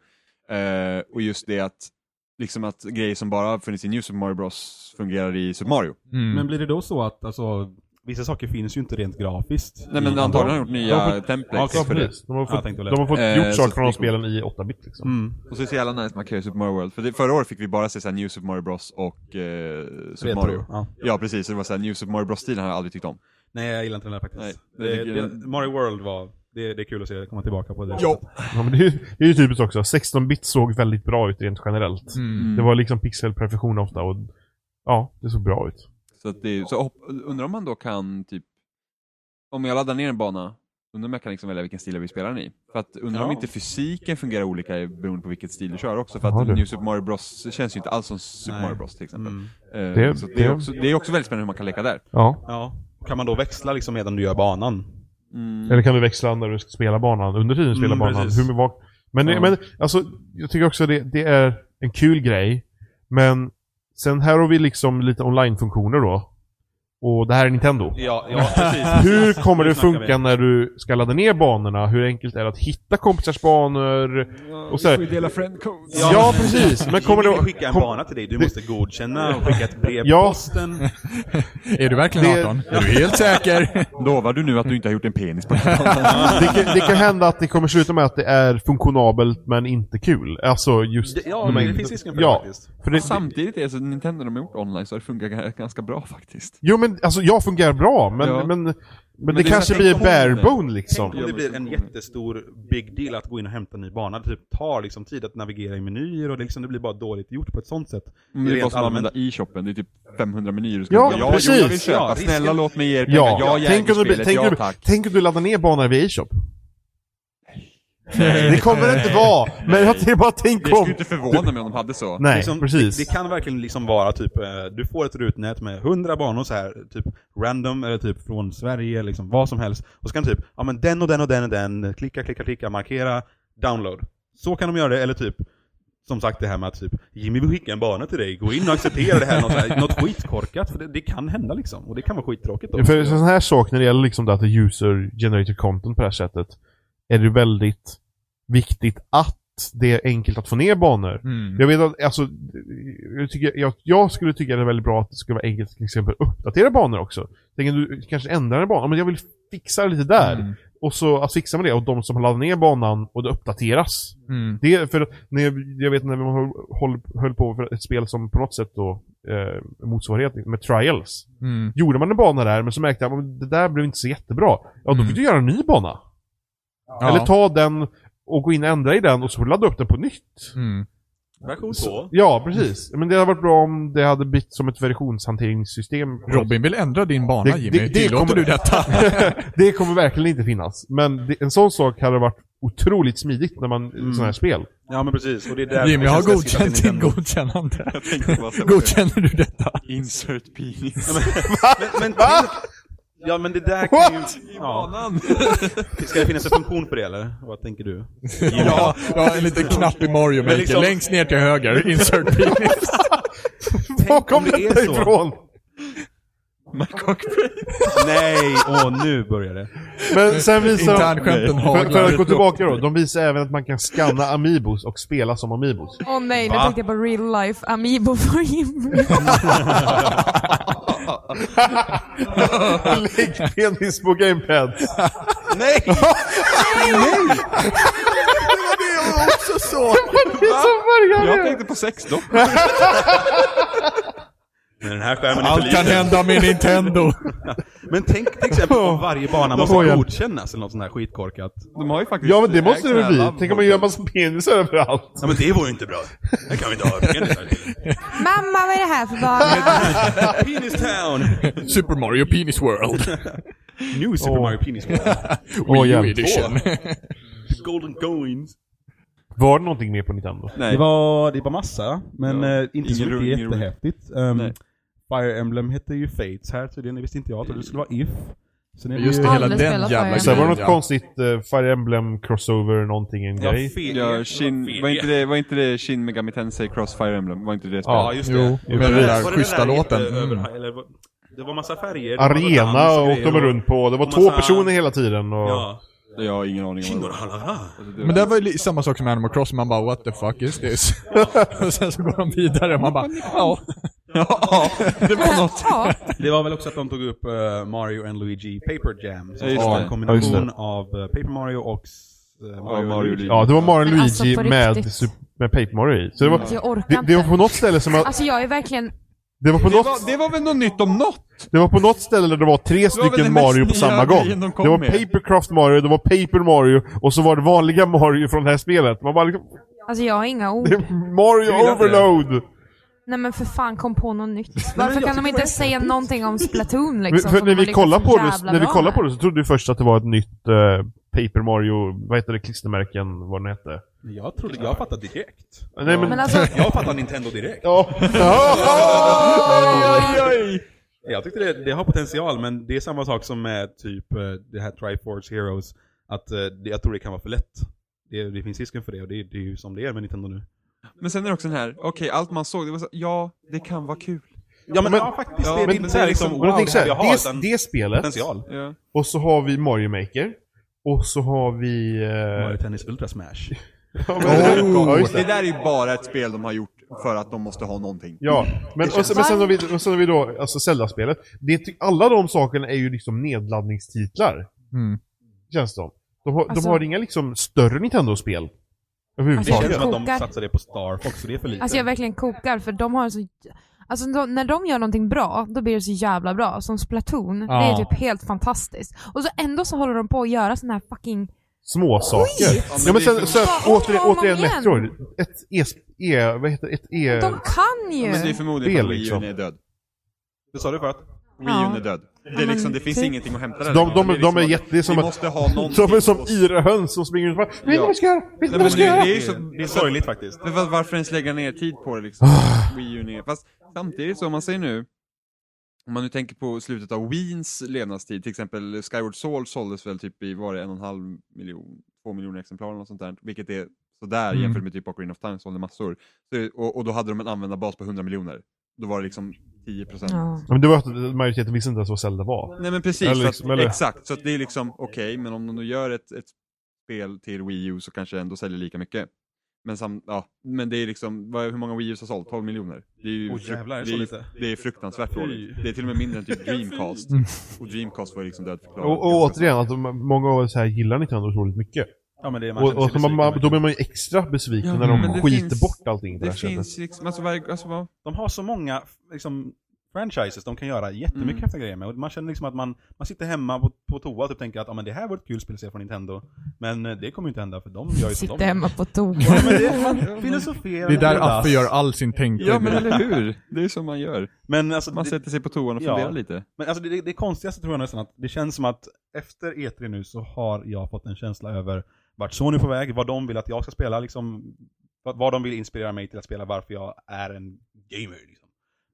Eh, och just det att, liksom att grejer som bara funnits i New Super Mario Bros fungerar i Super Mario. Mm. Men blir det då så att alltså, vissa saker finns ju inte rent grafiskt. Nej men i- antagligen har de gjort Ja, nya men- templates Ja, för det. precis. De har Ja, fått, tänkte väl de har fått det. Eh, gjort så saker att från de det- spelen i 8-bit liksom. Mm. Och så är det så jävla nice att man kan göra Super Mario World. För det, förra året fick vi bara se såhär New Super Mario Bros och eh, Super Retro, Mario. ja. Ja precis, så det var såhär New Super Mario Bros-stilen har jag aldrig tyckt om. Nej, jag gillar inte den där faktiskt. Nej, det det, tycker det, jag- Mario World var... Det, det är kul att se det komma tillbaka på det. Ja. Ja, men det, är ju, det är ju typiskt också. 16-bit såg väldigt bra ut rent generellt. Mm. Det var liksom pixelperfektion ofta och ja, det såg bra ut. Så, att det, så hopp, undrar om man då kan typ, om jag laddar ner en bana, undrar om jag kan liksom välja vilken stil jag vill spela den i. För att undrar om Ja. inte fysiken fungerar olika beroende på vilket stil du kör också. För Ja, att du. New Super Mario Bros känns ju inte alls som Super Nej. Mario Bros till exempel. Mm. Eh, Det- så det, är det- också, det är också väldigt spännande hur man kan leka där. Ja. Ja. Kan man då växla liksom medan du gör banan? Mm. Eller kan du växla när du ska spela banan, under tiden du spelar Mm, banan. precis. Hur, vad, men, Ja. men alltså, jag tycker också det, det är en kul grej. Men sen här har vi liksom lite online-funktioner då. Och det här är Nintendo. Ja, ja precis. Hur kommer det snackar funka när du ska ladda ner banorna? Hur enkelt är det att hitta kompisars banor? Och så här, dela friend codes. ja, precis! Men kommer Kommer det... du skicka en kom- bana till dig? Du måste godkänna och skicka ett brev Ja. på posten. Är du verkligen Det- 18? Är du helt säker? Lovar du nu att du inte har gjort en penis på den här banan? det, kan, det kan hända att det kommer sluta med att det är funktionabelt men inte kul. Alltså just... Ja, men det finns risken för det Ja, faktiskt. för det, Samtidigt är det så att Nintendo de har gjort online så det funkar g- ganska bra faktiskt. jo men alltså jag fungerar bra men, Ja. men, men, det, det är kanske så- blir tänk om- barebone liksom. Tänk om det blir en jättestor big deal att gå in och hämta en ny bana. Det typ tar liksom tid att navigera i menyer och det, liksom, det blir bara dåligt gjort på ett sånt sätt. Men Mm, det är Rent bara som att allmänt- använda i shoppen, det är typ 500 menyer du ska Ja, gå in i. precis. Jo, jag vill köpa. Ja, risken- Snälla låt mig ge er pengar. Ja, Ja, jag tänk, äger om du, blir- spelet. tänk, om ja, du, tack. tänk om du laddar ner banor via e-shop. Det kommer det inte vara, men jag tänker bara tänk Jag skulle om. inte förvåna mig om de hade så. Nej, Liksom, precis. Det, det kan verkligen liksom vara typ, eh, du får ett rutnät med 100 banor så här, typ random, eller typ från Sverige, liksom vad som helst. Och så kan du typ, ja men den och den och den och den, klicka, klicka, klicka, markera. download. Så kan de göra det, eller typ som sagt det här med att typ Jimmy vill skicka en bana till dig, gå in och acceptera det här, något, så här, något skitkorkat, för det, det kan hända liksom. Och det kan vara skittråkigt Ja, också. För sån här sak när det gäller liksom det att det är user generated content på det här sättet är det väldigt viktigt att det är enkelt att få ner banor. Mm. Jag vet att, alltså, jag, tycker, jag, jag skulle tycka det är väldigt bra att det skulle vara enkelt att till exempel uppdatera banor också. Tänk att du kanske ändrar en bana, men jag vill fixa det lite där. Mm. Och så att fixa med det, och de som har laddat ner banan och det uppdateras. Mm. Det, för när jag, jag vet när man höll, höll, höll på för ett spel som på något sätt då, eh, motsvarighet med Trials. Mm. Gjorde man en bana där, men så märkte jag att det där blev inte så jättebra. Ja, då Mm. fick du göra en ny bana. Ja. Eller ta den och gå in och ändra i den och så får du ladda upp den på nytt. Mm. Version Så- 2. Ja, precis. Men det hade varit bra om det hade blivit som ett versionshanteringssystem. Robin vill ändra din bana Det- Jimmy. det- det Tillåter kommer- du detta? det kommer verkligen inte finnas. Men det, en sån sak hade varit otroligt smidigt när man, Mm. sådana här spel. Ja men precis, och det är där Jimmy det har känns läskigt att godkänt din Nintendo- godkännande. Jag tänkte bara säga Godkänner du detta? Insert penis. Men, men, ja men det där kan ju... Ja. Ska det finnas en funktion för det eller? Vad tänker du? Ja, ja, en liten knapp i Mario Maker. liksom- Längst ner till höger, insert penis. Var kom om det är detta så. ifrån? Nej, åh nu börjar det. Men sen visar de... Internskämten För, för att gå haglar. tillbaka då, de visar även att man kan scanna Amiibos och spela som Amiibos. Åh nej, nu Va? tänkte jag på real life Amiibo för Jimmy. Lägg penis på gamepad. Nej! Jag tänkte på sexdockor. Men den här skärmen är för Allt kan liten. hända med Nintendo. Men tänk till exempel om varje bana får måste jag. godkännas eller något sånt här skitkorkat. De har ju faktiskt... Ja men det måste det egna väl bli? labb- Tänk om man gör en massa penisar överallt. Ja men det vore ju inte bra. Det kan vi inte ha penisar till. Mamma, vad är det här för bana? Penis town! Super Mario Penis World. New Super Åh. Mario Penis World. Åh, Wii U jävlar. edition. Golden coins. Var det någonting mer på Nintendo? Nej. Det var, det var massa, men Ja. eh, inte så Ingen mycket ro- ingen ro- jättehäftigt. Ehm, Nej. Fire Emblem hette ju Fates här tydligen, det visste inte jag. Jag trodde det skulle vara If. Sen är vi Just ju- det, hela Alla spelar den för jävla en. Sen var det något grejen, ja. konstigt eh, Fire Emblem Crossover någonting, en Ja, grej. fe- Ja, Shin, var, inte det, var inte det Shin Megami Tensei Crossfire Emblem? Var inte det spelet? Ja, just det. Jo, med den där schyssta låten. Mm. Över, eh, eller, vad- det var massa färger. det var Arena dans och åkte grejer de runt på. Det var och två massa- personer hela tiden. Och... Ja. Jag har ingen aning om vad det var. Men det var ju li- samma sak som Animal Crossing, man bara what the fuck is this? och sen så går de vidare och man bara ja. Ja, Det var något. Ja, Det var väl också att de tog upp eh, Mario and Luigi Paper Jam. Som Ja, just var det. en Ja, kombination just av eh, Paper Mario och eh, Mario, Mario och Luigi. Luigi. Ja, det var Mario Men Luigi alltså, på med, riktigt. Sup- med Paper Mario i. Så det var, jag det, orkar det var inte. på något ställe som... Jag, Alltså jag är verkligen... det, var på Det något, var, det var väl något nytt om något? det var på något ställe där det var tre var väl stycken den mest Mario på nya samma gång. grejen de kom Det var med. Papercraft Mario, det var Paper Mario och så var det vanliga Mario från det här spelet. Man bara liksom, Alltså jag har inga det ord. är Mario Gillar det. Overload! Nej men för fan, kom på något nytt. Varför kan de inte säga någonting om Splatoon Men liksom? För som när de har vi lyckats kollade så på det, jävla när vi bra kollade med? på det så trodde vi först att det var ett nytt eh, Paper Mario, vad heter det, klistermärken, vad den hette. Jag trodde, jag fattade direkt. Nej men... Men alltså, Jag fattade Nintendo direkt. Ja. Jag tyckte det, det har potential, men det är samma sak som med typ eh, det här Triforce Heroes. Att eh, det- jag tror det kan vara för lätt. Det, det finns risken för det och det, det är ju som det är med Nintendo nu. Men sen är det också den här, okej allt man såg, det var så, ja, det kan vara kul. Ja men, Men- ja, faktiskt, ja, det, men är det inte är liksom Men wow jag tänker det Eh, så här här, vi har, det, utan det spelet, potential. Ja. och så har vi Mario Maker, och så har vi... Mario Oh. Eh, Tennis Ultra Smash. ja, men- ja, Oh, just Det det. där är ju bara ett spel de har gjort för att de måste ha någonting. Ja, men, och sen, men sen, har vi, och sen har vi då alltså Zelda-spelet. Det ty- Alla de sakerna är ju liksom nedladdningstitlar, Mm. känns det som. De har, Alltså- de har inga liksom större Nintendo-spel. Det Överhuvudtaget. känns som att de Kokar. satsade på Star Fox, så det är för lite. alltså jag verkligen kokar för de har så... Alltså de, när de gör någonting bra, då blir det så jävla bra. Som Splatoon, det är Ja. typ helt fantastiskt. Och så ändå så håller de på att göra sån här fucking... små saker. Ja, men sen, sen Bara om åter, och om återigen igen. Metroid. Ett E... e vad heter det? Ett E... De kan ju! Men det är förmodligen för Spel, att Wii liksom. U är död. Det sa du för att? Wii Ja. U är död. Det, men är liksom, det finns typ. ingenting att hämta där. De, de, de, Det liksom är att- jätte... Det är som Vi att... måste ha någonting. De är som på oss. yrehöns som springer runt och bara Vet ni Ja. vad jag ska göra? Vet ni Nej, vad men jag ska det- göra? det är ju så- det är så- sorgligt faktiskt. Men var- varför ens lägga ner tid på det liksom? Wii U ner. Fast samtidigt så om man säger nu, om man nu tänker på slutet av Wiens levnadstid, till exempel Skyward Soul såldes väl typ i, var det en och en halv miljon två miljoner exemplar eller något sånt där, vilket är sådär Mm. jämfört med typ Ocarina of Time sålde massor. Så, och, och då hade de en användarbas på 100 miljoner. Då var det liksom 10% Ja. Men det var att majoriteten visste inte ens vad Zelda var. Nej men precis, Eller så liksom- att, eller- exakt. Så att det är liksom, okej, men om de då gör ett, ett spel till Wii U så kanske det ändå säljer lika mycket. Men, sam, ja, men det är liksom, vad, hur många Wii U har sålt? 12 miljoner? Det är ju Åh, frukt- jävlar, är det det, så är, lite? det är fruktansvärt Fy. dåligt. Det är till och med mindre än typ Dreamcast. Mm. Och Dreamcast var ju liksom dödförklarat. Och, och återigen, att de, många av oss här gillar Nintendo otroligt mycket. Ja men det är man Och, känner och sig så man, man, besviken, då blir man ju extra besviken Ja, när de men det skiter finns- bort allting på det, här sättet. liksom, alltså, varje, alltså vad? De har så många liksom, franchises de kan göra jättemycket Mm. häftiga grejer med. Och man känner liksom att man, man sitter hemma på, på toa och typ tänker att ah, men det här var ett kul spel att se från Nintendo. Men eh, det kommer ju inte hända för de gör ju som Sitta de hemma på toa. Ja, men det är man filosoferar. Det är där och godas. Affe gör all sin tänkande. Ja men eller hur? Det är ju som man gör. Men alltså, Man det, sätter sig på toan och Ja. funderar lite. men alltså det, det konstigaste tror jag nästan att det känns som att efter E3 nu så har jag fått en känsla över vart Sony är på väg, vad de vill att jag ska spela, liksom, vad, vad de vill inspirera mig till att spela, varför jag är en gamer. Liksom.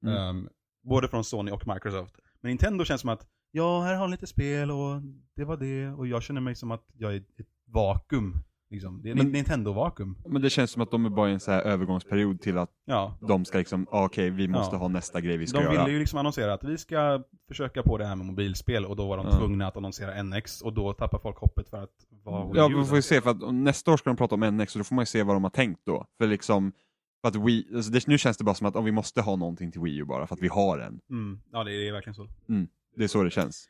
Mm. Ehm, både från Sony och Microsoft. Men Nintendo känns som att, ja, här har ni lite spel och det var det, och jag känner mig som att jag är ett vakuum. Liksom. Det är Men- ett Nintendo-vakuum. Men det känns som att de är bara i en så här övergångsperiod till att Ja. de ska liksom, ah, okej vi måste Ja. ha nästa grej vi ska De göra. ville ju liksom annonsera att vi ska försöka på det här med mobilspel och då var de Ja. tvungna att annonsera NX och då tappar folk hoppet för att vad Mm. Ja, Wii U vi får ju är. se, för att om- nästa år ska de prata om NX och då får man ju se vad de har tänkt då. För liksom, för att Wii, alltså det, nu känns det bara som att om vi måste ha någonting till Wii U bara, för att vi har en. Mm. Ja, det är, det är verkligen så. Det är så det känns.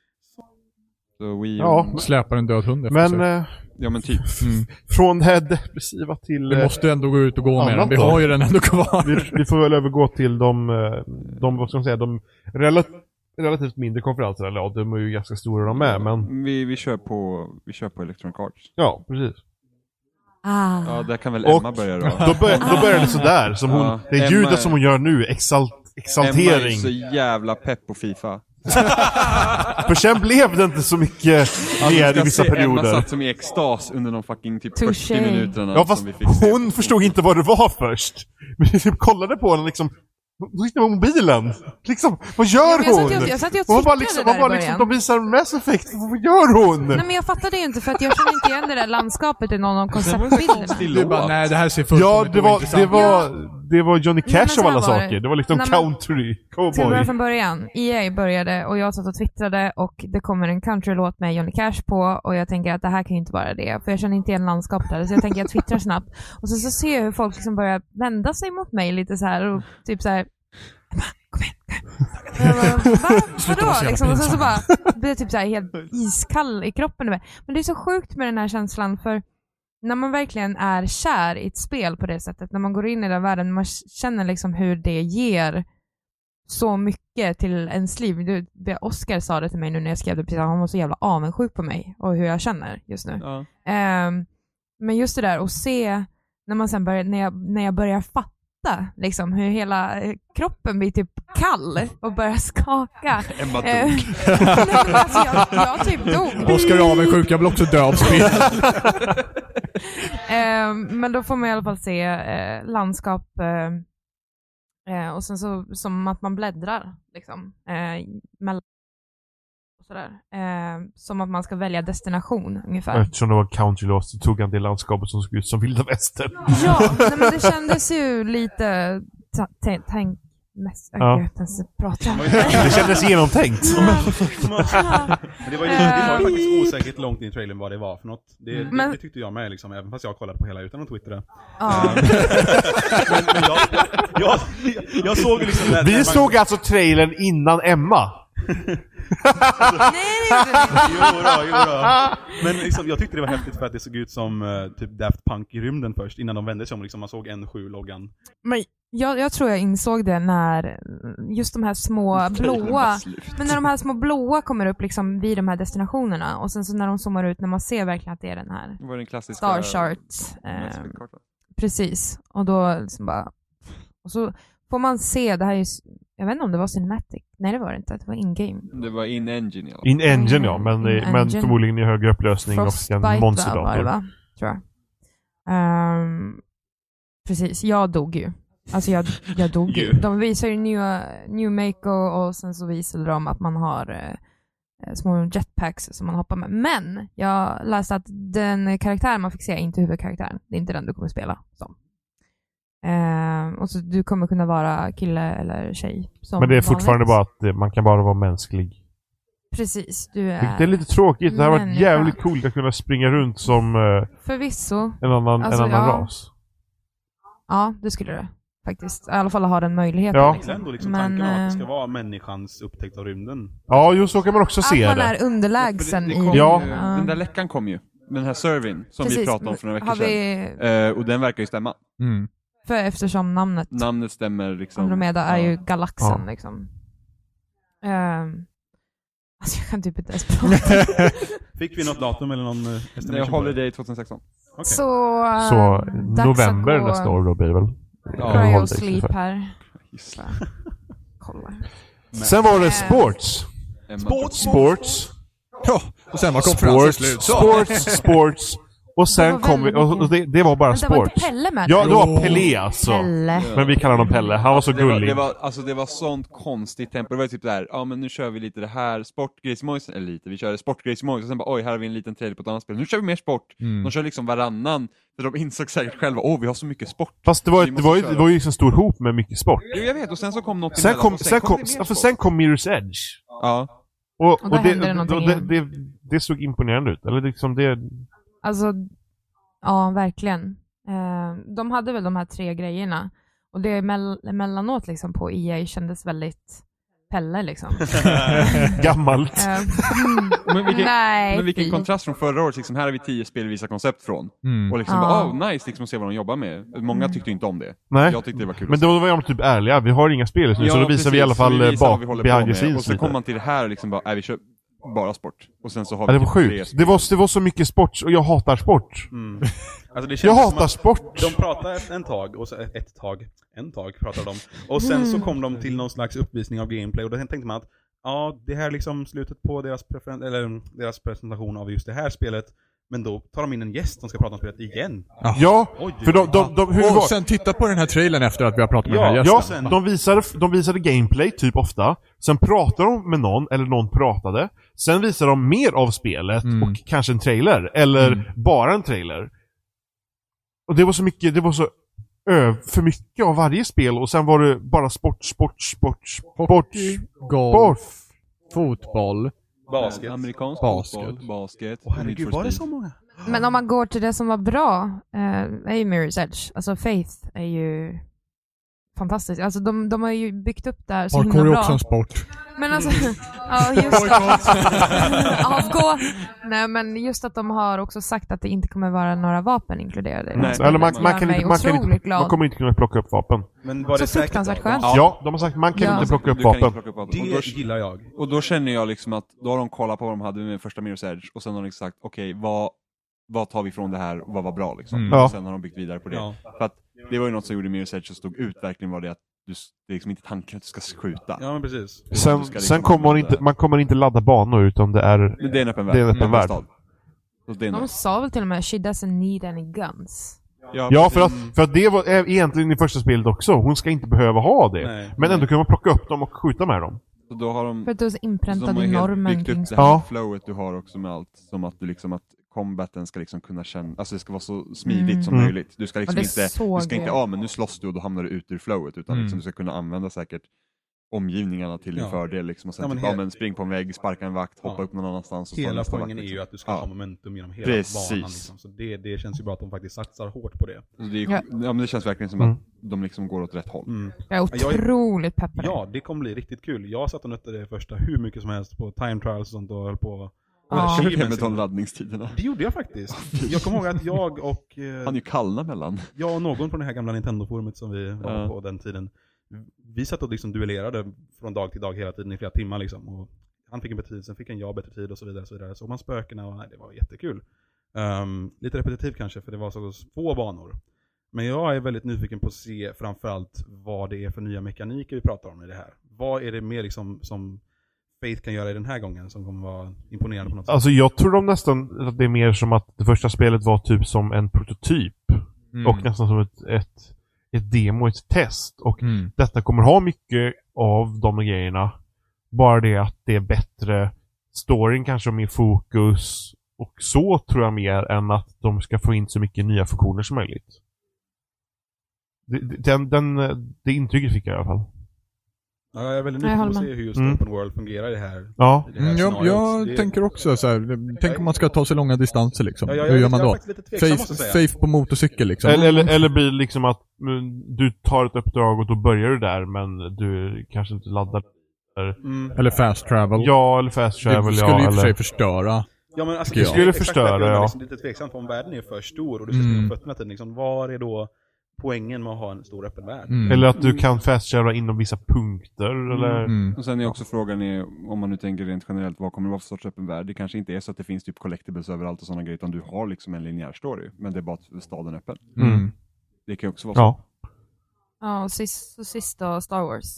Så Wii U, Ja. Släpar en död hund efter Men sig. eh, ja men typ. Mm. från det här depressiva till... Vi eh, måste ändå gå ut och gå med den. annat Vi då? har ju den ändå vi, kvar. vi får väl övergå till de, eh, de vad ska man säga, de rela- relativt mindre konferenserna. Eller ja, de är ju ganska stora de med, men Vi, vi, kör på, vi kör på Electronic Arts. ja, precis. Ah. Ja, där kan väl Och- Emma börja då. Då, bör, då börjar det sådär, som hon, Ja, det Emma- ljudet som hon gör nu, exalt, Emma är exaltering. så jävla pepp på Fifa. För sen blev det inte så mycket mer i vissa Emma perioder. satt som i extas under de fucking typ 40 Touché. minuterna Ja fast som vi fick se. hon förstod inte vad det var först. Men jag typ kollade på henne liksom, då sitter hon på mobilen. Liksom, vad gör Jag satt ju hon? och- jag satt ju och hon bara twittrade liksom, där hon bara i liksom, början. de visar Mass Effect, vad gör hon? Nej men jag fattade ju inte för att jag känner inte igen det där landskapet i någon av Sen var det så konceptbilderna. konstig Du låt. bara, nej det här ser Ja, fullkomligt det var, det ointressant ut." var, det var Johnny Nej, men Cash så av här alla var det. saker. Det var liksom Nej, men- country, Oh Ska vi cowboy. börja från början? EA började och jag satt och twittrade och det kommer en countrylåt med Johnny Cash på och jag tänker att det här kan ju inte vara det för jag känner inte igen landskapet där så jag tänker att jag twittrar snabbt och sen så ser jag hur folk liksom börjar vända sig mot mig lite så här och typ så här "Emma, kom igen, kom igen." Och jag bara, Va? Sluta vara så Vadå? jävla Liksom. Och sen så pinsam. bara blir jag typ så här helt iskall i kroppen. Men det är så sjukt med den här känslan för när man verkligen är kär i ett spel på det sättet, när man går in i den världen, man känner liksom hur det ger så mycket till ens liv. Du, det Oscar sa det till mig nu när jag skrev det precis, han var så jävla avundsjuk på mig och hur jag känner just nu. Ja. Ehm, men just det där att se när, man sen börjar, när, jag, när jag börjar fatta liksom, hur hela eh, kroppen blir typ kall och börjar skaka. Emma dog. Ehm, nej, men alltså, jag, jag typ dog. Oskar är avundsjuk, jag vill också dö av spel. Eh, men då får man i alla fall se eh, landskap eh, eh, och sen så som att man bläddrar liksom eh, mellan och sådär. Eh, som att man ska välja destination ungefär. Eftersom det var countrylåt så tog han det landskapet som såg ut som vilda västern. Ja, nej, men det kändes ju lite ta- ta- tänk mest. Jag Ja. kan inte ens prata. Det kändes genomtänkt. Men det var ju, det var ju faktiskt osäkert långt in i trailern vad det var för något. Det, det, Äh, Mm. Men- det tyckte jag med liksom, även fast jag kollade på hela utan att twittra. Ja. Men, men jag, jag, jag, jag såg ju liksom... när- när Vi man- såg alltså trailern innan Emma. Nej, det gjorde det inte. Jodå, jodå. Men liksom, jag tyckte det var häftigt för att det såg ut som eh, typ Daft Punk i rymden först, innan de vände sig om. Liksom, man såg N7-loggan. Men jag, jag tror jag insåg det när just de här små Trailern var blåa slut. Men när de här små blåa kommer upp liksom vid de här destinationerna och sen så när de zoomar ut när man ser verkligen att det är den här Det var den klassiska... Star Chart. Eh, precis. Och då liksom bara... Och så får man se, det här är ju... s- Jag vet inte om det var Cinematic. Nej det var det inte, det var in-game. Det var in-engine i alla fall. In Engine ja, men, In men Mm. Engine. förmodligen i högre upplösning och Frostbite en va, var det monsterdator. va? Tror jag. Ehm, precis, jag dog ju. Alltså jag, jag dog ju. Ju. De visar ju nya, New Mako och sen så visade de att man har eh, eh, små jetpacks som man hoppar med. Men jag läste att den karaktär man fick se är inte huvudkaraktären. Det är inte den du kommer spela som. Eh, och så du kommer kunna vara kille eller tjej. Som Men det är fortfarande vanligt. bara att eh, man kan bara vara mänsklig. Precis, du är Vilket är lite tråkigt. Det här var människa. jävligt coolt att kunna springa runt som eh, förvisso en annan, Alltså, en annan ja. ras. Ja, det skulle det faktiskt. I alla fall ha den möjligheten. Ja. Det är ändå liksom Men, tanken om att det eh, ska vara människans upptäckt av rymden. Ja, jo så kan man också se Att man det. är underlägsen För det- det kom i... ju- Ja. Den där läckan kom ju. Den här servyn som vi Precis. pratade om för några veckor Har vi, sedan. Eh, och den verkar ju stämma. Mm. För eftersom namnet Namnet stämmer liksom. Andromeda är ju galaxen Ja. liksom. Ehm, alltså jag kan typ inte ens prata. Fick vi något datum eller någon eh, Det är estimation på det? Holiday 2016. Okej. Så, ehm, Så dags att november gå nästa år då blir det väl. Ja, Cry Holiday, och sleep ungefär. här. Just Kolla. Sen var det Eh. sports. det. Sports. Ja, och sen var konferensen Sports. slut. Så. Sports. Sports. Och sen var kom vi... väldigt Och och det, det var bara Men det var inte sports. Pelle med? Ja, det var Jo. Pelé alltså. Pelle. Men vi kallar honom Pelle. Han var så Det var, gullig. det, var, alltså det var sånt konstigt tempo. Det var ju typ där, ja men nu kör vi lite det här, sportgrejsmojs, eller lite, vi körde sportgrejsmojs och sen bara oj, här har vi en liten trailer på ett annat spel. Nu kör vi mer sport. De kör liksom varannan, för de insåg säkert själva, åh vi har så mycket sport. Fast det var, Vi ju- det måste var, ju- köra. det var ju en stor hop med mycket sport. Jo jag vet, och alltså, sen så kom något Sen emellan, kom, och sen kom, det mer för sport. sen kom Mirror's Edge. Ja. Och, Och där det, hände det någonting och det, det, det såg imponerande ut. Eller liksom det... Alltså, ja verkligen. Ehm, de hade väl de här tre grejerna. Och det emell- emellanåt liksom på EA kändes väldigt Pelle liksom. Gammalt. Ehm, Men vilken, Nej, men vilken fy. kontrast från förra året, liksom, här har vi tio spel vi visar koncept från. Mm. Och liksom Ja. bara, oh, nice liksom att se vad de jobbar med. Många tyckte ju inte om det. Nej. Jag tyckte det var kul. Men att se. då var de typ ärliga. Vi har inga spel just nu, så då visar vi i alla precis. Så fall vi eh, visar vad bak, vi håller på behind the med. scenes Och så lite. kom man till det här och liksom bara, nej vi kör bara sport. Och sen så har Ja, det vi var typ tre sjukt. spel. Det var, det var så mycket sport, och jag hatar sport. Alltså det Jag kändes som hatar att- sport! De pratade ett- en tag, och så ett, ett tag, en tag pratade de. Och sen så kom de till någon slags uppvisning av gameplay och då tänkte man att ja, det här är liksom slutet på deras, preferen- eller, mm, deras presentation av just det här spelet. Men då tar de in en gäst som ska prata om spelet igen. Ja, Oj, för de, de, de, hur Och var, sen titta på den här trailern efter att vi har pratat med den här Ja, gästen. de visade, de visade gameplay typ ofta. Sen pratade de med någon, eller någon pratade. Sen visade de mer av spelet Mm. och kanske en trailer. Eller Mm. bara en trailer. Och det var så mycket, det var så ö, för mycket av varje spel och sen var det bara sport, sport, sport, sport, Hockey, sport. golf, fotboll. Basket. Amerikansk Basket. fotboll, basket. Åh herregud, var det så många? Men om man går till det som var bra, eh, är ju Mirror's Edge. Alltså Faith är ju fantastiskt. Alltså de, de har ju byggt upp det här så himla Parkour är bra. också en sport. Men alltså, ja just det. Avgå! Nej men just att de har också sagt att det inte kommer vara några vapen inkluderade. i det här Nej. spelet. Eller man, man, Gör kan mig inte, man, kan otroligt inte, glad. man kommer inte kunna plocka upp vapen. Men var det Så fruktansvärt säkert då? skönt. Ja, de har sagt man kan Ja. inte plocka upp Du kan inte vapen. plocka upp Det vapen. Och då, gillar jag. och då känner jag liksom att då har de kollat på vad de hade med första Mirror's Edge och sen har de sagt okej, vad, vad tar vi från det här och vad var bra liksom. Mm. Och Ja. sen har de byggt vidare på det. Ja. För att det var ju något som gjorde Mirror's Edge och stod ut verkligen var det att du, s- det är liksom inte tanken att du ska skjuta. ja, men precis. Sen, Du ska liksom sen kommer man använda- inte, man kommer inte ladda banor utan det är... Men det är en öppen värld. Det är en öppen värld. stad. Så det är en- De sa väl till och med “She doesn't need any guns”. Ja, för att, för att det var är egentligen i första spelet också. Hon ska inte behöva ha det. Nej. Men ändå kunde man plocka upp dem och skjuta med dem. Så då har de För att det var så Så de inpräntat har ju i helt liksom normen byggt kring upp det här Ja. flowet du har också med allt, som att du liksom att combaten ska liksom kunna känna, alltså det ska vara så smidigt Mm. som Mm. möjligt. Du ska liksom det inte, såg du ska inte, jag. ja men nu slåss du och då hamnar du ut ur flowet, utan Mm. liksom du ska kunna använda säkert omgivningarna till din Ja. fördel liksom. Och sen Ja, men typ, ja hela- men spring på en vägg, sparka en vakt, hoppa Ja. upp någon annanstans och slå Hela nästa poängen är vakt, ju liksom. att du ska Ja. ta momentum genom hela Precis. banan. Liksom. Så det, det känns ju bra att de faktiskt satsar hårt på det. Så det, är, ju- Ja. ja. men det känns verkligen som Mm. att de liksom går åt rätt håll. Mm. Jag är Jag är- otroligt peppad. Ja, det kommer bli riktigt kul. Jag satt och nötte det första hur mycket som helst på time trials och sånt och höll på. Ja. Hur är det Achievements med de laddningstiderna? Det gjorde jag faktiskt. Jag kommer ihåg att jag och, eh, Han är ju kallna mellan. jag och någon på det här gamla Nintendo-forumet som vi var Ja. på den tiden, vi satt och liksom duellerade från dag till dag hela tiden i flera timmar liksom. Och han fick en bättre tid, sen fick en jag bättre tid och så vidare. Och så vidare. Såg man spökena och nej, det var jättekul. Ehm, lite repetitivt kanske för det var så få banor. Men jag är väldigt nyfiken på att se framförallt vad det är för nya mekaniker vi pratar om i det här. Vad är det mer liksom som Faith kan göra i den här gången som kommer vara imponerande på något sätt? Alltså jag tror de nästan att det är mer som att det första spelet var typ som en prototyp. Mm. Och nästan som ett, ett, ett demo, ett test. Och Mm. detta kommer ha mycket av de grejerna. Bara det att det är bättre storyn kanske har mer fokus och så tror jag mer än att de ska få in så mycket nya funktioner som möjligt. Det- det- Den, den, eh, det intrycket fick jag i alla fall. Ja, jag är väldigt Jag nyfiken på håller att med. se hur just Mm. Open World fungerar i det här, Ja. i det här Mm, jag scenariot. jag Det- tänker också så här, det- tänk om man ska ta sig långa distanser liksom. Ja, jag- Hur jag- gör man jag då? är faktiskt lite tveksam, måste jag Faith, säga. faith på motorcykel liksom. Eller, eller, eller blir det liksom att mm, du tar ett uppdrag och då börjar du där men du kanske inte laddar. Mm. Eller fast travel. Ja, eller fast travel, det skulle ja. ju i och för Eller... sig förstöra. Ja, men alltså, Tycker jag. Skulle exakt förstöra, därför jag är ja. Liksom lite tveksam på om världen är för stor och du sätter Mm. mm. fötterna till den. Liksom, var är då poängen med att ha en stor öppen värld? Mm. Eller att du kan fast travela inom vissa punkter eller... Mm. Och sen är också frågan är, om man nu tänker rent generellt, vad kommer det vara för sorts öppen värld? Det kanske inte är så att det finns typ collectibles överallt och sådana grejer, utan du har liksom en linjär story, men det är bara att staden är öppen. Mm. Mm. Det kan ju också vara så. Ja. Ja, och sist, så sist då Star Wars.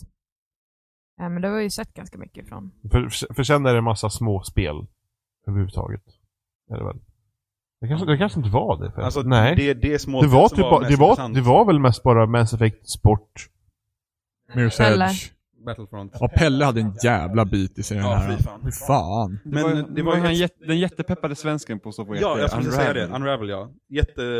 Ja, men det har vi ju sett ganska mycket ifrån. Mm. För, för- för sen är det massa små spel överhuvudtaget. Är det väl? Det kanske, det kanske inte var det. För Alltså, Nej. Det, Det, det är små var som typ bara, det, mest var, intressant. det var väl mest bara Mass Effect Sport. Mirror's Pelle. Edge. Battlefront. Ja, Pelle hade en jävla bit i sig den Ja, här. fy fan. Fy fan. Men det var, det var ju den, ett- jätte, den jättepeppade svensken på att stå på Ja, jag skulle säga det. Unravel, ja.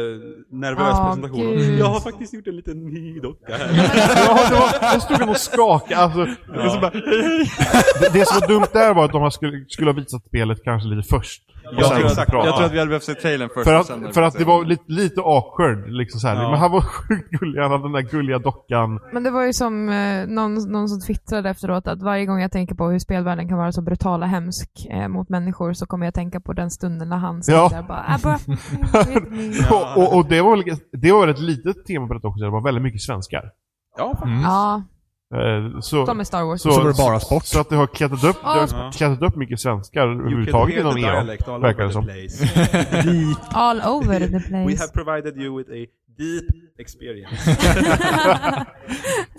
Jättenervös Ah, presentation. gud. Jag har faktiskt gjort en liten ny docka här. Mm. ja, det var, jag stod och skakade. Alltså, det, var så bara, det, det som var dumt där var att de skulle, skulle ha visat spelet kanske lite först. Och Ja, sen exakt. prata. Jag tror att vi hade behövt se trailern först. För och att, sen- för att det var lite, lite awkward, liksom så här. Ja. Men han var sjukt gullig, han hade den där gulliga dockan. Men det var ju som eh, någon, någon som twittrade efteråt att varje gång jag tänker på hur spelvärlden kan vara så brutal och hemsk eh, mot människor så kommer jag tänka på den stunden när han satt Ja. där bara, "Ah, bara mm, mm, mm." Och, och, och det, var väl, det var väl ett litet tema på detta också, det var väldigt mycket svenskar. Ja, fan. Mm. Ja, Eh, Så, de är Star Wars. Så var det bara sport. Så att det har klättrat upp, det Ja. har klättrat upp mycket svenskar överhuvudtaget You can inom E hear the EA. dialect all verkar over det som. the place. Deep. All over the We place. have provided you with a deep experience.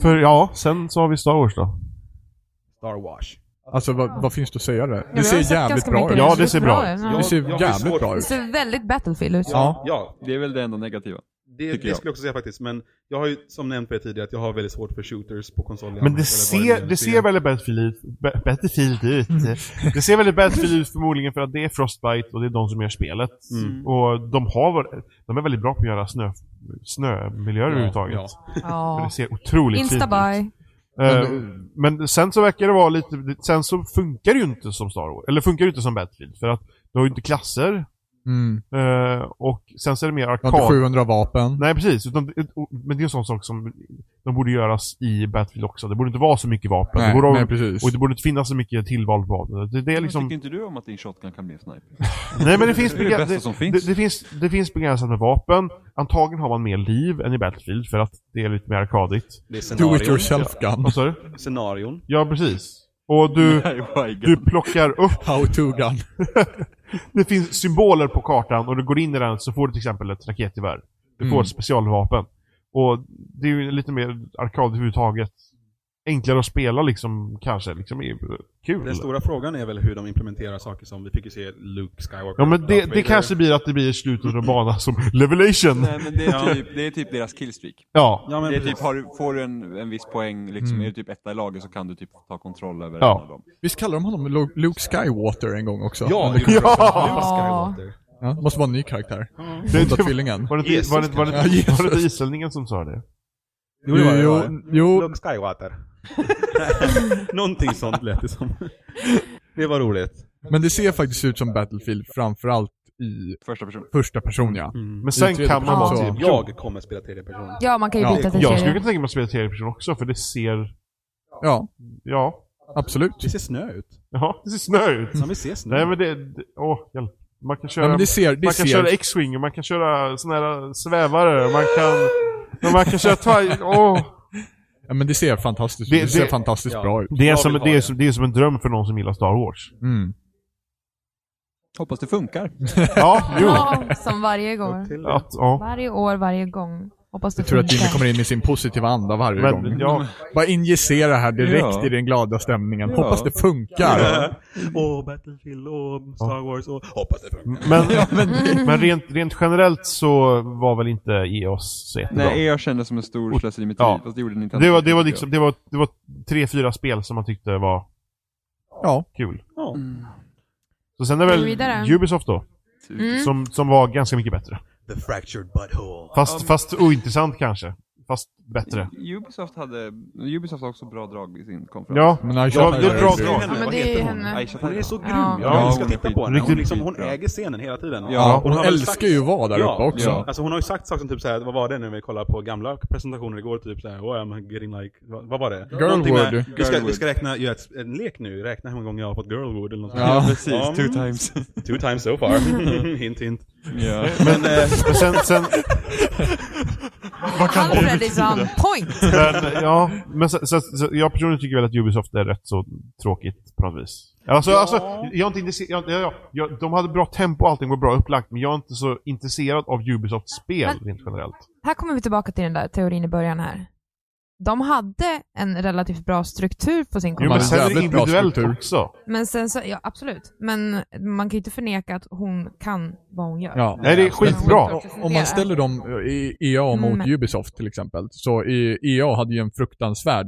För ja, sen så har vi Star Wars då. Star Wash. Alltså vad, vad finns det att säga där? Ja, Det vi har ser sett jävligt ganska bra mycket. ut. Ja, det ser bra ut. Det Ja. ser Jag- jag har jävligt svårt- bra Det ut. ser väldigt Battlefield ut. Ja. Ja, Det är väl det enda negativa. det, Tycker det jag. skulle jag också säga faktiskt. Men jag har ju som nämnt på er tidigare att jag har väldigt svårt för shooters på konsol. Men det ser, det ser väldigt Battlefield ut. Ba- Battlefield ut. Det ser väldigt Battlefield ut förmodligen för att det är Frostbite och det är de som gör spelet. Mm. Och de har var- de är väldigt bra på att göra snö, snömiljöer överhuvudtaget. För Ja. Det ser otroligt fint ut. Instabuy. Eh, Men sen så verkar det vara lite, sen så funkar det ju inte som Star Wars, eller funkar det ju inte som Battlefield. För att du har ju inte klasser, Mm. Eh, och sen så är det mer Jag har inte arkad. 700 vapen. Nej precis, utan, men det är en sån sak som de borde göras i Battlefield också. Det borde inte vara så mycket vapen. det Nej, borde, nej precis. och det borde inte finnas så mycket tillval på vapnen. Det, det är liksom, Tycker inte du om att din shotgun kan bli en sniper? nej men det finns, Det är det bega- bästa som finns. Det, det finns. Det finns begränsat med vapen. Antagligen har man mer liv än i Battlefield för att det är lite mer arkadigt. Det Do är it scenarion. yourself gun. Vad sa du? Scenarion. Ja precis. Och du, Nej, du plockar upp How to gun. Det finns symboler på kartan och du går in i den så får du till exempel ett raketgevär. Du Mm. får ett specialvapen. Och det är ju lite mer arkad överhuvudtaget. Enklare att spela liksom, kanske. Liksom, är kul. Den stora frågan är väl hur de implementerar saker som vi fick ju se Luke Skywalker. Ja men Darth det, Vader. det kanske blir att det blir slutet av banan som Levelation! men det är, typ, det är typ deras killstreak. Ja. Ja, men Det är precis. typ, har du, får du en, en viss poäng, liksom, är du typ etta i laget så kan du typ ta kontroll över Mm. Ja. en av dem. Visst kallar de honom Lo- Luke Skywater en gång också? Ja, Men det- det gjorde de. Ja. Luke Skywalker. ja. Måste vara en ny karaktär. Det- Onda tvillingen. Var det inte, var det, var det, Ja, Jesus. var det inte islänningen som sa det? Jo, det var det, det var jo, det. jo, Luke Skywalker. Någonting sånt lät det som. Det var roligt. men det ser faktiskt ut som Battlefield framförallt i Första person. första person ja. Men sen tredje kan man person vara så. typ... Mm. Jag kommer spela tredje person. Ja, man kan ju Ja. byta till Jag skulle tjejer. kunna tänka mig att spela tredjeperson också för det ser... Ja, Ja. absolut. Det ser snö ut. Ja, det ser snö ut. Ja, vi ser snö. Nej men det... det- Åh, hjälp. Man kan köra... Ja, men det ser, det man kan köra ser, X-Wing, och man kan köra såna här äh, svävare, man kan... men Man kan köra twi... Åh! ja, men det ser fantastiskt, Det- det, ser det- fantastiskt ja. bra ut. Det är, Jag som, vill ha det, är det. som, det är som en dröm för någon som gillar Star Wars. Mm. Hoppas det funkar. Ja, jo. Ja, som varje gång. Att, ja. Varje år, varje gång. Hoppas det Jag tror att Jimmy funkar. kommer in med sin positiva anda varje gång. Mm. Men, ja. Bara injicera här direkt Ja. i den glada stämningen. Ja. Hoppas det funkar. Åh, Battlefield, åh, Star Wars, åh. Hoppas det funkar. Men, men rent, rent generellt så var väl inte EOS så jättebra. Nej, jag kände som en stor slöseri med tid, Ja. fast det gjorde Nintendo. det, var, det, var liksom, det, var, det var tre, fyra spel som man tyckte var Ja. kul. Ja. Så sen är Går vi väl vidare? Ubisoft då, Mm. som, som var ganska mycket bättre. The fractured butthole. Fast, Um. fast ointressant kanske. Fast bättre. Ubisoft hade, Ubisoft har också bra drag i sin konferens. Ja, Men han det var, köper det var ett bra det. drag. Ja, men Vad det är ju heter hon? henne. Aisha Hon är så grym! Ja. Jag Ja, älskar hon att är titta på henne. Hon, skitbra. liksom, hon Riktigt bra. äger scenen hela tiden. Ja, Ja, hon, har väl sagt- älskar ju att vara där uppe också. ja. Alltså hon har ju sagt saker som typ såhär, vad var det nu vi kollade på gamla presentationer igår, typ såhär, oh, I'm getting like, vad, vad var det? Någonting med- Girlwood. Vi ska, Girlwood. vi ska räkna, göra ett, en lek nu, räkna hur många gånger jag har fått girlwood eller något sånt. Ja. precis. Ja, Two mm. times. Two times so far. hint hint. ja. Men, eh, Men sen, sen, Alfred is on point! men, ja, men så, så, så, jag personligen tycker väl att Ubisoft är rätt så tråkigt på något vis. Alltså, alltså jag är inte intresserad, jag, jag, jag, de hade bra tempo och allting var bra upplagt, men jag är inte så intresserad av Ubisofts spel rent generellt. Här kommer vi tillbaka till den där teorin i början här. De hade en relativt bra struktur på sin Jo, har men en konferens. sen är det jävligt bra individuellt struktur. också. Men sen så, ja absolut. Men man kan ju inte förneka att hon kan vad hon gör. Ja. Nej, det är skitbra. O- Om man ställer dem eh, i EA mot Mm. Ubisoft till exempel, så i- EA hade ju en fruktansvärd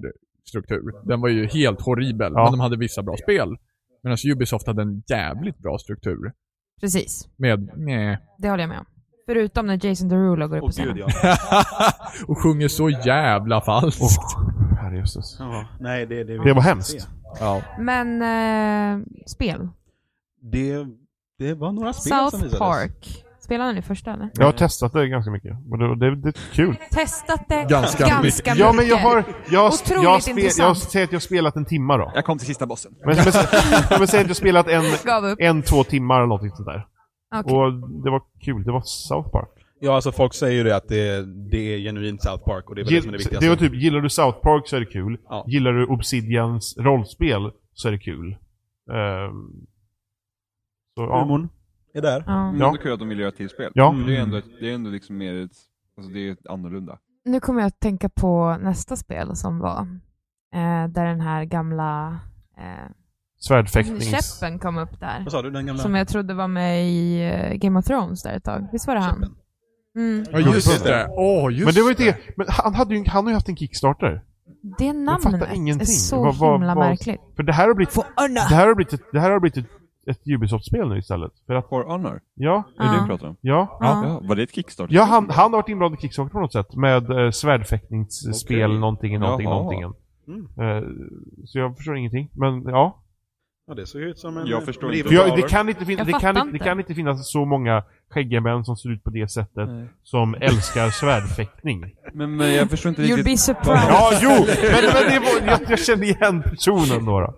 struktur. Den var ju helt horribel, Ja. men de hade vissa bra spel. Medan Ubisoft hade en jävligt bra struktur. Precis. Med... Meh. Det håller jag med om. Förutom när Jason Derulo går upp åh på scenen. gud ja. och sjunger så jävla falskt. Oh, herrejösses. ja. Nej, det, det, Det var hemskt. Ja. Men, eh, spel. Det, det var några spel som South visades. Park. Spelade ni första eller? Jag har testat det ganska mycket. Och det, det, det är kul. Testat det Ganska ganska, mycket. Ja, men jag har... Jag, Otroligt jag, spe, jag intressant. säger att jag har spelat en timma då. Jag kom till sista bossen. Men, men, men, men säg att jag spelat en, Gav upp. en, två timmar eller någonting sånt där. Okej. Och det var kul. Det var South Park. Ja, alltså folk säger ju det att det, det är genuint South Park och det är väl det som är det det viktigaste. var typ, gillar du South Park så är det kul. Ja. Gillar du Obsidians rollspel så är det kul. Ehm, så, ja. Humorn är där. Ja. Mm. Ja. Det är kul att de vill göra ett till spel. Ja. Det är ändå, ett, det är ändå liksom mer ett, alltså det är ett annorlunda. Nu kommer jag att tänka på nästa spel som var. Eh, där den här gamla eh, Svärdfäktnings... käppen kom upp där. Vad sa du? Den gamla? Som jag trodde var med i eh, Game of Thrones där ett tag. Visst var det han? Käppen. Mm. Ja, just det. Åh, just Men det var ju det. Men han, hade ju, han har ju haft en Kickstarter. Det namnet är ingenting. så Vad- vad- himla vad- märkligt. För det här har blivit, For honor! det här har blivit, ett, det här har blivit ett, ett Ubisoft-spel nu istället. För att, For Honor, ja, är det det Ja. du pratar om? ja. Ja. Ja, var det ett Kickstarter? Ja, han, han har varit inblandad i Kickstarter på något sätt. Med eh, svärdfäktningsspel, Okej. någonting, någonting, Jaha. någonting. Mm. Eh, så jag förstår ingenting. Men ja, Ja, det såg ut som en... Jag förstår en inte. För jag, det, revolver. kan inte finna, Jag det, fattar kan inte, det inte. kan inte finnas så många skäggiga män som ser ut på det sättet Nej. som älskar svärdfäktning. Men, men jag förstår inte You'll riktigt. be surprised. ja, jo! Men, men det var, jag, jag kände igen personen då. då.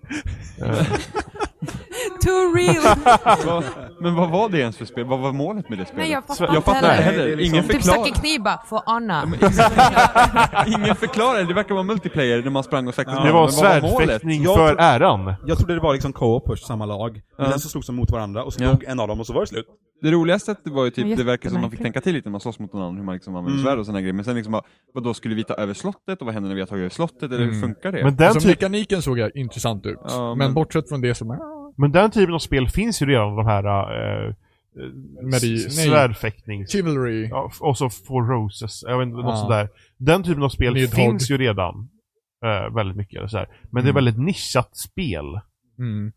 Too real! Vad- men vad var det ens för spel? Vad var målet med det spelet? Nej, jag fattar jag inte fattar heller. inte heller. Nej, det är liksom- Ingen Typ stack en förklarar. kniv bara, for honor. Ingen förklarar. Det verkar vara multiplayer när man sprang och sakta Det snabbt, var men vad målet? svärdfäktning Jag för tror- äran. Jag trodde det var liksom co-op först, samma lag. Men sen så slogs de mot varandra och så Ja. dog en av dem och så var det slut. Det roligaste var ju typ, det verkar som man fick Jättemärkligt. tänka till lite när man slåss mot någon annan, hur man liksom använder Mm. svärd och såna grejer. Men sen liksom, bara, vad då skulle vi ta över slottet och vad händer när vi har tagit över slottet? Eller hur funkar det? Mm. Men den, Alltså, typ, mekaniken såg jag intressant ut. Ja, men... men- bortsett från det som... är- men den typen av spel finns ju redan, de här eh, eh, Medi- s- nej. svärdfäktnings... Chivalry. Ja, f- och så Four Roses, jag vet inte, Ja. något sånt där. Den typen av spel Nidhogg. finns ju redan. Eh, väldigt mycket. eller Så här. Men det är Mm. väldigt nischat spel. Mm.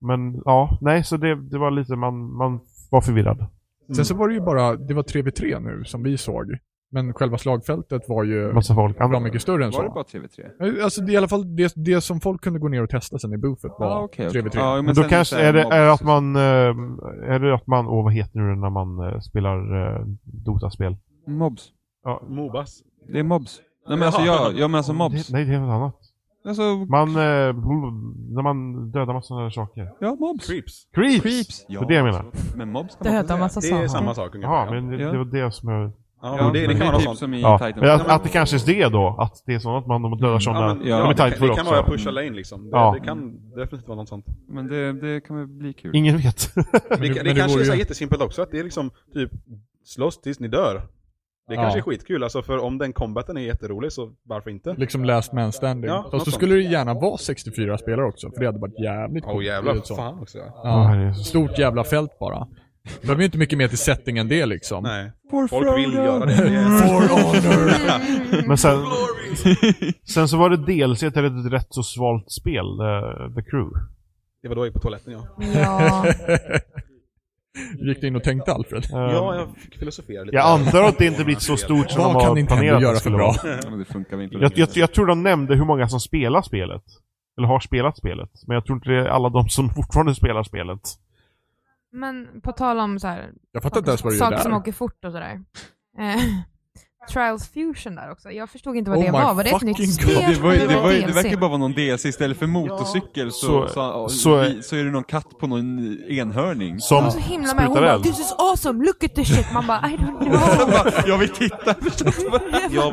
Men ja, nej, så det, det var lite, man, man var förvirrad. Sen så var det ju bara, det var 3v3 nu som vi såg. Men själva slagfältet var ju Massa folk. bra mycket större än var det så. bara 3v3? Alltså det är i alla fall det, det som folk kunde gå ner och testa sen i buffet var Ja, Ah, okej, okej. 3v3. Ja, Men då sen kanske, så här är det, mobs- är det att man, eh, är det att man, åh vad heter det när man eh, spelar eh, Dota-spel? Mobs. Ja. Alltså Mobas. Det är mobs. Nej men alltså jag, jag men alltså mobs. Det, nej, det är något annat. Alltså, Man, eh, bl- när man dödar massa sådana där saker. ja mobs. Creeps. Creeps! Creeps. Det är det jag menar. Men mobs kan man Döda inte massa Det är saker. samma sak ungefär. Jaha, men det, Ja. det var det som jag... Ja, Ja, det, det kan vara typ något sånt. som i Ja. Titan. Men att, att det kanske är det då, att det är sånt att man de dödar sådana. Ja, men, Ja, ja, de är det, kan, tight det också. kan vara pusha lane liksom. Det, Ja. det kan definitivt vara något sånt. Men det, det kan väl bli kul. Ingen vet. Det, det- det, men det kanske vore är så ju- här jättesimpelt också, att det är liksom typ slåss tills ni dör. Det Ja. kanske är skitkul, alltså för om den combaten är jätterolig så varför inte? Liksom last man standing. Ja, Fast något då sånt. skulle det gärna vara 64 spelare också, för det hade varit jävligt Åh coolt. Det är jävlar, ett sånt. fan också. Ja. Åh, Ja, herrejösses. stort jävla fält bara. Det behöver ju inte mycket mer till setting än det liksom. Nej, For folk vill göra det. det. är- For honor! Mm. Men sen, sen så var det DLC till ett rätt så svalt spel, eh, The Crew. Det var då jag gick på toaletten ja. Ja. Gick du in och tänkte Alfred? Ja, Ehm, jag fick filosofera lite. Jag antar att det inte blivit så stort som de Vad har kan Nintendo planerat göra det för skulle bra? vara. Ja, men det funkar väl inte. Jag, jag, jag tror de nämnde hur många som spelar spelet. Eller har spelat spelet. Men jag tror inte det är alla de som fortfarande spelar spelet. Men på tal om så här, Jag fattar inte ens vad du gör saker där. som åker fort och sådär. Eh, Trials Fusion där också. Jag förstod inte vad Oh det my var. Var det ett fucking nytt God. spel? Ja, det, var, ju- eller det, var, ju- DLC? det verkar bara vara någon DLC, istället för motorcykel så, Så- så, så, så- vi- så är det någon katt på någon enhörning. Hon Som var så himla med. Hon sprutar bara eld. 'This is awesome, look at this shit' Man bara 'I don't know' Jag vill titta! Jag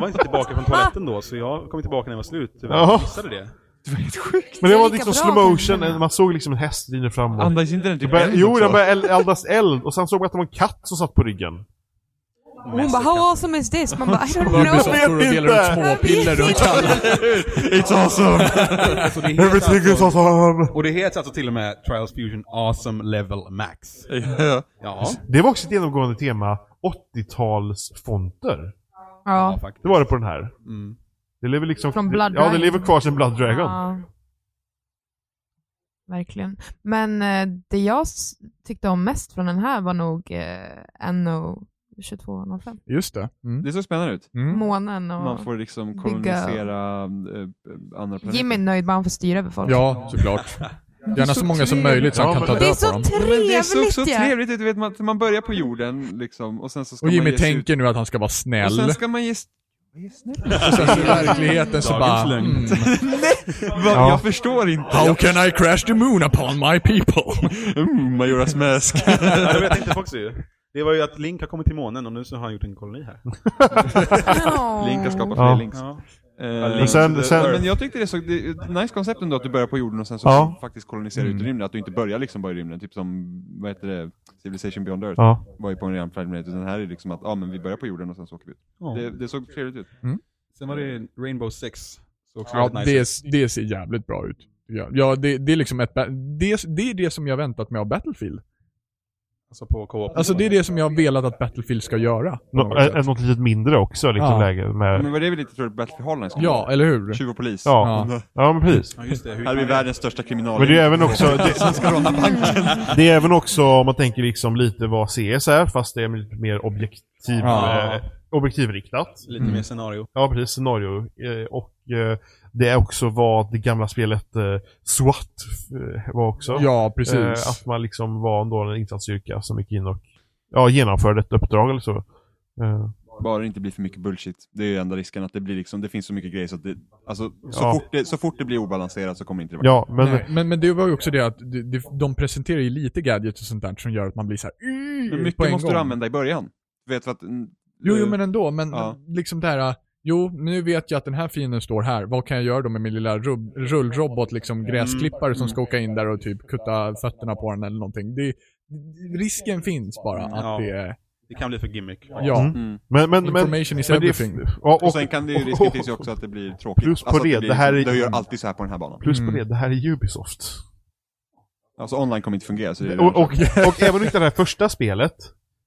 var inte tillbaka från toaletten då, så jag kom tillbaka när jag var slut tyvärr. Jaha. Jag missade det. Men det Det är var lika liksom bra typ. slow att motion, den- man såg liksom en häst rinna framåt. Andas inte den Det typ började, eld jo, också? den började eld- eldas eld och sen såg man att det var en katt som satt på ryggen. Hon bara 'How awesome is this?' Man bara 'I don't Barbie som know' står och delar ut småpiller runt alla. It's awesome! Alltså, det heter alltså- awesome! Och det heter alltså till och med Trials Fusion Awesome Level Max. Ja. Ja, Det var också ett genomgående tema. 80-talsfonter. ja Ja. faktiskt. Det var det på den här. Mm. Det lever liksom... Från Blood Ja, det Dragon. lever kvar sen Blood Dragon. Ja. Verkligen. Men eh, det jag s- tyckte om mest från den här var nog eh, NO 2205. Just det. Mm. Det såg spännande ut. Mm. Månen och... Man får liksom Bygga- kolonisera eh, andra planeter. Jimmy är nöjd med att han får styra över folk. Ja, såklart. Gärna så många som möjligt så han kan ta Det är död på så dem. Ja, men det såg trevligt så ja. trevligt ut, du vet man, man börjar på jorden liksom och sen så ska Och man Jimmy ge sig ut. tänker nu att han ska vara Och snäll. sen ska man ge... s- ge snäll. Och sen så i verkligheten så bara... Dagens lögn. Mm. Va, Ja. Jag förstår inte. How can I crash the moon upon my people? Mm, Majoras Mask. Ja, det vet inte folk ju. Det var ju att Link har kommit till månen och nu så har han gjort en koloni här. Ja. Link har skapat Ja. fler links. Ja. Eh, Men sen- sen- men jag tyckte det såg, det, nice koncept ändå att du börjar på jorden och sen så Ja. faktiskt koloniserar ut i rymden. Att du inte börjar liksom bara i rymden, typ som, vad heter det, Civilization Beyond Earth. Ja. Var ju på en redan planet, utan här är liksom att, ja men vi börjar på jorden och sen så åker vi ut. Det, det såg trevligt ut. Sen var det Rainbow Six. Så också Ja, väldigt nice. det, det ser jävligt bra ut. Ja, ja det, det är liksom ett... ba- Det, det är det som jag väntat mig av Battlefield. Alltså på co-op. Alltså det är det som jag har velat att Battlefield ska göra. på Nå- något sätt. ä- något litet mindre också, liksom Ja. läge Ja. med... Men var det väl lite trevligt Battlefield Hardline skulle Ja, eller hur? Tjuv och polis. Ja. Ja. Ja, men precis. Ja, just det. Hur Här är vi man- världens största kriminal. Men det är även också... Det, ska råna banken. det är även också, om man tänker liksom lite vad CS är, fast det är lite mer objektiv... Ja. Eh, objektivriktat. Lite mer scenario. Ja, precis. Scenario. Eh, och eh, det är också vad det gamla spelet eh, SWAT eh, var också. Ja, Eh, precis. att man liksom var ändå en insatsstyrka som gick in och ja, genomförde ett uppdrag eller så. Eh, Bara det inte blir för mycket bullshit. Det är ju enda risken att det blir liksom, det finns så mycket grejer så att det, alltså, så, Ja. fort det, så fort det blir obalanserat så kommer det inte det vara. ja, men... Nej, men, men det var ju också det att de, de- de presenterar ju lite gadgets och sånt där som gör att man blir så här. "Ugh", Mm. Men på mycket en måste gång. du använda i början. Du vet för att... mm, Jo, jo eh, men ändå, men Ja. liksom det här, jo, nu vet jag att den här fienden står här, vad kan jag göra då med min lilla rubb, rullrobot, liksom gräsklippare som ska åka in där och typ kutta fötterna på den eller någonting. Det, risken finns bara att Ja. det är, Det kan bli för gimmick. ja, Mm. Mm. Men, men, men, men information is det är- everything. ja, Och sen kan det ju, risken finns ju också att det blir tråkigt. Plus på alltså, att det, blir, det här är- Du gör alltid så här på den här banan. Plus på Mm. det, det här är Ubisoft. Alltså online kommer inte fungera så det är Och, och, och även om inte det här första spelet,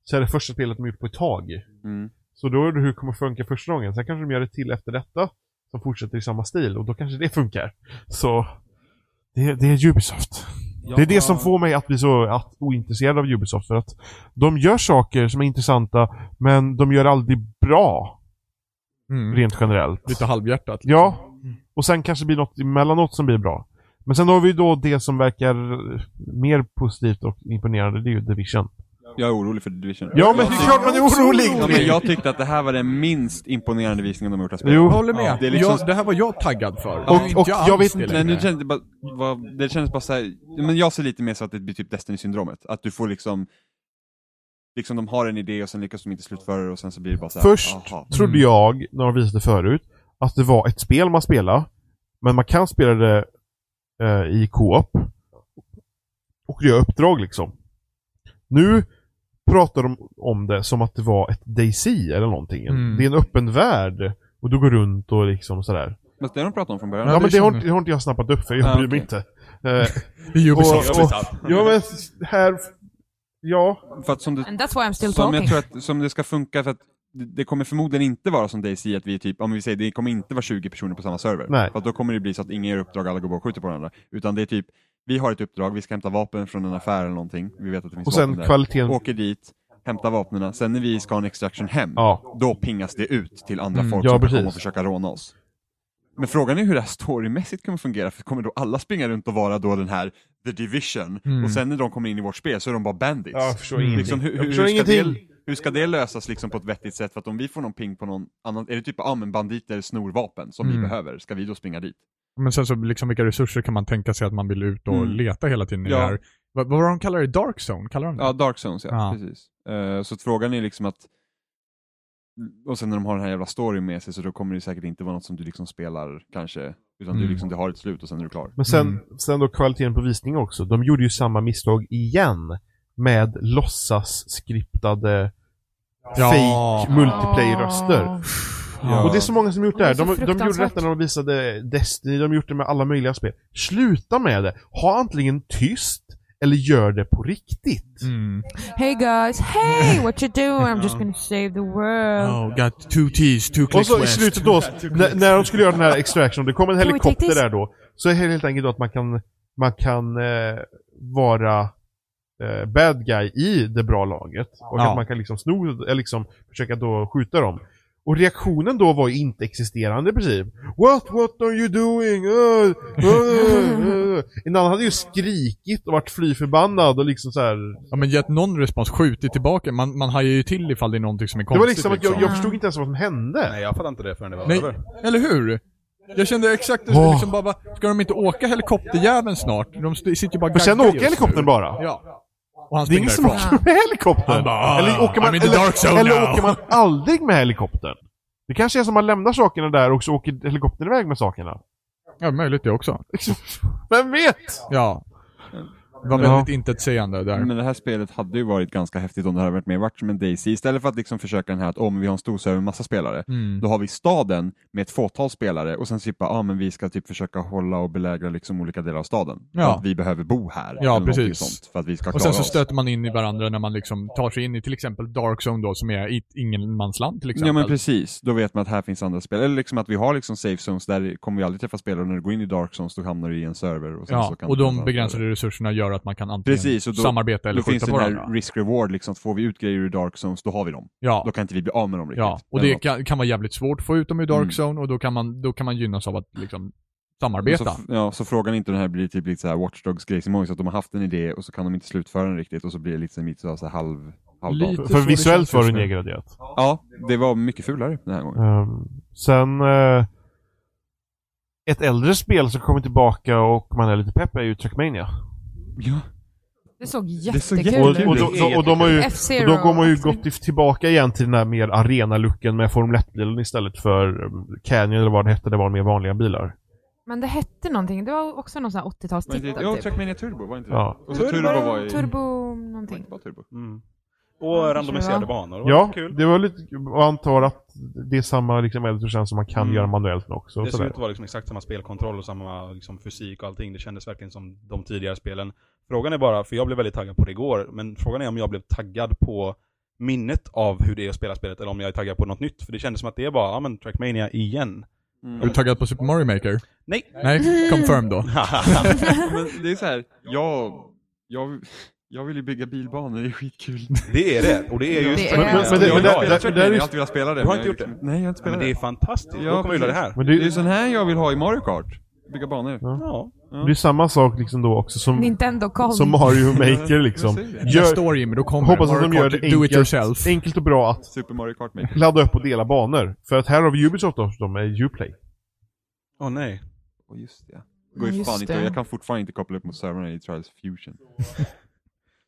så är det första spelet de gjort på ett tag. Mm. Så då är det hur det kommer funka första gången. Sen kanske de gör det till efter detta, som fortsätter i samma stil, och då kanske det funkar. Så, det, det är Ubisoft. Det är det som får mig att bli så att, ointresserad av Ubisoft, för att de gör saker som är intressanta, men de gör aldrig bra, Mm. rent generellt. Lite halvhjärtat. liksom. Ja. Och sen kanske det blir något emellanåt som blir bra. Men sen har vi ju då det som verkar mer positivt och imponerande, det är ju Division. Jag är orolig för Division. Ja, men det är klart man är orolig! Ja, men jag tyckte att det här var den minst imponerande visningen de har gjort av spelet. Jo. Jag håller med. Ja, det det, är liksom- jag, det här var jag taggad för. Och- Nu är inte och jag alls vet det inte- längre. Nej, nu känns det bara, vad- det känns bara så här, men jag ser lite mer så att det blir typ Destiny-syndromet. Att du får liksom, liksom de har en idé och sen lyckas de inte slutföra det och sen så blir det bara så här, Först aha. trodde Mm. jag, när de visade förut, att det var ett spel man spelar, men man kan spela det eh, i co-op. Och göra uppdrag liksom. Nu pratar de om det som att det var ett DayZ eller någonting. Mm. Det är en öppen värld. Och du går runt och liksom sådär. Men det har de pratat om från början. Ja, Ja, men det det har, känner inte, det har inte jag snappat upp för jag Ah, bryr mig okej. inte. Eh, Det är Ubisoft. och, och, ja men här... Ja. För att som du, And that's why I'm still som talking. jag tror att, som det ska funka för att det det kommer förmodligen inte vara som DayZ att vi är typ, om vi säger det kommer inte vara 20 personer på samma server. Nej. För att då kommer det bli så att ingen gör uppdrag, alla går bara och skjuter på varandra. Utan det är typ, vi har ett uppdrag, vi ska hämta vapen från en affär eller någonting. Vi vet att det finns Och sen vapen där. kvaliteten. Åker dit, hämtar vapnen, sen när vi ska ha en extraction hem, Ja. då pingas det ut till andra Mm, folk ja, som kan precis. komma och försöka råna oss. Men frågan är hur det här storymässigt kommer fungera, för kommer då alla springa runt och vara då den här The Division, Mm. och sen när de kommer in i vårt spel så är de bara bandits. Ja, jag förstår Mm. ingenting. Liksom, hur, jag hur, förstår hur, ska ingenting. det, hur ska det lösas liksom på ett vettigt sätt? För att om vi får någon ping på någon annan, är det typ ah, men banditer snor vapen som Mm. vi behöver, ska vi då springa dit? Men sen så liksom vilka resurser kan man tänka sig att man vill ut och Mm. leta hela tiden i Ja. det här? Vad, vad var de kallar det? Dark zone? Kallar de det? Ja, Dark Zones ja, Mm. Ja. precis. Eh, så att frågan är liksom att och sen när de har den här jävla storyn med sig så då kommer det säkert inte vara något som du liksom spelar kanske, utan du Mm. liksom, det har ett slut och sen är du klar. Men sen, sen då kvaliteten på visningen också. De gjorde ju samma misstag igen. Med låtsas-skriptade Ja. fake multiplayer-röster. Ah. Ja. Och det är så många som gjort det här. Det är De, så de gjorde fruktansvärt. detta när de visade Destiny, de har gjort det med alla möjliga spel. Sluta med det! Ha antingen tyst, eller gör det på riktigt. Mm. Hey guys, hey what you doing? I'm just gonna save the world. Oh, got two T's, two Och så i slutet då, när, när de skulle göra den här extraction, det kom en Can we take helikopter this? där då. Så är det helt enkelt då att man kan, man kan eh, vara eh, bad guy i det bra laget. Och Ja. att man kan liksom sno, eller liksom försöka då skjuta dem. Och reaktionen då var ju inte existerande i princip. What, what are you doing? Uh, uh, uh. En annan hade ju skrikit och varit fly förbannad och liksom så här. Ja men gett någon respons, skjutit tillbaka. Man, man hajar ju till ifall det är någonting som är Det var konstigt. liksom att jag, jag förstod inte ens vad som hände. Nej, jag fattade inte det förrän det var Nej, över. eller hur? Jag kände exakt det, Åh. liksom bara, va, ska de inte åka helikopterjäveln snart? De st- sitter ju bara Men sen gaggar åker just nu. helikoptern bara. Ja. Och han Det är springer ingen som därifrån. åker med helikoptern. Han bara, "Ah, eller åker man, "I'm in the eller, dark zone eller now." åker man aldrig med helikoptern? Det kanske är som man lämnar sakerna där och så åker helikoptern iväg med sakerna. Ja, möjligt det också. Vem vet? Ja. Det var Ja. väldigt intetsägande där. Men det här spelet hade ju varit ganska häftigt om det hade varit mer varit som en DayZ istället för att liksom försöka den här att om vi har en stor server med massa spelare, Mm. då har vi staden med ett fåtal spelare och sen typ bara, ah, men vi ska typ försöka hålla och belägra liksom olika delar av staden. För Ja. Att vi behöver bo här. Ja, eller någonting precis. Sånt, för att vi ska klara Och sen så oss. stöter man in i varandra när man liksom tar sig in i till exempel Dark Zone då, som är i ett ingenmansland till exempel. Ja men precis, då vet man att här finns andra spel. Eller liksom att vi har liksom safe zones, där kommer vi aldrig träffa spelare. När du går in i dark zones då hamnar du i en server. Och sen så Ja, kan och du träffa de andra begränsade spelare. resurserna gör att man kan antingen Precis, och då- samarbeta eller Då finns skjuta den på här varandra. risk-reward, liksom, att får vi ut grejer ur dark zones, då har vi dem. Då Ja, kan inte vi bli av med dem riktigt. ja. och Eller det något. kan, kan vara jävligt svårt att få ut dem ur Dark Mm. Zone och då kan man, då kan man gynnas av att liksom Så, samarbeta. f- ja, så frågan är inte den här blir typ lite såhär Watchdogs grej som många, så att de har haft en idé och så kan de inte slutföra den riktigt och så blir det lite lite såhär, såhär halv... halvdant. Lite. För så det visuellt känns var det just nu. nedgraderat. Ja, det var mycket fulare den här gången. Ehm, sen... eh, ett äldre spel som kommer tillbaka och man är lite pepp är ju Trackmania. Ja, Det såg Det såg jättekul Och, jättekul ut. och, de, och de har ju... F-Zero. Och då går man ju gått if- tillbaka igen till den här mer arenalucken med Formel 1-bilen istället för eh, Canyon eller vad det hette, det var mer vanliga bilar. Men det hette någonting, det var också någon sån här 80-talstitel typ. Trackmania Turbo, var inte Ja. Och så Turbo var ju... Turbo någonting. Var Turbo? Mm. Och randomiserade banor. Det var Ja, Kul. det var lite och antar att det är samma liksom editortjänst som man kan Mm. göra manuellt nu också. och Det såg sådär. ut att vara liksom exakt samma spelkontroll och samma liksom fysik och allting. Det kändes verkligen som de tidigare spelen. Frågan är bara, för jag blev väldigt taggad på det igår, men frågan är om jag blev taggad på minnet av hur det är att spela spelet eller om jag är taggad på något nytt. För det kändes som att det var, ja men Trackmania igen. Är Mm. du taggad på Super Mario Maker? Nej! Nej, confirm då. Men det är så här, jag, jag, jag vill ju bygga bilbanor, det är skitkul. det är det, och det är just Det är- Trackmania. Men- men det- Jag men är där- glad. där- jag, där är jag har just- alltid velat spela det. Du men har jag inte gjort liksom- Nej, jag har inte Men spelat det är det. fantastiskt, Ja, då kommer du gilla det här. Men Det det, är sån här jag vill ha i Mario Kart. Bygga banor. Ja. det är samma sak liksom då också som, Nintendo kom. som Mario Maker liksom. Jag säger det. Gör... Gör, Nästa år Jimmy, då kommer hoppas att Mario de gör Kart det Do It Yourself. enkelt, enkelt och bra att Super Mario Kart Maker. ladda upp och dela banor. För att här har vi Ubisoft också, de är Uplay. Åh nej. Och just det. Det Går ju Ja, just fan inte, det. jag kan fortfarande inte koppla upp mot servrarna i Trials Fusion.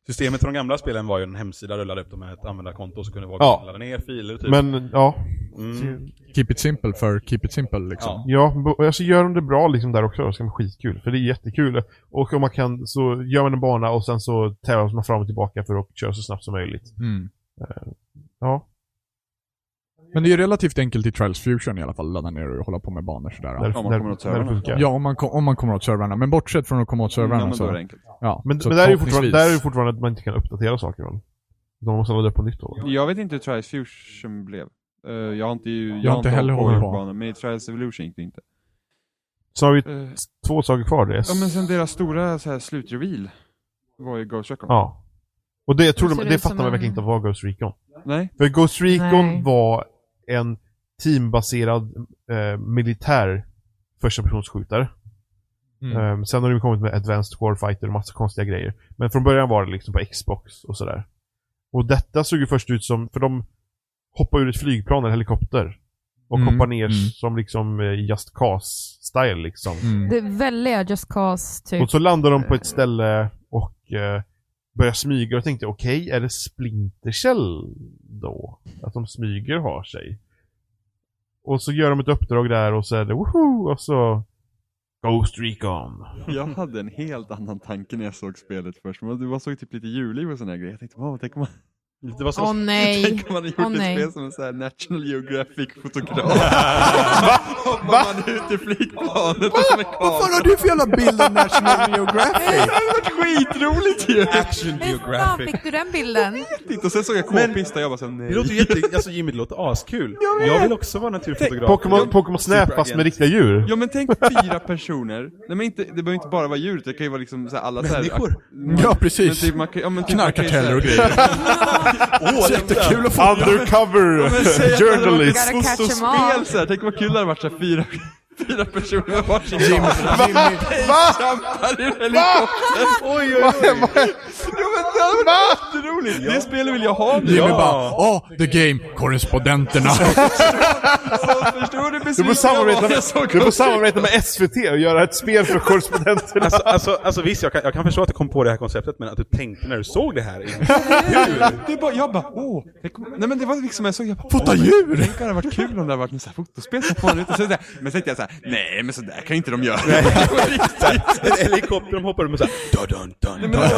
Systemet för de gamla spelen var ju en hemsida rullade upp dem med ett användarkonto så kunde folk Ja. ladda ner filer typ. Men ja, Mm. Keep it simple för keep it simple liksom. Ja. Typ. ja, bo- alltså gör de det bra liksom där också, så ska det bli skitkul. För det är jättekul. Och om man kan så gör man en bana och sen så tävlar man fram och tillbaka för att köra så snabbt som möjligt. Mm. Ja, Men det är ju relativt enkelt i Trials Fusion i alla fall, ladda ner och hålla på med banor sådär. när, Ja, det- kommer när, åt när det servrarna. funkar. ja om, man kom, om man kommer åt servrarna. Men bortsett från att komma åt servrarna ja, men då är det så... enkelt. Ja, Men, så men där, är ju fortfarande, förhoppningsvis- där är ju fortfarande att man inte kan uppdatera saker. va? De måste ladda upp på nytt då. va? Jag vet inte hur Trials Fusion blev. Eh, jag har inte ju... Jag, inte heller hållit hållit på. Banan, men i Trials Evolution gick det inte. Sen har vi Eh, två saker kvar. Det är... Ja men sen deras stora så här, slutreveal var ju Ghost Recon. ja. Och det, tror Ser de, det det ut som fattar man en- verkligen inte var Ghost Recon. Nej? För Ghost Recon Nej. var en teambaserad eh, militär förstapersonsskjutare. Mm. Ehm, sen har de ju kommit med Advanced Warfighter och massa konstiga grejer. Men från början var det liksom på Xbox och sådär. Och detta såg ju först ut som, för de hoppar ur ett flygplan eller helikopter. Och Mm, hoppar ner mm. som liksom eh, Just Cause-style liksom. Mm. Det är väldigt Just Cause typ. Och så landar de på ett ställe och eh, börjar smyga och tänkte okej, är det Splinter Cell då? Att de smyger och har sig. Och så gör de ett uppdrag där och så är det woho! Och så Ghost Recon. Jag hade en helt annan tanke när jag såg spelet först. Men det var såg typ lite julliv och sån här grejer. Jag tänkte, wow, tänk om man, Det var så... Åh nej. tänk om man hade gjort Åh, ett nej. spel som en sån här National Geographic-fotograf. Va? Hoppar man ut i flygplanet och så med Vad fan kameran. har du för jävla bild av National Geographic? Det hade varit skitroligt ju! Action Hur fan fick du den bilden? Titta, Och sen såg jag k-pista och jag bara så här, Det låter nej. ju jätte... Alltså Jimmy, det låter askul. Jag vill också vara naturfotograf. Pokémon, Pokémon Snap fast med riktiga djur. Ja men tänk fyra personer. Nej men inte, det behöver inte bara vara djuret, det kan ju vara liksom så här, alla så här, Människor. Mm. Ja, Men precis. typ, man kan, ja, men typ, man kan ju Knarkkarteller och säga- grejer. Åh, Jättekul att få. Undercover men säg att det hade varit journalist. Gotta catch 'em all. Spel så här, tänk vad kul det hade varit så här, fyra, fyra personer med varsin kamera. Jimmy, Trampar ur helikoptern! Oj, oj, oj! Ja men det hade varit jätteroligt! Det spelet vill jag ha nu! Jimmy Ja. bara, åh, the game, korrespondenterna. Så Förstår Du du får besviken jag var samarbeta när jag med, såg du får Ghost samarbeta med SVT och göra ett spel för korrespondenterna. Alltså, alltså, alltså visst, jag kan, jag kan förstå att du kom på det här konceptet, men att du tänkte när du såg det här. Recon. Det är bara, jag bara åh! det kom- Nej men det var liksom jag såg, jag bara Fota åh, men djur! Tänk om det hade varit kul om det hade varit en sån här fotospel som fan ut och så där. Men sen tänkte jag såhär, nej men sådär kan inte de göra. En helikopter, de hoppar upp och såhär... Dun, dun, dun, dun.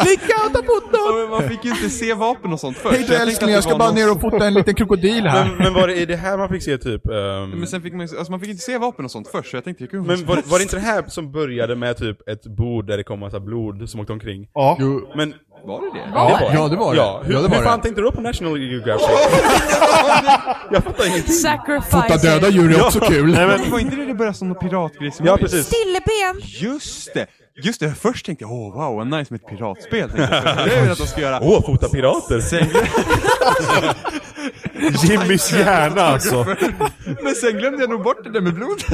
Slicka och ta Ja, foto! men man fick ju inte se vapen och sånt först. Hej så du tänkte älskling, att jag det ska var bara någon- ner och fota en liten krokodil Men, här. men var det, är det här man fick se typ... ehm, Men sen fick man ju, alltså man fick inte se vapen och sånt först så jag tänkte, jag kunde Men var, var det inte det här som började med typ ett bord där det kom massa blod som åkte omkring? Ja. Jo, Men... Var det det? Var? Ja, det var det. Ja, hur, Ja, det hur var fan det. tänkte du då på National Geographic? jag fattar ingenting. Fota Sacrifice. döda djur är också kul. Nej, men, Var inte det det började som någon piratgrej som Ja, var i? precis. Stilleben. Just det! Just det, först tänkte jag åh wow, vad nice med ett piratspel. tänkte jag. Det är väl att de ska göra. Åh, fota pirater! Sen, Jimmys hjärna alltså. men sen glömde jag nog bort det där med blodet.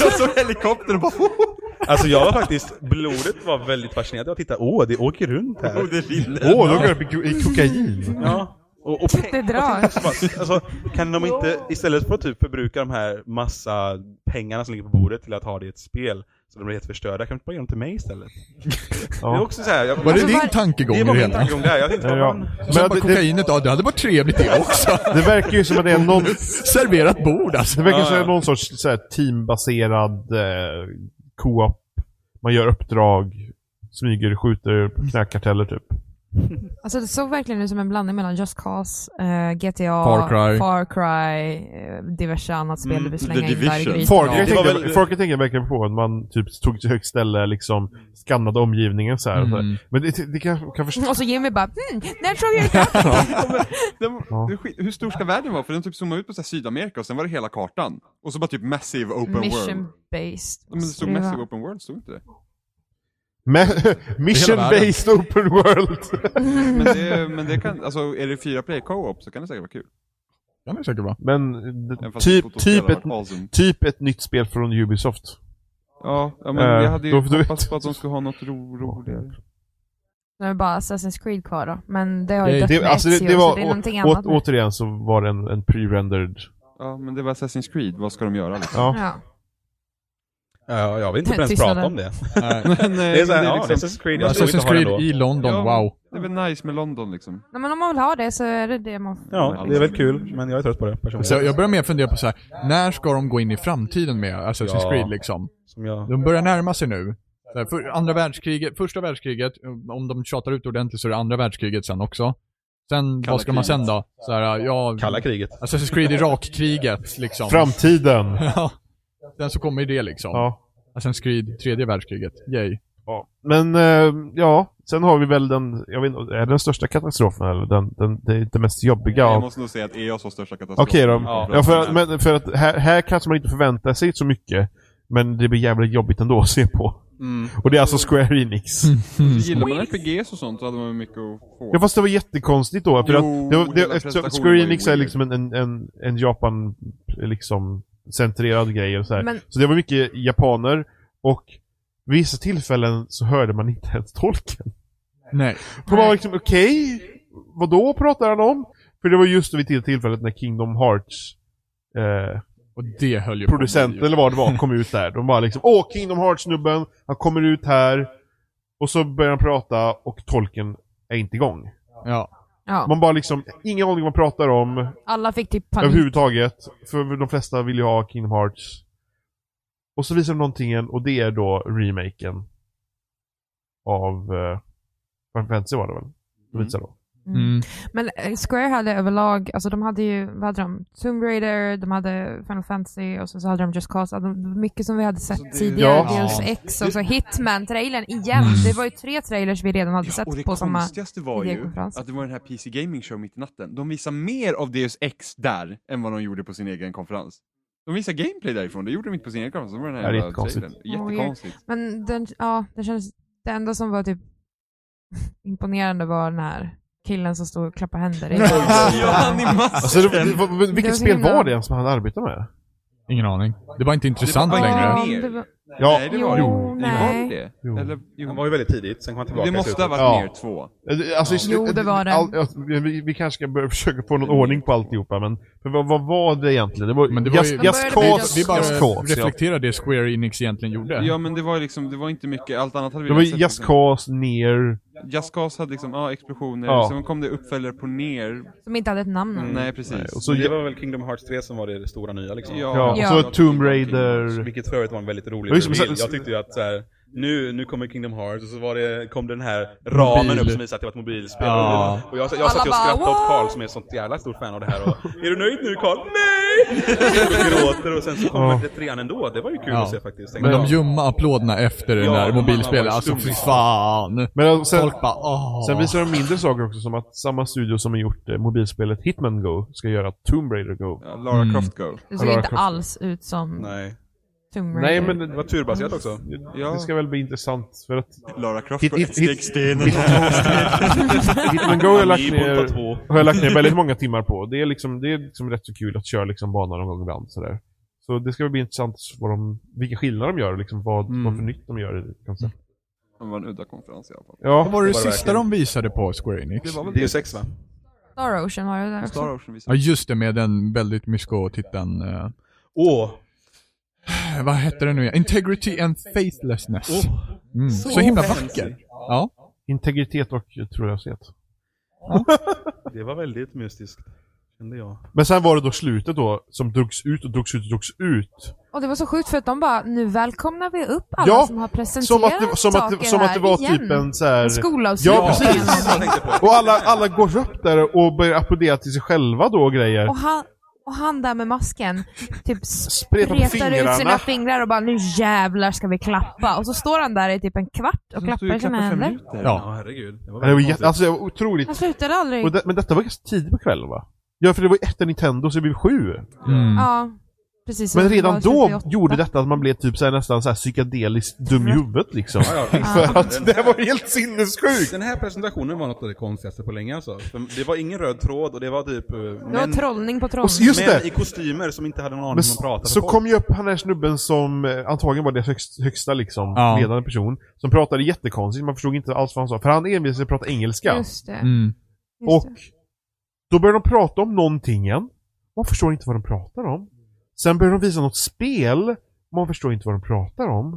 Jag såg helikoptern och bara oh, Alltså jag var faktiskt, blodet var väldigt fascinerad. Jag tittade, åh, det åker runt här. det rinner. Åh, de går upp i ko- i kokain. Ja. Och, och Det drar. alltså, kan de inte, istället för att typ förbruka de här massa pengarna som ligger på bordet till att ha det i ett spel, så de blir helt förstörda, kan de inte bara ge dem till mig istället? Det är också så här, jag, Var det Alltså, din var- tankegång det i var det min hela? tankegång där. Jag tänkte, Ja. ja. Men Sen bara det, det, kokainet, ja det hade varit trevligt det också. det verkar ju som att det är någon, Serverat bord det alltså. verkar som att det är någon sorts så här, teambaserad eh, co-op. Man gör uppdrag, smyger, skjuter, knäkarteller typ. Alltså det såg verkligen ut som en blandning mellan Just Cause, eh, GTA, Far Cry. Far Cry, eh, diverse annat spel Mm, du vill The slänga in där i Division. grytan. Folk det var väl- tänker jag verkligen på att man typ tog till högt ställe, liksom skannade omgivningen så här. och så här. Mm. Men det, det kan, kan förstå. Och så Jimmy bara mm, när tror jag det är?" Den, Ja. hur skit- Hur stor ska världen vara? För den typ zoomade ut på så här Sydamerika och sen var det hela kartan. Och så bara typ massive open world. Mission based. Men det stod massive open world, stod inte det? Me- Mission världen. based open world. Men det, men det kan, alltså är det fyra play co-op så kan det säkert vara kul. Ja, det är säkert bra. Men Även det, fast typ, fotospel typ, hade ett, varit awesome. typ ett nytt spel från Ubisoft. Ja, ja men Eh, jag hade ju då får du- hoppats på att de skulle ha något ro, roligare. Nu är det bara Assassin's Creed kvar då. Men det har ju Det- dött Det, med alltså det, Ezio, det var, så det är någonting å, annat nu. återigen så var det en, en pre-rendered. Ja, men det var Assassin's Creed, vad ska de göra liksom? Ja. Ja. Ja, jag vill inte ens Tystnaden. prata om det. Nej. Men, eh, Det är såhär, men ja, liksom- Assassin's Creed, jag tror inte Assassin's ha det Creed ändå. i London, wow. Det är väl nice med London liksom. Nej, Men om man vill ha det så är det det man får. Ja, det är väl kul, men alltså- jag är trött på det Så personligen. jag börjar mer fundera på så här. när ska de gå in i framtiden med Assassin's Ja. Creed liksom? Som jag... De börjar närma sig nu. Så här, För andra världskriget, första världskriget, eh, om de tjatar ut ordentligt så är det andra världskriget sen också. Sen, vad ska man sen då? Så här, ja, Kalla kriget. Assassin's Creed Irak-kriget liksom. Framtiden. Ja. Sen så kommer ju det liksom. Ja. Assassin's Creed, tredje världskriget. Yay. ja. Men eh, ja, sen har vi väl den, jag vet inte, är det den största katastrofen eller den, den, det, är det mest jobbiga Jag av... måste nog säga att EOS var största katastrofen. Okej då. Ja. Ja, för, att- men, för att här, här kanske man inte förväntar sig så mycket. Men det blir jävligt jobbigt ändå att se på. Mm. Och det är alltså Square Enix. Gillar man RPGs och sånt så hade man mycket att få. Ja fast det var jättekonstigt då, för Jo, att det var, det, eftersom hela presentationen var Square ju Enix är weird. liksom en, en, en, en Japan, liksom, centrerad grej och så, här. Men- så det var mycket japaner och vid vissa tillfällen så hörde man inte ens tolken. Nej. Och man var liksom, okej, vad då pratar han om? För det var just vid det tillfället när Kingdom Hearts eh, Och det höll ju på producent, med ju. eller vad det var, kom ut där. De bara liksom, åh Kingdom Hearts-snubben, han kommer ut här. Och så börjar han prata och tolken är inte igång. Ja. Ja, Man bara liksom, ingen aning vad man pratar om alla fick typ panik. överhuvudtaget. För de flesta vill ju ha Kingdom Hearts. Och så visar de någonting igen, och det är då remaken. Av eh, Final Fantasy var det väl? De visar då. Mm. Mm. Men eh, Square hade överlag, alltså de hade ju, vad hade de? Tomb Raider, de hade Final Fantasy och sen så hade de Just Cause. Alltså, det var mycket som vi hade sett tidigare, Ja. Mm. dels X och så Hitman-trailern igen. Det var ju tre trailers vi redan hade och det sett på samma... konstigaste var ju idékonferens. att det var den här PC Gaming Show mitt i natten. De visar mer av Deus Ex där än vad de gjorde på sin egen konferens. De visar gameplay därifrån, det gjorde de inte på sin egen konferens. Det var den här Ja, det är jävla jättekonstigt. trailern. ja. Jättekonstigt. Men den, ja, det kändes, det enda som var typ imponerande var den här killen som stod och klappade händer. i- Ja, han i masken! Alltså, det, vad- vad- Det var vilket så spel himla- var det ens som han arbetade med? Ingen aning. Det var inte intressant Det var- längre. Ja, längre. det var- Ja, Nej, det Jo, var jo. Nej. nej. Var det Jo. det? Eller, jo. Han var ju väldigt tidigt, sen kom han tillbaka Det i måste slutet. ha varit Ja. mer två. Eh, Alltså, i Jo, slutet- det var det. All, alltså, vi, vi kanske ska börja försöka få någon ordning på alltihopa, men för vad, vad var det egentligen? Det var, Men det var just, ju- just, De började med Cause, Vi bara Just Cause, ja. reflekterar det Square Enix egentligen gjorde. Ja men det var ju liksom, det var inte mycket, allt annat hade vi Det var ju redan liksom. Just Cause, Ner, Just Cause hade liksom, ja explosioner, Ja. sen kom det uppföljare på ner. Som inte hade ett namn. Mm. Nej precis. och så Så det var väl Kingdom Hearts 3 som var det stora nya liksom. Ja, Ja. och så Tomb Raider. Vilket för övrigt var en väldigt rolig Ja, just det, men reveal. sen- Jag tyckte ju att så här, nu, nu kommer Kingdom Hearts och så var det, kom den här ramen Mobil. upp som visade att det var ett mobilspel. Ja. Och jag, jag satt ju och Alla bara, skrattade åt Karl "What?" som är ett sånt jävla stort fan av det här och Är du nöjd nu Karl? Nej! Och gråter och sen så kommer Ja. det trean ändå. Det var ju kul Ja. att se faktiskt. tänkte Men de jag. ljumma applåderna efter det Ja, där man- mobilspelet, man var ju alltså stum. fy fan. Men alltså, sen, Folk bara åh. Sen visar de mindre saker också, som att samma studio som har gjort eh, mobilspelet Hitman Go ska göra Tomb Raider Go. Ja, Lara Mm. Croft Go. Det Lara såg inte Croft. alls ut som Nej. Tomb Nej, Raider. men Det det, var turbaserat också. Ja. det ska väl bli intressant, för att Lara Croft Hit- går hit- ett hit- steg stenen. Hitman Go har jag lagt Amiibo på ner, två. har jag lagt ner väldigt många timmar på. Det är liksom, det är liksom rätt så kul att köra liksom banan någon gång ibland sådär. Så det ska väl bli intressant vad de, vilka skillnader de gör och liksom vad, Mm. vad för nytt de gör i det, kanske. Det var en udda konferens i alla fall. Vad Ja, var det, Det var det sista de visade på Square Det Enix? var väl Det är ju det. sex va? Star Ocean var det där också. Star Ocean Ja visade. just det, med den väldigt mysko-titeln. eh, Åh! Vad hette den nu igen? Integrity and Faithlessness. Mm. Så, himla vacker. Ja. integritet och eh, trolöshet. Det var väldigt mystiskt. Kände jag. Men sen var det då slutet då, som drogs ut och drogs ut och drogs ut. Och det var så sjukt för att de bara, nu välkomnar vi upp alla Ja, som har presenterat Som att det, som att saker det, som att det här var igen. typ en såhär... En skolavslutning. Ja, precis. eller någonting. Och alla, alla går upp där och börjar applådera till sig själva då och grejer. Och han, och han där med masken, typ Spretar på spretar ut sina fingrarna. fingrar och bara nu jävlar ska vi klappa. Och så står han där i typ en kvart och klappar sina händer. Ja. herregud. Det var Ja, Det var, väldigt jä- alltså, det var otroligt. Han slutade aldrig. Och det, men detta var ganska tidigt på kvällen va? Ja, för det var ju efter Nintendo så det blev sju. Mm. Ja, precis. Men Så det redan var typ då 38. gjorde detta att man blev typ så här, nästan så här psykedeliskt dum i huvudet liksom. konstigt. Ja, För att det var helt sinnessjukt! Den här presentationen var något av det konstigaste på länge alltså. För Det var ingen röd tråd och det var typ... eh, Det var män, trollning på Och trollning. så- just män det! i kostymer som inte hade någon aning om Men att prata så folk. kom ju upp han där snubben som eh, antagligen var deras högst, högsta liksom, Ja. ledande person. Som pratade jättekonstigt, man förstod inte alls vad han sa. För han envisades med att prata engelska. Just det. Mm. Just Och då börjar de prata om någonting igen. Man förstår inte vad de pratar om. Sen börjar de visa något spel. Man förstår inte vad de pratar om.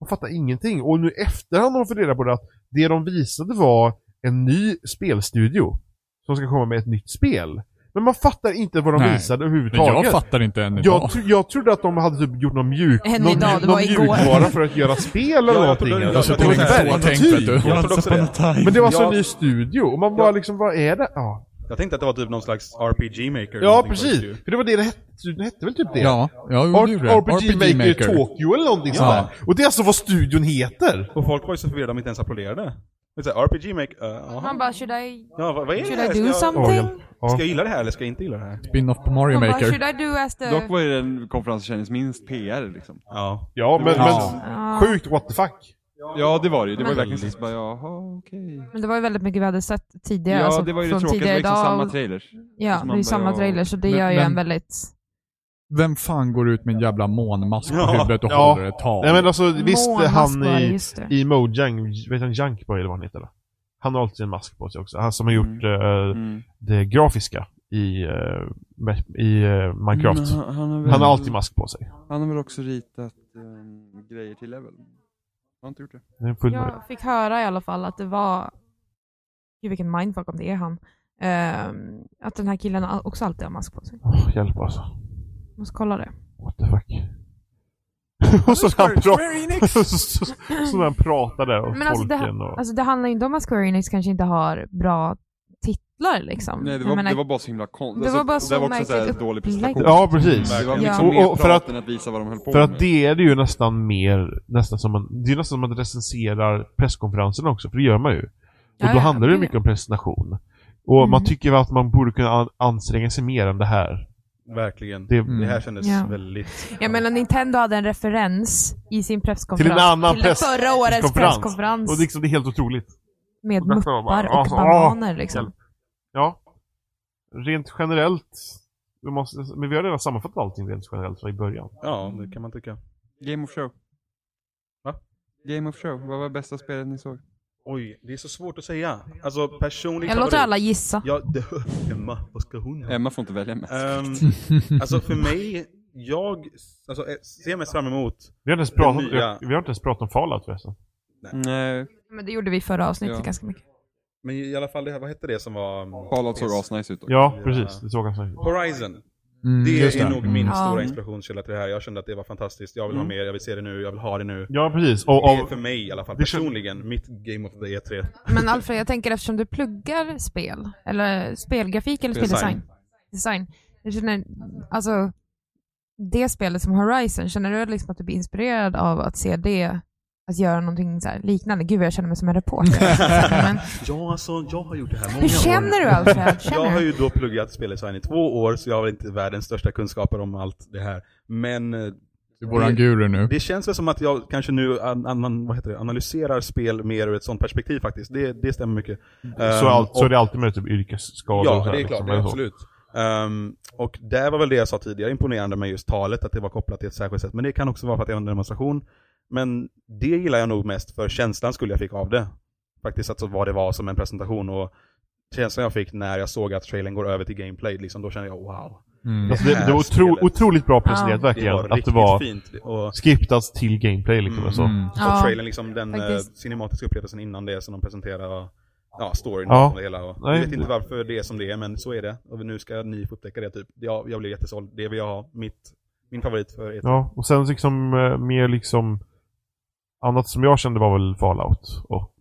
Man fattar ingenting. Och nu i efterhand har de fått reda på det att det de visade var en ny spelstudio. Som ska komma med ett nytt spel. Men man fattar inte vad de Nej. visade Men överhuvudtaget. jag fattar inte än idag. jag, tro, jag trodde att de hade typ gjort någon mjuk Än någon, idag, det någon var igår. mjukvara för att göra spel eller Ja, jag någonting. trodde- jag Alltså, trodde det var det var ett så. verktyg. Tänkt, vet du. Jag trodde också det. Men det var så en Jag- ny studio och man bara liksom, vad är det? Ja. Jag tänkte att det var typ någon slags RPG maker. eller Ja, någonting precis. faktiskt. För det var det det hette, det hette väl typ det? Ja, ja jo, det Ar- gjorde det. RPG, Maker, Tokyo eller någonting sånt Ja. där. Och det är alltså vad studion heter! Och folk var ju så förvirrade att de inte ens applåderade. Men så här, RPG Make, eh, jaha. Man bara, should I, ja, vad, vad är det should här? I Ska do jag, Oj, ja. something? ska Ja. jag gilla det här eller ska jag inte gilla det här? Spin-off på Mario Man bara, Maker. should I do as the... Dock var ju den konferensen som kändes minst PR liksom. Ja. Ja, men, Ja. men Ja, liksom sjukt what the fuck. Ja, det var det ju. Det var ju Men- verkligen så bara, jaha, okej. men det var ju väldigt mycket vi hade sett tidigare. Ja, alltså, det var ju det från tråkiga, det var tidigare liksom idag. samma trailers. Ja, som det man är ju bara, samma ja. trailer, så det Men- gör ju men- en väldigt... Vem fan går ut med en jävla månmask på Ja. huvudet och Ja. håller ett tal? Nej men alltså visst, Månmask han var det, i, just det. i Mojang, vet han Junkboy eller vad han heter? Då? Han har alltid en mask på sig också. Han som har Mm. gjort eh, Mm. det grafiska i, eh, me- i eh, Minecraft. Men han, Mm. har väl, Han har alltid mask på sig. han har väl också ritat ehm, grejer till level? Har han inte gjort det? Det är en full Jag fick höra i alla fall att det var, gud vilken mindfuck om det är han, Ehm, att den här killen al- också alltid har mask på sig. Åh, Hjälp alltså. Måste kolla det. What the fuck. Och så när han, pra- så, så, så när han pratade och Men alltså, det här- folken och... Alltså det handlar ju inte om att Square Enix kanske inte har bra titlar liksom. Nej, det Jag var, menar, det var bara så himla konstigt. Det var bara så det var också så här märkligt. dålig presentation. Alltså- Ja, precis. Det var Ja. liksom Och- mer och för prat än att visa vad de höll på För att med. det är det ju nästan mer, nästan som man, det är nästan som att man recenserar presskonferenserna också, för det gör man ju. Och Ja, då ja, handlar det det- mycket om presentation. Och Mm. man tycker väl att man borde kunna an- anstränga sig mer än det här. Verkligen. Det- Det, Mm. det här kändes Ja. väldigt... Jag menar Nintendo hade en referens i sin presskonferens Till en annan till det press- förra årets presskonferens. presskonferens Och liksom, det är helt otroligt. med och detta var bara, muppar och alltså, bananer liksom. hjälp. Ja. Rent generellt, vi måste, men vi har redan sammanfattat allting rent generellt i början. Ja, det kan man tycka. Game of Show. Va? Game of Show. Vad var bästa spelet ni såg? Oj, det är så svårt att säga. Alltså personligt... Jag låter alla gissa. Ja, det- Emma, vad ska hon ha? Emma får inte välja mest. Ehm, alltså för mig, jag alltså, eh, ser mest fram emot... Vi har inte ens pratat, Den nya- vi har inte ens pratat om Fallout förresten. Nej, Men det gjorde vi i förra avsnittet Ja. ganska mycket. Men i alla fall, det här, vad hette det som var... Fallout såg asnice ut. dock. Ja, eh, precis. Det såg jag säkert. Horizon. Mm, Det just är nog min Mm. stora Ja. inspirationskälla till det här. Jag kände att det var fantastiskt. Jag vill ha mer, jag vill se det nu, jag vill ha det nu. Ja, precis. Och, Det är för och, mig i alla fall, Det känns- personligen, mitt Game of the E E3. Men Alfred, jag tänker eftersom du pluggar spel, eller spelgrafik eller Speldesign. speldesign. Design. Jag känner, alltså, det spelet som Horizon, känner du liksom att du blir inspirerad av att se det, att göra någonting så här liknande? Gud vad jag känner mig som en reporter. Men, Ja, alltså, jag har gjort det här många hur känner du Alfred? Känner Jag har du? Mm. ju då pluggat speldesign i två år, så jag har väl inte världens största kunskaper om allt det här. Men eh, det. Våran guru nu. det känns väl som att jag kanske nu an, an, vad heter det, analyserar spel mer ur ett sånt perspektiv faktiskt. Det, det stämmer mycket. Mm. så, Ehm, allt, så och- är det alltid med typ yrkesskador och Ja, sådär, det är klart. liksom, Det är eller så. absolut. Ehm, och det var väl det jag sa tidigare, imponerande med just talet, att det var kopplat till ett särskilt sätt. Men det kan också vara för att det var en demonstration. Men det gillar jag nog mest för känslan skulle jag fick av det. Faktiskt alltså vad det var som en presentation och känslan jag fick när jag såg att trailern går över till gameplay, liksom, då kände jag wow. Mm. Alltså, det, det var otro, spelet. otroligt bra presenterat Ja. verkligen. Det var att det riktigt var fint. Och, skriptat till gameplay liksom. Mm. Så. Mm. och Ja, trailern, liksom den eh, faktiskt. cinematiska upplevelsen innan det som de presenterar ja, storyn Ja. och det hela. Och, Nej, jag vet inte det- varför det är som det är, men så är det. Och nu ska ni få upptäcka det, typ. Jag, jag blev jättesåld. Det vill jag ha. Mitt, min favorit för E3. Ja, och sen liksom eh, mer liksom annat som jag kände var väl Fallout och,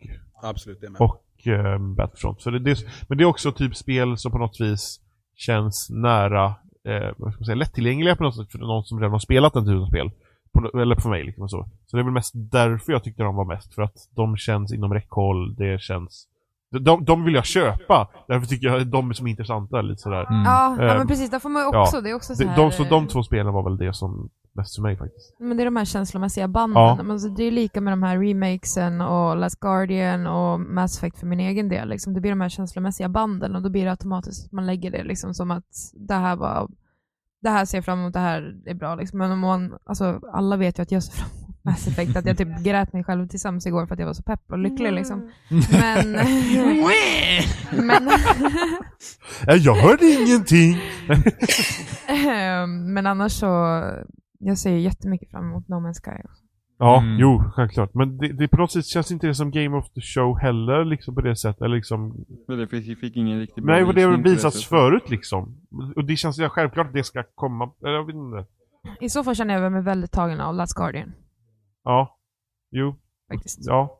Absolut, det med. och eh, Battlefront. Så det, det, men det är också typ spel som på något vis känns nära, eh, vad ska man säga, lättillgängliga på något sätt för någon som redan har spelat den typen av spel. På, no- eller för mig liksom och så. Så det är väl mest därför jag tyckte de var mest, för att de känns inom räckhåll, det känns... De, de vill jag köpa, därför tycker jag att de är som är intressanta lite sådär. Mm. ja, ja, Ehm, men precis. Där får man ju ja. också, det är också så De, här, eh, de, så de två spelen var väl det som mest för mig faktiskt. Men det är de här känslomässiga Ja. banden. Men Alltså, det är lika med de här remakesen och Last Guardian och Mass Effect för min egen del. Liksom. Det blir de här känslomässiga banden och då blir det automatiskt att man lägger det liksom, som att det här var det här ser jag fram emot, det här är bra. Liksom. Men om man, alltså, alla vet ju att jag ser fram emot Mass Effect, att jag typ grät mig själv till sams igår för att jag var så pepp och lycklig. Liksom. Men, men, Nej, Eh, jag hörde ingenting! ehm, men annars så, jag ser ju jättemycket fram emot No Man's Sky. Ja, Mm. jo, självklart. Men det, det på något sätt känns inte det som Game of the Show heller, liksom på det sättet. Eller liksom... Men det fick, fick ingen riktig Nej, och det har belysning på visats sättet. förut liksom. Och det känns ju självklart att det ska komma, eller jag vet inte. I så fall känner jag mig väldigt tagen av Last Guardian. Ja. Jo, Faktiskt. ja.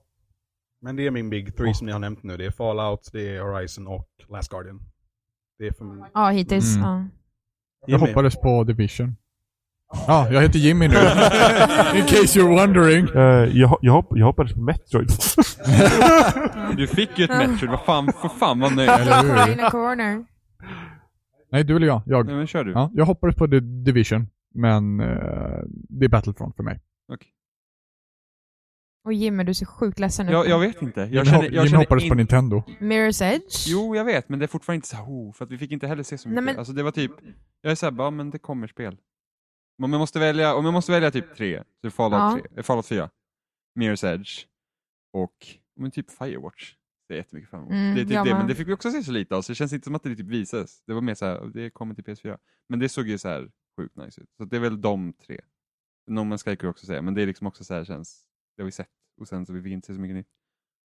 Men det är min big three som ni har nämnt nu. Det är Fallout, det är Horizon och Last Guardian. Det är för mig. Ja, hittills. Mm. Ja. Jag Jimmy, hoppades på Division. Ja, jag heter Jimmy nu. In case you're wondering. Eh, jag, jag, hopp, jag hoppades på Metroid. Du fick ju ett Metroid, vad fan, för fan vad nöjd. Eller Cry hur? in a corner. Nej, du eller jag. Jag. Nej men kör du. Ja, jag hoppades på The Division, men eh, det är Battlefront för mig. Och Jimmy, du ser sjukt ledsen ut. Jag, jag vet inte. Jag Jimmy känner, hopp- jag Jimmy känner hoppades på in- Nintendo. Mirror's Edge? Jo, jag vet, men det är fortfarande inte så här, oh, för att vi fick inte heller se så Nej, mycket. men- Alltså det var typ, jag är såhär, ja men det kommer spel. Om jag måste välja, om jag måste välja typ tre, så är Fallout, Ja. 3, eh, Fallout 4, Mirror's Edge och men typ Firewatch. Det är jättemycket fram emot. Mm, det är typ jag det, men med. det fick vi också se så lite av, så det känns inte som att det typ visas. Det var mer såhär, det kommer till PS4. Men det såg ju så här sjukt nice ut. Så det är väl de tre. No Man's Sky kan jag också säga, men det är liksom också så här känns, det har vi sett. Och sen så vi fick inte se så mycket nytt.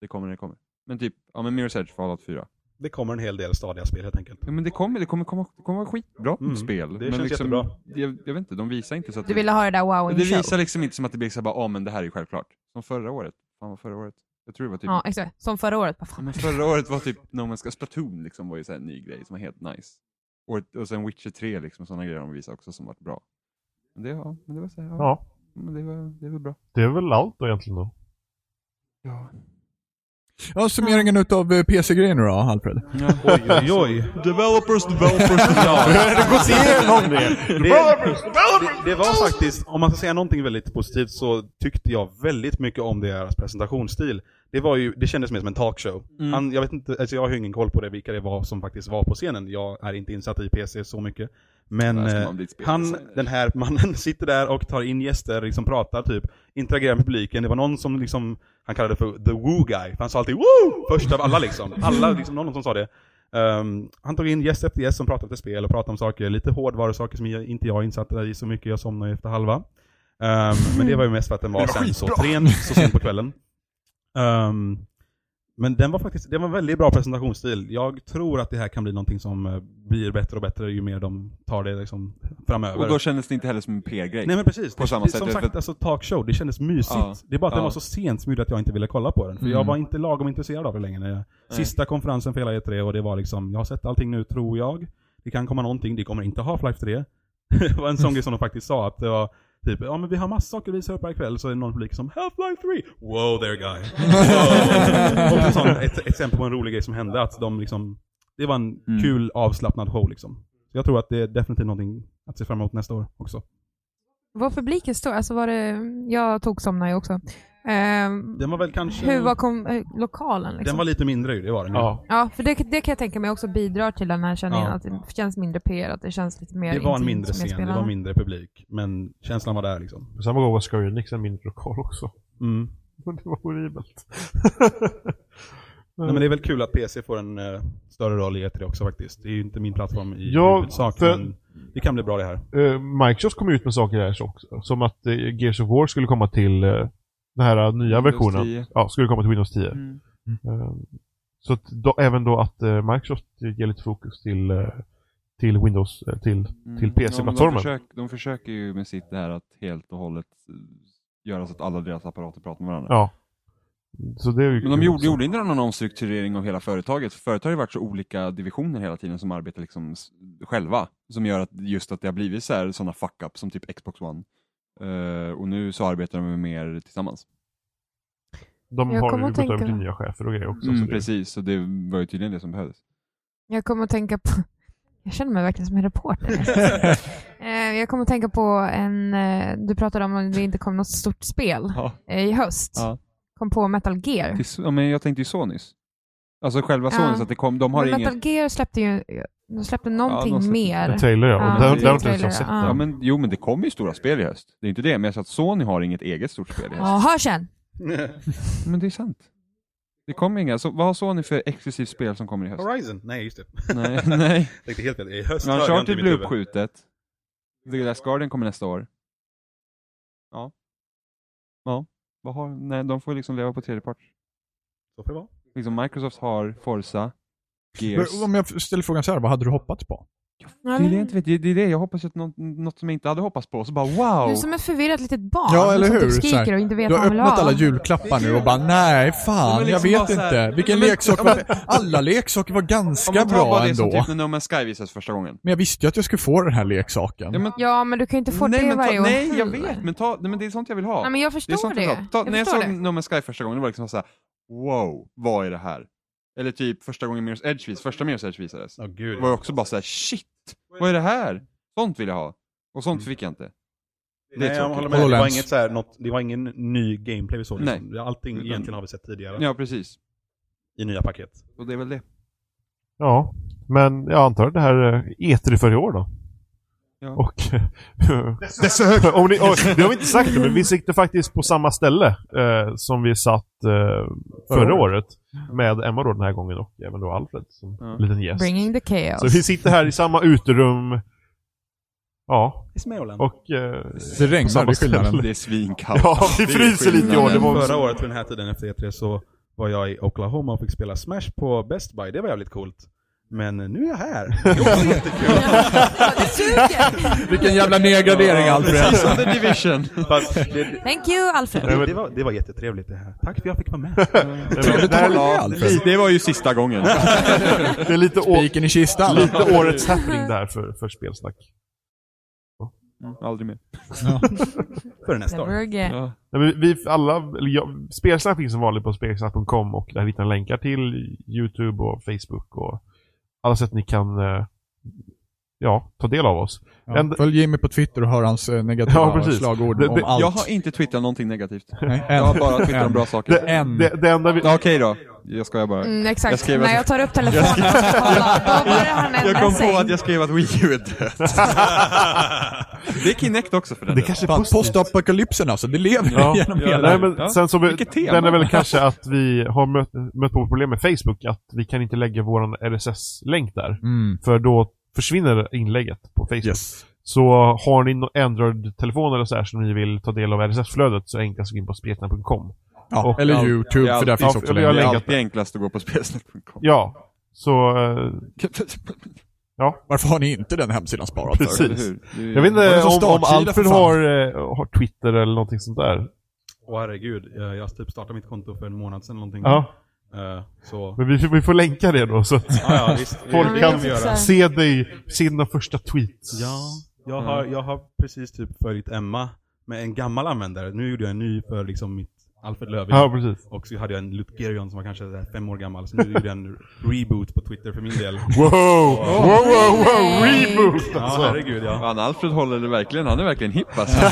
Det kommer när det kommer. Men typ, ja men Mirror's Edge, Fallout 4. Det kommer en hel del stadiga spel helt enkelt. Ja, men det kommer, det kommer, komma, det kommer vara skitbra Mm, spel. det men känns liksom, jättebra. Jag, jag vet inte, de visar inte så att... Du ville ha det där wow det in show? visar liksom inte som att det blir så här bara, ja ah, men det här är ju självklart. Som förra året. Fan vad förra året? Jag tror det var typ... Ja, Ja. exakt. Som förra året. Vad fan. Men förra året var typ No Man's Sky Splatoon liksom var ju så här en ny grej som var helt nice. Och, och sen Witcher 3 liksom, sådana grejer de visar också som varit bra. Men det, ja, men det var så här, ja, ja, Men det var, det var bra. det är väl allt då egentligen då. Ja. Ja, summeringen utav eh, PC-grejer nu då, Alfred. Oj, oj, oj. Developers, developers, ja. Det, det, det var faktiskt, om man ska säga någonting väldigt positivt så tyckte jag väldigt mycket om deras presentationsstil. Det var ju, det kändes mer som en talkshow. Mm. Han, jag vet inte, alltså jag har ju ingen koll på det, vilka det var som faktiskt var på scenen. Jag är inte insatt i PC så mycket. Men Där ska eh, man bli ett han, speldesigner. den här mannen sitter där och tar in gäster, liksom pratar typ, interagerar med publiken. Det var någon som liksom, han kallade för the woo guy, för han sa alltid woo! Först av alla liksom. Alla, liksom någon som sa det. Ehm, han tog in gäst efter gäst som pratade om spel och pratade om saker, lite hårdvarusaker som jag, inte jag är insatt i så mycket, jag somnade ju efter halva. Ehm, men det var ju mest för att den var, sen så tren, så sent på kvällen. Ehm, men den var faktiskt, det var en väldigt bra presentationsstil. Jag tror att det här kan bli någonting som eh, blir bättre och bättre ju mer de tar det liksom framöver. Och då kändes det inte heller som en PR-grej. Nej men precis. På Det- samma det, sätt, Som för- sagt, alltså talkshow, det kändes mysigt. Ja. Det är bara att den Ja. var så sent som gjorde att jag inte ville kolla på den. För jag Mm. var inte lagom intresserad av det längre. när jag- Sista konferensen för hela E3 och det var liksom, jag har sett allting nu tror jag. Det kan komma någonting, det kommer inte ha Half-Life 3. det var en sån grej som de faktiskt sa att det var typ, ja men vi har massa saker att visa upp här ikväll, så är det någon publik som Half-Life 3! Wow there guy! Wow. Också sånt, ett exempel på en rolig grej som hände, att de liksom, det var en Mm. kul avslappnad show liksom. Så jag tror att det är definitivt någonting att se fram emot nästa år också. Var publiken stor? Alltså var det... Jag tog somna ju också. Ehm, Den var väl kanske... hur var kom... eh, lokalen liksom? Den var lite mindre ju, det var den ju. Ja. Ja, för det, det kan jag tänka mig också bidrar till den här känningen, Ja. att det känns mindre PR, att det känns lite mer Det var en intimt mindre som jag scen, det spelar. var mindre publik. Men känslan var där liksom. Samma gång var Square Enix en mindre lokal också. Mm. Men det var horribelt. Nej, men det är väl kul att PC får en eh, större roll i E3 också faktiskt. Det är ju inte min plattform i Ja, huvudsak, för- men det kan bli bra det här. Eh, Microsoft kom ut med saker där också. Som att eh, Gears of War skulle komma till eh, den här nya Windows versionen. 10. Ja, skulle komma till Windows 10. Mm. Eh, Så att då, även då att eh, Microsoft ger lite fokus till, eh, till Windows, eh, till till Mm, ja, men PC-plattformen. De, försök, de försöker ju med sitt det här att helt och hållet eh, göra så att alla deras apparater pratar med varandra. Ja. Så det är ju Men de kul gjorde, också. gjorde inte någon omstrukturering av hela företaget. För företaget har ju varit så olika divisioner hela tiden som arbetar liksom s- själva. Som gör att just att det har blivit så här sådana fuck-up som typ Xbox One. Eh, och nu så arbetar de mer tillsammans. De Jag har kommer ju att gått över tänka till det. nya chefer och grejer också. Mm, så det, precis, så det var ju tydligen det som behövdes. Jag kommer att tänka på... Jag känner mig verkligen som en reporter. Eh, jag kommer att tänka på en... eh, Du pratade om att det inte kom något stort spel Ja. eh, i höst. Ja. Kom på Metal Gear. Till, ja, men jag tänkte ju så nyss. Alltså själva så Ja. nyss, att det kom, de har Men inget... Metal Gear släppte ju... De släppte någonting de släppte- En mer. trailer ja. Ja, Och den, det den har är en inte ens jag trailer, sett ja. än. Ja, men, jo men det kommer ju stora spel i höst. Det är inte det, men jag sa att Sony har inget eget stort spel i höst. Ja, hör sen! Men det är sant. Det kommer inga. Så, vad har Sony för exklusivt spel som kommer i höst? Horizon? Nej, just det. Nej, nej. Tänkte helt fel. I höst Men hörde jag inte Uncharted i mitt blir huvud. uppskjutet. The Last Guardian kommer nästa år. Ja. Ja. Vad har, nej, de får ju liksom leva på tredjepart. Så får det vara. Liksom Microsoft har Forza, Men Gears. Om jag ställer frågan så här, vad hade du hoppats på? Ja, Det är det jag inte vet, det är det är det jag hoppas att något, något som jag inte hade hoppats på, så bara wow! Du är som ett förvirrat litet barn Ja, eller som hur? typ Så här, skriker och inte vet Du vad har han vill öppnat ha. alla julklappar nu och bara nej, fan, Men jag liksom vet bara så här- inte. Vilken Men- leksak var Alla leksaker var Om ganska man tar bara bra det som ändå. typ när No Man's Sky visades första gången. Men jag visste ju att jag skulle få den här leksaken. Ja, men, Ja, men du kan ju inte få nej, det men varje ta, år. Nej, jag vet, men, ta, nej, men det är sånt jag vill ha. Nej, men jag det är förstår sånt det. jag vill ha. Ta, jag när jag förstår såg det. No Man's Sky första gången, det var liksom såhär, wow, vad är det här? Eller typ första gången Mirror's Edge vis, första Mirror's Edge visades. Åh gud. Det var jag också bara såhär, shit, vad är det här? Sånt vill jag ha. Och sånt fick jag inte. Det är Nej, jag tråkigt. håller med. Det var, HoloLens. inget så här, något, det var ingen ny gameplay vi såg. Liksom. Allting Utan- egentligen har vi sett tidigare Mm. Ja, precis. i nya paket. Och det är väl det. Ja, men jag antar att det här är E3 för i år då. Ja. Och... Dessa högre! Om ni, och, det har vi inte sagt men vi sitter faktiskt på samma ställe eh, som vi satt eh, förra, Förra året. Med Emma då den här gången och även då Alfred som Ja. liten gäst. Bringing the chaos. Så vi sitter här i samma uterum. Ja, I Småland. och... Eh, Det på samma regnar, det är skillnaden. Det är svinkallt. ja, vi Det är fryser lite i år. Det skillnaden. var Förra året vid den här tiden efter E3 så var jag i Oklahoma och fick spela Smash på Best Buy. Det var jävligt coolt. Men nu är jag här. Det var jättekul. Ja, det suger! Vilken jävla nedgradering Alfred. Precis som The Division. Fast det, Thank you, Alfred. Nej, men- det, var, det var jättetrevligt det här. Tack för att jag fick vara med. Trevligt att hålla med Alfred. Det var ju sista gången. det är lite, å, Spiken i kistan. lite årets happening där för, för spelsnack. Aldrig mer. För nästa Never år. again. Ja. Nej, men vi alla, eller jag, spelsnack finns som vanligt på spelsnack.com och där hittar ni länkar till Youtube och Facebook och alla sätt ni kan eh, ja, ta del av oss. Ja, följ Jimmy på Twitter och hör hans eh, negativa Ja, precis. slagord Det- om det- allt. Jag har inte twittrat någonting negativt. Nej, Jag har en. bara twittrat om bra Det, saker. En. det, det enda vi... Ja, Okej då. Jag skojar bara. Mm, Jag exakt. skrev När att- jag tar upp telefonen och ska kolla, då börjar han Jag ändra kom på att sig. jag skrev att Wii U är död. Det är Kinect också för den Det delen. kanske är Fan, positivt. postapokalypsen alltså, det lever Ja. genom Ja, hela... Nej, men Ja. sen så, Vilket tema. den är väl kanske att vi har mött, mött på problem med Facebook, att vi kan inte lägga vår RSS-länk där. Mm. För då försvinner inlägget på Facebook. Yes. Så har ni någon Android-telefon eller så här som ni vill ta del av RSS-flödet så enklast gå in på spelsnack.com. Ja, Och- eller Ja. YouTube, Ja, för där ja, finns för också vi har Det länkar. är länkat alltid enklast att gå på spelsnack.com. Ja, så eh, Varför har ni inte den hemsidan sparad för? Precis. Eller hur? Det är- Jag vet Var det inte som om, om startsida för Alfred fan? har, eh, har Twitter eller någonting sånt där. Åh herregud, jag, jag typ startade mitt konto för en månad sedan någonting. Ja, Eh, så, men vi, får- vi får länka det då så att ja, ja visst. folk Ja, vi kan kan fixa. se dig, se dina första tweets. Ja, jag Mm. har, jag har precis typ följt Emma med en gammal användare. Nu gjorde jag en ny för liksom mitt Alfred Löfving. Ja, precis. Och så hade jag en Lutgerion som var kanske så här fem år gammal, så nu gjorde jag en reboot på Twitter för min del. Wow! Wow, wow, wow! Nej. Reboot Ja, alltså! herregud ja. Fan, Alfred håller det verkligen. Han är verkligen hipp alltså.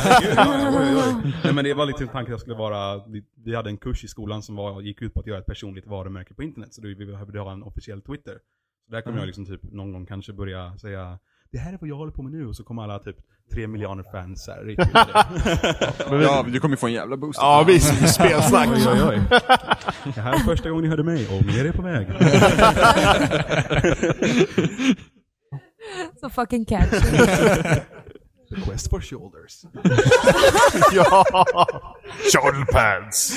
Nej men det var liksom tanken att jag skulle vara, vi- vi hade en kurs i skolan som var, gick ut på att göra ett personligt varumärke på internet, så då vi behövde ha en officiell Twitter. Så där kommer jag liksom typ någon gång kanske börja säga det här är vad jag håller på med nu och så kommer alla typ tre miljoner fans här. Ja, du kommer ju få en jävla boost. Ja visst, spelsnack. Oj, oj, oj. Det här är första gången ni hörde mig och mer är på väg. Så fucking catch. Quest for shoulders. ja! Shouldpads.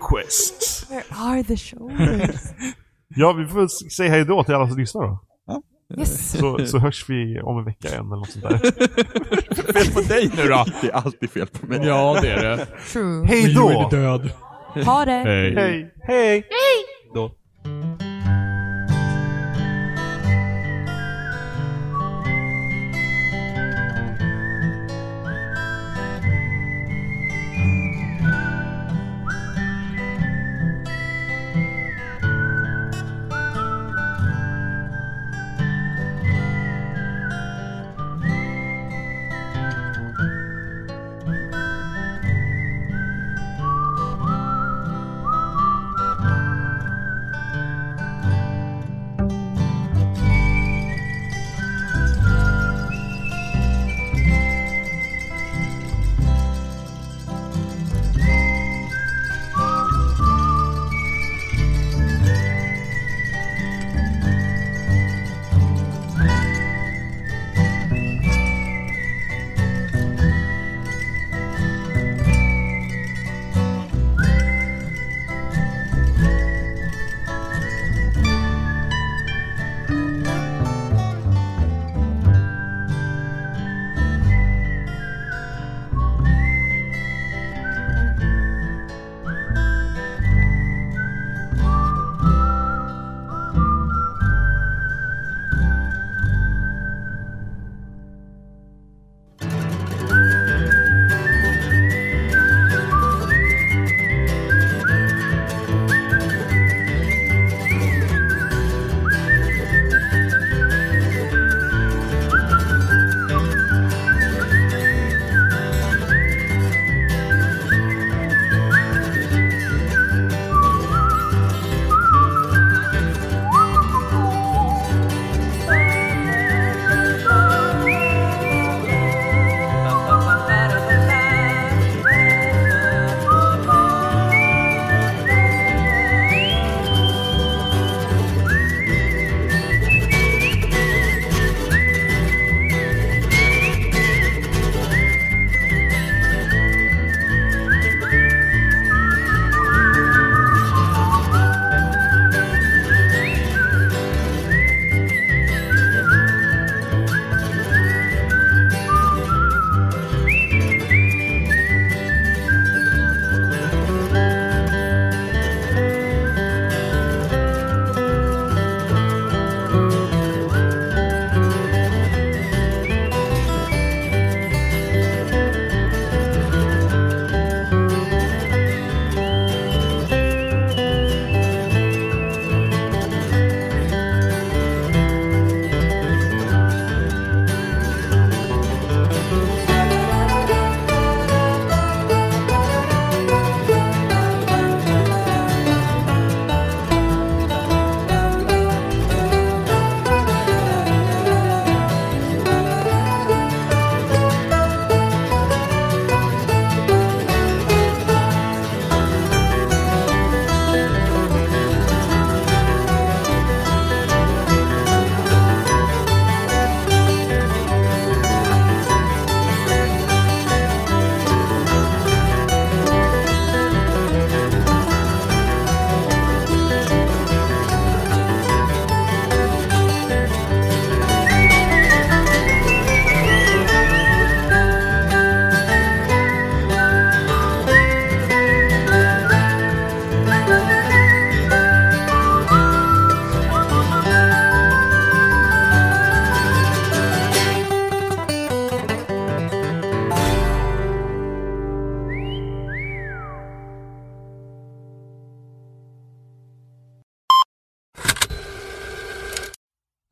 Quest. Where are the shoulders? Ja, vi får s- säga hej då till alla som lyssnar då. Yes. Så, så hörs vi om en vecka igen eller något sånt där. fel på dig nu då! Det är alltid fel på mig. Ja, det är det. True. Hej Du är då! död. Ha det! Hej! Hej! Då.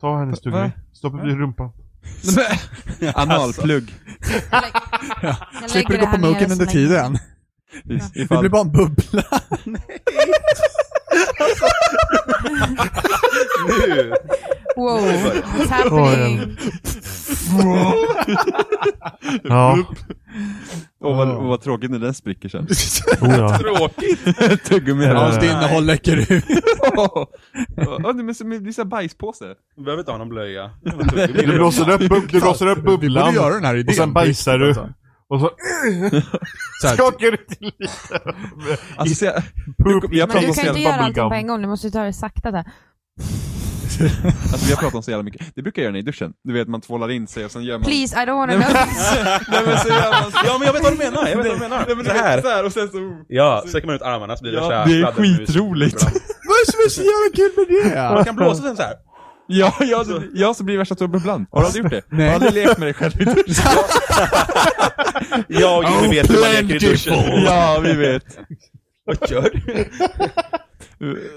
Ta hennes tuggummi. Stoppa upp i rumpan. Analplugg. Jag lägger- jag Slipper du lägger gå på det här nere munken så under länge. tiden. Det Ifall, blir bara en bubbla. Nu! Wow, what's happening? Ja. och vad, och vad tråkigt när den spricker sen. Oh, ja. Tråkigt! Tuggummi här. Hans innehåll läcker ut. Ja, det blir som en sån här bajspåse. Du behöver inte ha någon blöja. Du blåser upp, bub- du blåser upp Vi borde bubblan. göra den här idén. Och sen bajsar Riktigt, du. alltså. Och så Så här, skakar du till lite. Alltså, se, Poop jag Men du eating kan ju inte göra allting bubblegum. på en gång, du måste ju ta det sakta där. alltså vi har pratat om så jävla mycket. Det brukar jag göra när jag är i duschen. Du vet, man tvålar in sig och sen gör man... Please, I don't wanna know. Nej men så gör man så. Ja men jag vet vad du menar, jag vet vad du menar. Nej, men du så vet, här. Så här och sen så... Ja, sträcker man ut armarna så blir det Ja, så här det är fladdermus. skitroligt. Vad är det som är så jävla kul med det? Man kan blåsa den så här. Ja, jag, så, jag så blir det värsta tubbelbland. Har du aldrig gjort det? Nej. Har du aldrig lekt med dig själv i duschen? Jag och Jimmy vet hur man leker i duschen. Ja, vi vet. Vad gör du?